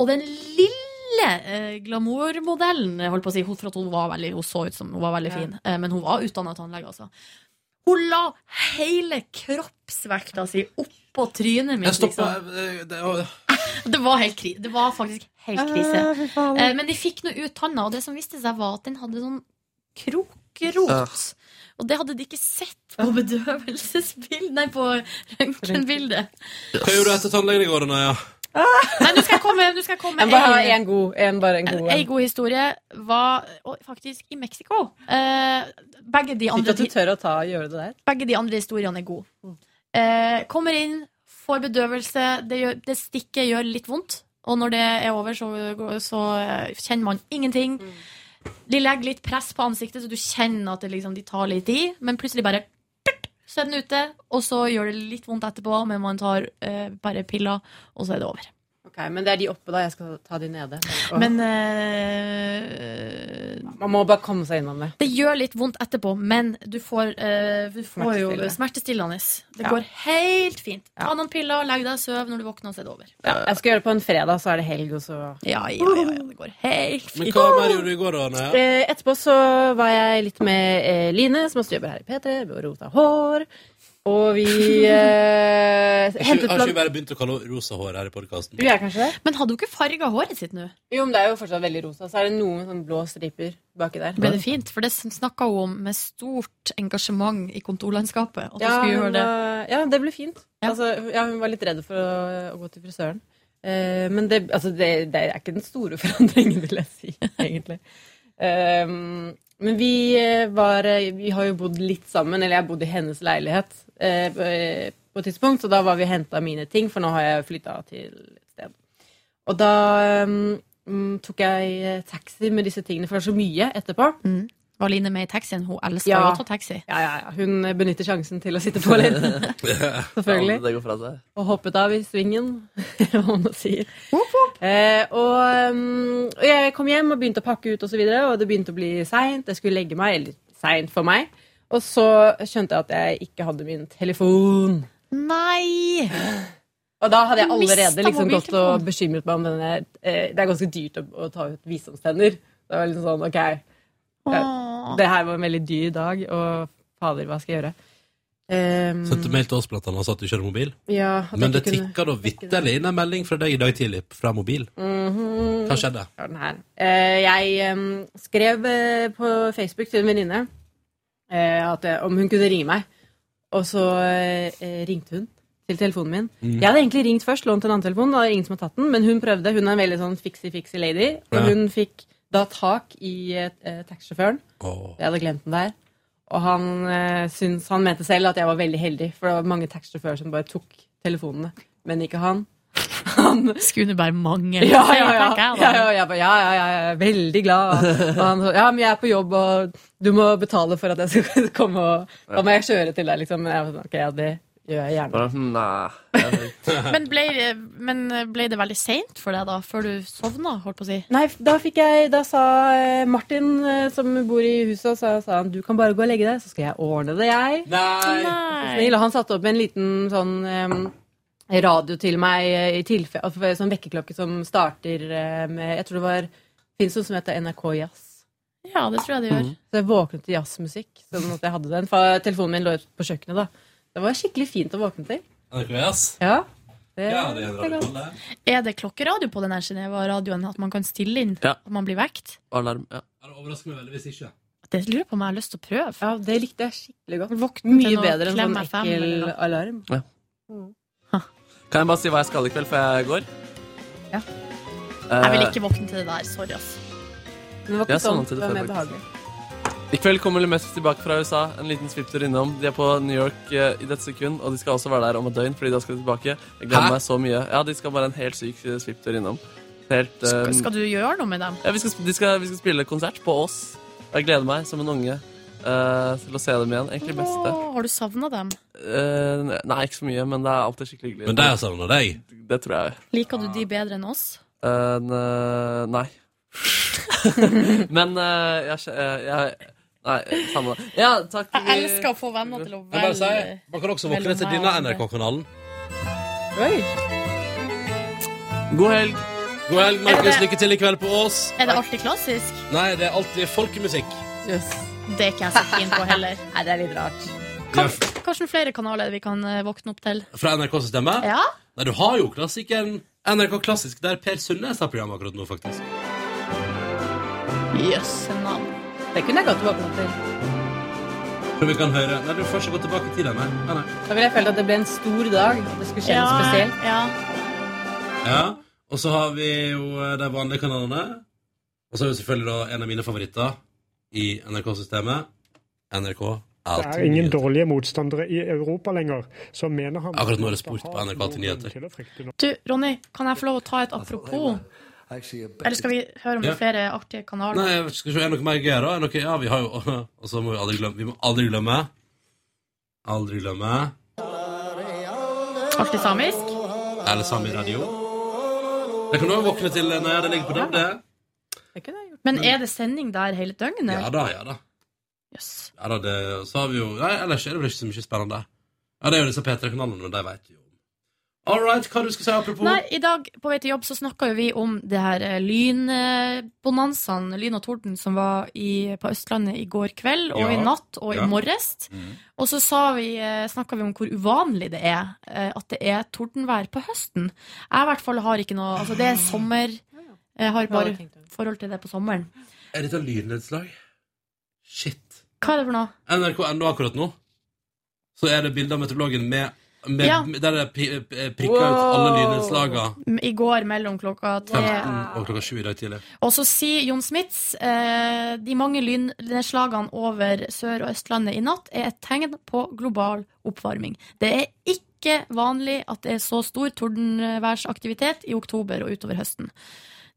Og den lille eh, glamourmodellen, jeg holdt på å si, hun, for at hun, var veldig, hun så ut som hun var veldig Ja. fin, eh, men hun var utdanna tannlege, altså. Hun la hele kroppsvekta si oppå trynet mitt. Jeg Eh, stoppa liksom. Det var, helt kri det var faktisk helt krise. Ah, fy faen. Eh, men de fikk nå ut tanna, og det som viste seg, var at den hadde sånn krokrot. Og det hadde de ikke sett på bedøvelsesbild Nei, på røntgenbildet. Hva gjorde du etter tannlegen i går, Naja? Nei, nå skal jeg komme, nå skal jeg komme Jeg bare har ei- en god, en, bare en god En god historie var og faktisk i Mexico. Eh, begge, de Ikke andre, at du tør å ta, gjøre det der. begge de andre historiene er gode. Eh, kommer inn, får bedøvelse. Det, gjør, det stikket gjør litt vondt. Og når det er over, så, så eh, kjenner man ingenting. Mm. De legger litt press på ansiktet, så du kjenner at det liksom, de tar litt i. Men plutselig bare turt, så er den ute, og så gjør det litt vondt etterpå. Men man tar eh, bare piller, og så er det over. Ok, Men det er de oppe, da. Jeg skal ta de nede. Åh. Men eh, Man må bare komme seg innom det. Det gjør litt vondt etterpå, men du får, eh, du får jo smertestillende. Det Ja. går helt fint. Ta noen piller, legg deg, sov. Når du våkner, så er det over. Ja, jeg skal gjøre det på en fredag, så er det helg, og så Ja, ja, ja, ja, det går helt Men fint. hva mer gjorde du i går, da, Naja? Eh, Etterpå så var jeg litt med eh, Line, som også jobber her i P3, og rota hår. Og vi eh, Har ikke hentet har ikke vi blant... bare begynt å kalle henne rosa hår her i podkasten? Vi er kanskje det? Men hadde hun ikke farga håret sitt nå? Jo, men det er jo fortsatt veldig rosa. Så er det noen sånn blå striper baki der. Ble det fint? For det snakka hun om med stort engasjement i kontorlandskapet. At hun Ja, eh, skulle hun gjøre det. var- ja, det ble fint. Altså, ja, hun var litt redd for å, å gå til frisøren. Eh, men det, altså, det, det er ikke den store forandringen, vil jeg si, egentlig. Ehm, men vi eh, var eh, Vi har jo bodd litt sammen, eller jeg bodde i hennes leilighet eh, på, eh, på et tidspunkt, så da var vi og henta mine ting, for nå har jeg flytta til et sted. Og eh, da ehm, mm, tok jeg eh, taxi med disse tingene, for det var så mye etterpå. Var Line med i taxien? Hun elsker Ja. å ta taxi. Ja, ja, ja. Hun benytter sjansen til å sitte på litt. Selvfølgelig. Ja, det går fra seg. Og hoppet av i svingen, eller hva man sier. Eh, og, um, og jeg kom hjem og begynte å pakke ut, og, så videre, og det begynte å bli seint. Jeg skulle legge meg, eller seint for meg. Og så skjønte jeg at jeg ikke hadde min telefon. Nei! Og da hadde jeg Du mistet allerede liksom gått mobiltelefonen. og bekymret meg om denne eh, Det er ganske dyrt å, å ta ut visdomstenner. Det var liksom sånn, ok eh, Det her var en veldig dyr dag, og fader, hva skal jeg gjøre? Ehm, Sendte mail til oss blant annet og sa at du kjører mobil. Ja, at jeg Men det ikke kunne- tikka da vitterlig inn en melding fra deg i dag tidlig fra mobil. mhm. Hva skjedde? Ja, den her. Eh, jeg em, skrev eh, på Facebook til en venninne eh, at, eh, om hun kunne ringe meg. Og så eh, ringte hun til telefonen min. Mm. Jeg hadde egentlig ringt først, lånt en annen telefon, og det er ingen som har tatt den, men hun prøvde. Hun er en veldig sånn fixy-fixy lady, og Ja. hun fikk da tak i eh, eh, taxisjåføren. Jeg hadde glemt den der. Og han, eh, syns, han mente selv at jeg var veldig heldig, for det var mange taxisjåfører som bare tok telefonene, men ikke han. Skulle det bare mangle. Ja, sier ja, ja. jeg, ja, tenker jeg da. ja, jeg bare, ja, ja, ja, jeg er veldig glad. Og han så, ja, men jeg er på jobb, og du må betale for at jeg skal komme og Da må jeg kjøre til deg, liksom. Men jeg var sånn, ok, ja, det gjør jeg gjerne. Bare, hm, nei. Men ble, men ble det veldig seint for deg da, før du sovna, holdt på å si? Nei, da fikk jeg Da sa eh, Martin, eh, som bor i huset, sa, sa han du kan bare gå og legge deg, så skal jeg ordne det, jeg. Nei. Snill, og han satte opp en liten sånn eh, radio til meg, eh, i tilfelle, altså, for- sånn vekkerklokke som starter eh, med Jeg tror det var Fins noe som heter NRK Jazz. Ja, det tror jeg det gjør. Så jeg våknet til jazzmusikk. Sånn at jeg hadde den For telefonen min lå ut på kjøkkenet. da Det var skikkelig fint å våkne til. RKS? Ja, det, Ja, det er en radiokanal, det. Er det klokkeradio på den her Geneva-radioen, at man kan stille inn Ja. at man blir vekt? Alarm, ja. Ja, Det overrasker meg veldig hvis ikke. Det lurer jeg på om jeg har lyst til å prøve. Ja, det likte jeg skikkelig godt. Våkne Mye til noe bedre enn Klem sånn FM ekkel eller noe. alarm. Ja. Kan jeg bare si hva jeg skal i kveld før jeg går? Ja. Jeg vil ikke våkne til det der. Sorry, ass. Men det var Jeg ikke sa sånn. noe til Det var det før, mer faktisk. behagelig. I kveld kommer Lemesis tilbake fra USA. En liten svipptur innom. De er på New York eh, i dette sekund, og de skal også være der om et døgn. fordi da skal de tilbake. Jeg gleder Hæ? meg så mye. Ja, De skal bare en helt syk eh, svipptur innom. Helt, eh, Skal, skal du gjøre noe med dem? ja, vi, skal, de skal, vi skal spille konsert på oss. Og Jeg gleder meg som en unge eh, til å se dem igjen. Egentlig mest det. Åh, har du savna dem? Eh, nei, ikke så mye, men det er alltid skikkelig hyggelig. Men de har savnet deg? Det tror jeg. Liker du de bedre enn oss? Eh, ne- nei. men eh, jeg, jeg, jeg Nei, samme det. Ja, takk. Jeg elsker å få venner til å Jeg bare sier, man kan også våkne til denne NRK-kanalen. God helg. God helg, Er Markus. det- Lykke til i kveld på Ås. Er det alltid klassisk? Nei, det er alltid folkemusikk. Det er ikke jeg så keen på heller. Nei, det er litt rart. Ja, Hvilke flere kanaler er det vi kan eh, våkne opp til? Fra NRK-systemet? Ja. Nei, du har jo klassikeren NRK Klassisk, der Per Sundnes har program akkurat nå, faktisk. Jøsse navn. Det kunne jeg godt våknet til. Tror vi kan høre Nei, du får ikke gå tilbake i tiden, nei. nei, nei. Da ville jeg følt at det ble en stor dag. og Det skulle skje Ja, noe spesielt. Ja. Og så har vi jo eh, de vanlige kanalene. Og så har vi selvfølgelig da en av mine favoritter i NRK-systemet. NRK Det er Alltid ingen Nyheter. dårlige motstandere i Europa lenger, så mener han Akkurat nå er det sport på NRK Alltid Nyheter. Du, Ronny, kan jeg få lov å ta et apropos? Eller skal vi høre om det Ja. er flere artige kanaler? Nei, jeg skal vi se, er det noe mer gøy da? Er det noe, ja, vi har jo Og så må vi aldri glemme Vi må aldri glemme Aldri glemme Artig samisk? Eller Sami Radio Det kan du også våkne til eh, når det ligger på DAB det Men er det sending der hele døgnet? Ja da, ja da Yes. Ja da, det Så har vi jo Nei, ellers er det vel ikke så mye spennende Ja, det er jo disse P3-kanalene Men de vet jo Alright, hva du skal si apropos Nei, I dag på vei til jobb så snakka vi om det her eh, lynbonanzaen, lyn og torden, som var i, på Østlandet i går kveld og Ja. i natt og Ja. i morges. Mm. Og så snakka vi om hvor uvanlig det er eh, at det er tordenvær på høsten. Jeg i hvert fall har ikke noe Altså, det er sommer. Jeg har Ja, det bare forhold til det på sommeren. Er dette lydnedslag? Shit Hva er det for noe? NRK.no akkurat nå Så er det bilder av meteorologen med, med, Ja. med Der det pi- eh, prikker ut alle Wow. lydnedslagene I går mellom klokka tre 15 og klokka 7 i dag tidlig Og så sier Jon Smits eh, de mange lynnedslagene over Sør- og Østlandet i natt er et tegn på global oppvarming. Det er ikke vanlig at det er så stor tordenværsaktivitet i oktober og utover høsten.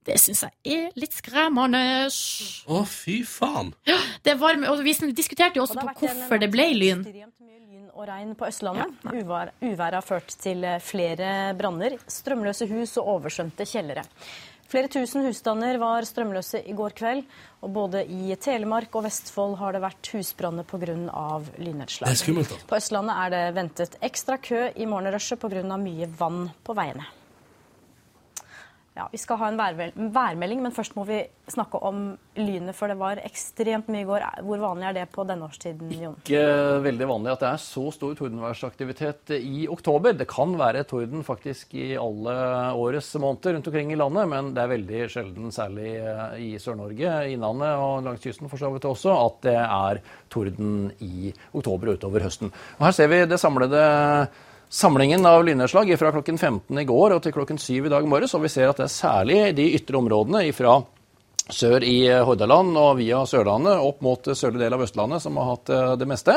Det syns jeg er litt skremmende. Å, fy faen. Det er varm, og vi sn- diskuterte jo også på hvorfor det ble lyn. og regn på Østlandet. Uvær, uværet har ført til eh, flere branner, strømløse hus og oversvømte kjellere. Flere tusen husstander var strømløse i går kveld, og både i Telemark og Vestfold har det vært husbranner pga. lynnedslag. Det er skummelt, altså. På Østlandet er det ventet ekstra kø i morgenrushet pga. mye vann på veiene. Ja, Vi skal ha en værvel- værmelding, men først må vi snakke om lynet. For det var ekstremt mye i går. Hvor vanlig er det på denne årstiden, Jon? ikke veldig vanlig at det er så stor tordenværsaktivitet i oktober. Det kan være torden faktisk i alle årets måneder rundt omkring i landet, men det er veldig sjelden, særlig eh, i Sør-Norge, Innlandet og langs kysten for så vidt også, at det er torden i oktober og utover høsten. Og her ser vi det samlede Samlingen av lynnedslag fra klokken 15 i går og til klokken 7 i dag morges, og vi ser at det er særlig de ytre områdene fra sør i Hordaland og via Sørlandet opp mot sørlige del av Østlandet som har hatt eh, det meste.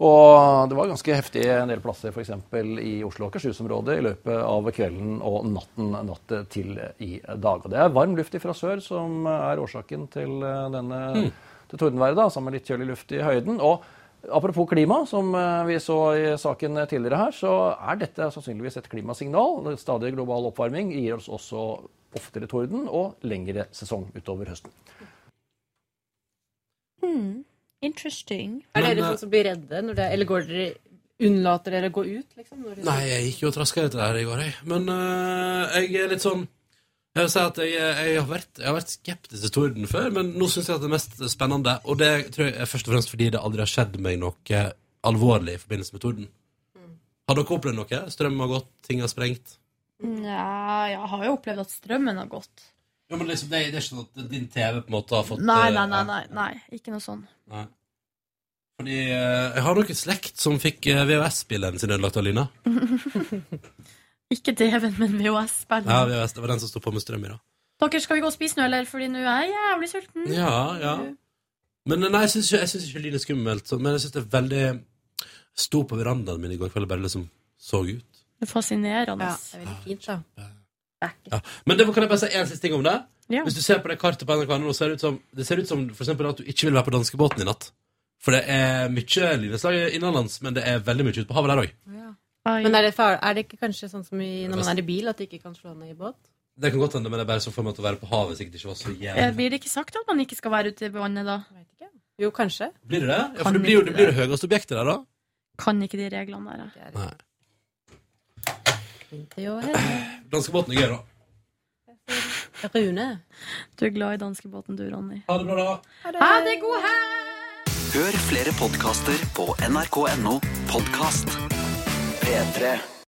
Og det var ganske heftig en del plasser f.eks. i Oslo og Akershus-området i løpet av kvelden og natten natt til i dag. Og det er varm luft fra sør som er årsaken til eh, denne Mm. til tordenværet, da, sammen med litt kjølig luft i høyden. Og apropos klima, som eh, vi så i saken tidligere her, så er dette sannsynligvis et klimasignal. Det er Stadig global oppvarming gir oss også oftere torden og lengre sesong utover høsten. Hmm. Interesting. Er Men, dere eh, sånn som blir redde, når det, eller går dere, unnlater dere å gå ut? Liksom, når dere- Nei, jeg gikk jo og traska litt der i går, jeg. Men eh, jeg er litt sånn Jeg vil si at jeg, eh, jeg, har vært, jeg har vært skeptisk til torden før, men nå syns jeg at det er mest spennende. Og det tror jeg er først og fremst fordi det aldri har skjedd meg noe alvorlig i forbindelse med torden. Mm. Har dere opplevd noe? Strøm har gått, ting har sprengt. Nja, jeg har jo opplevd at strømmen har gått. Ja, men liksom, det, det er ikke sånn at din TV på en måte har fått Nei, eh, nei, nei, nei, nei. ikke noe sånn. Nei. Fordi eh, jeg har noen slekt som fikk eh, VHS-spilleren sin ødelagt av lyna. Ikke TV-en, men VHS-spillet. Ja, VHS, det var den som sto på med strøm i dag. Dere, skal vi gå og spise nå, eller? Fordi nå er jeg jævlig sulten. Ja, ja. Men nei, jeg syns ikke, jeg synes ikke lyn er skummelt, så- men jeg syns det er veldig Sto på verandaen min i går kveld og bare liksom så ut. Det er fascinerende. Ja, det er veldig fint, da. Men det kan jeg bare si en siste ting om det. Ja. Hvis du ser på det kartet på NRK nå, så ser det ut som, det ser ut som for eksempel at du ikke vil være på danskebåten i natt. For det er mye lyneslag innenlands, men det er veldig mye ute på havet der òg. Men er det, far, er det ikke kanskje sånn som i, når man beste- er i bil, at det ikke kan slå ned i båt? Det kan godt hende, men det er bare så for meg at å være på havet sikkert ikke var så Eh, jævlig Blir det ikke sagt at man ikke skal være ute i vannet da? Jo, kanskje. Blir det det? Ja, for Kan det blir jo ikke det, blir det høyeste objektet der, da. Kan ikke de reglene der. jeg. Nei. Det er jo helt- Danskebåten er gøy, da. Rune. Du er glad i danskebåten, du, Ronny. Ha det bra, da. Ha det god helg! Hør flere podkaster på nrk.no podkast. P3.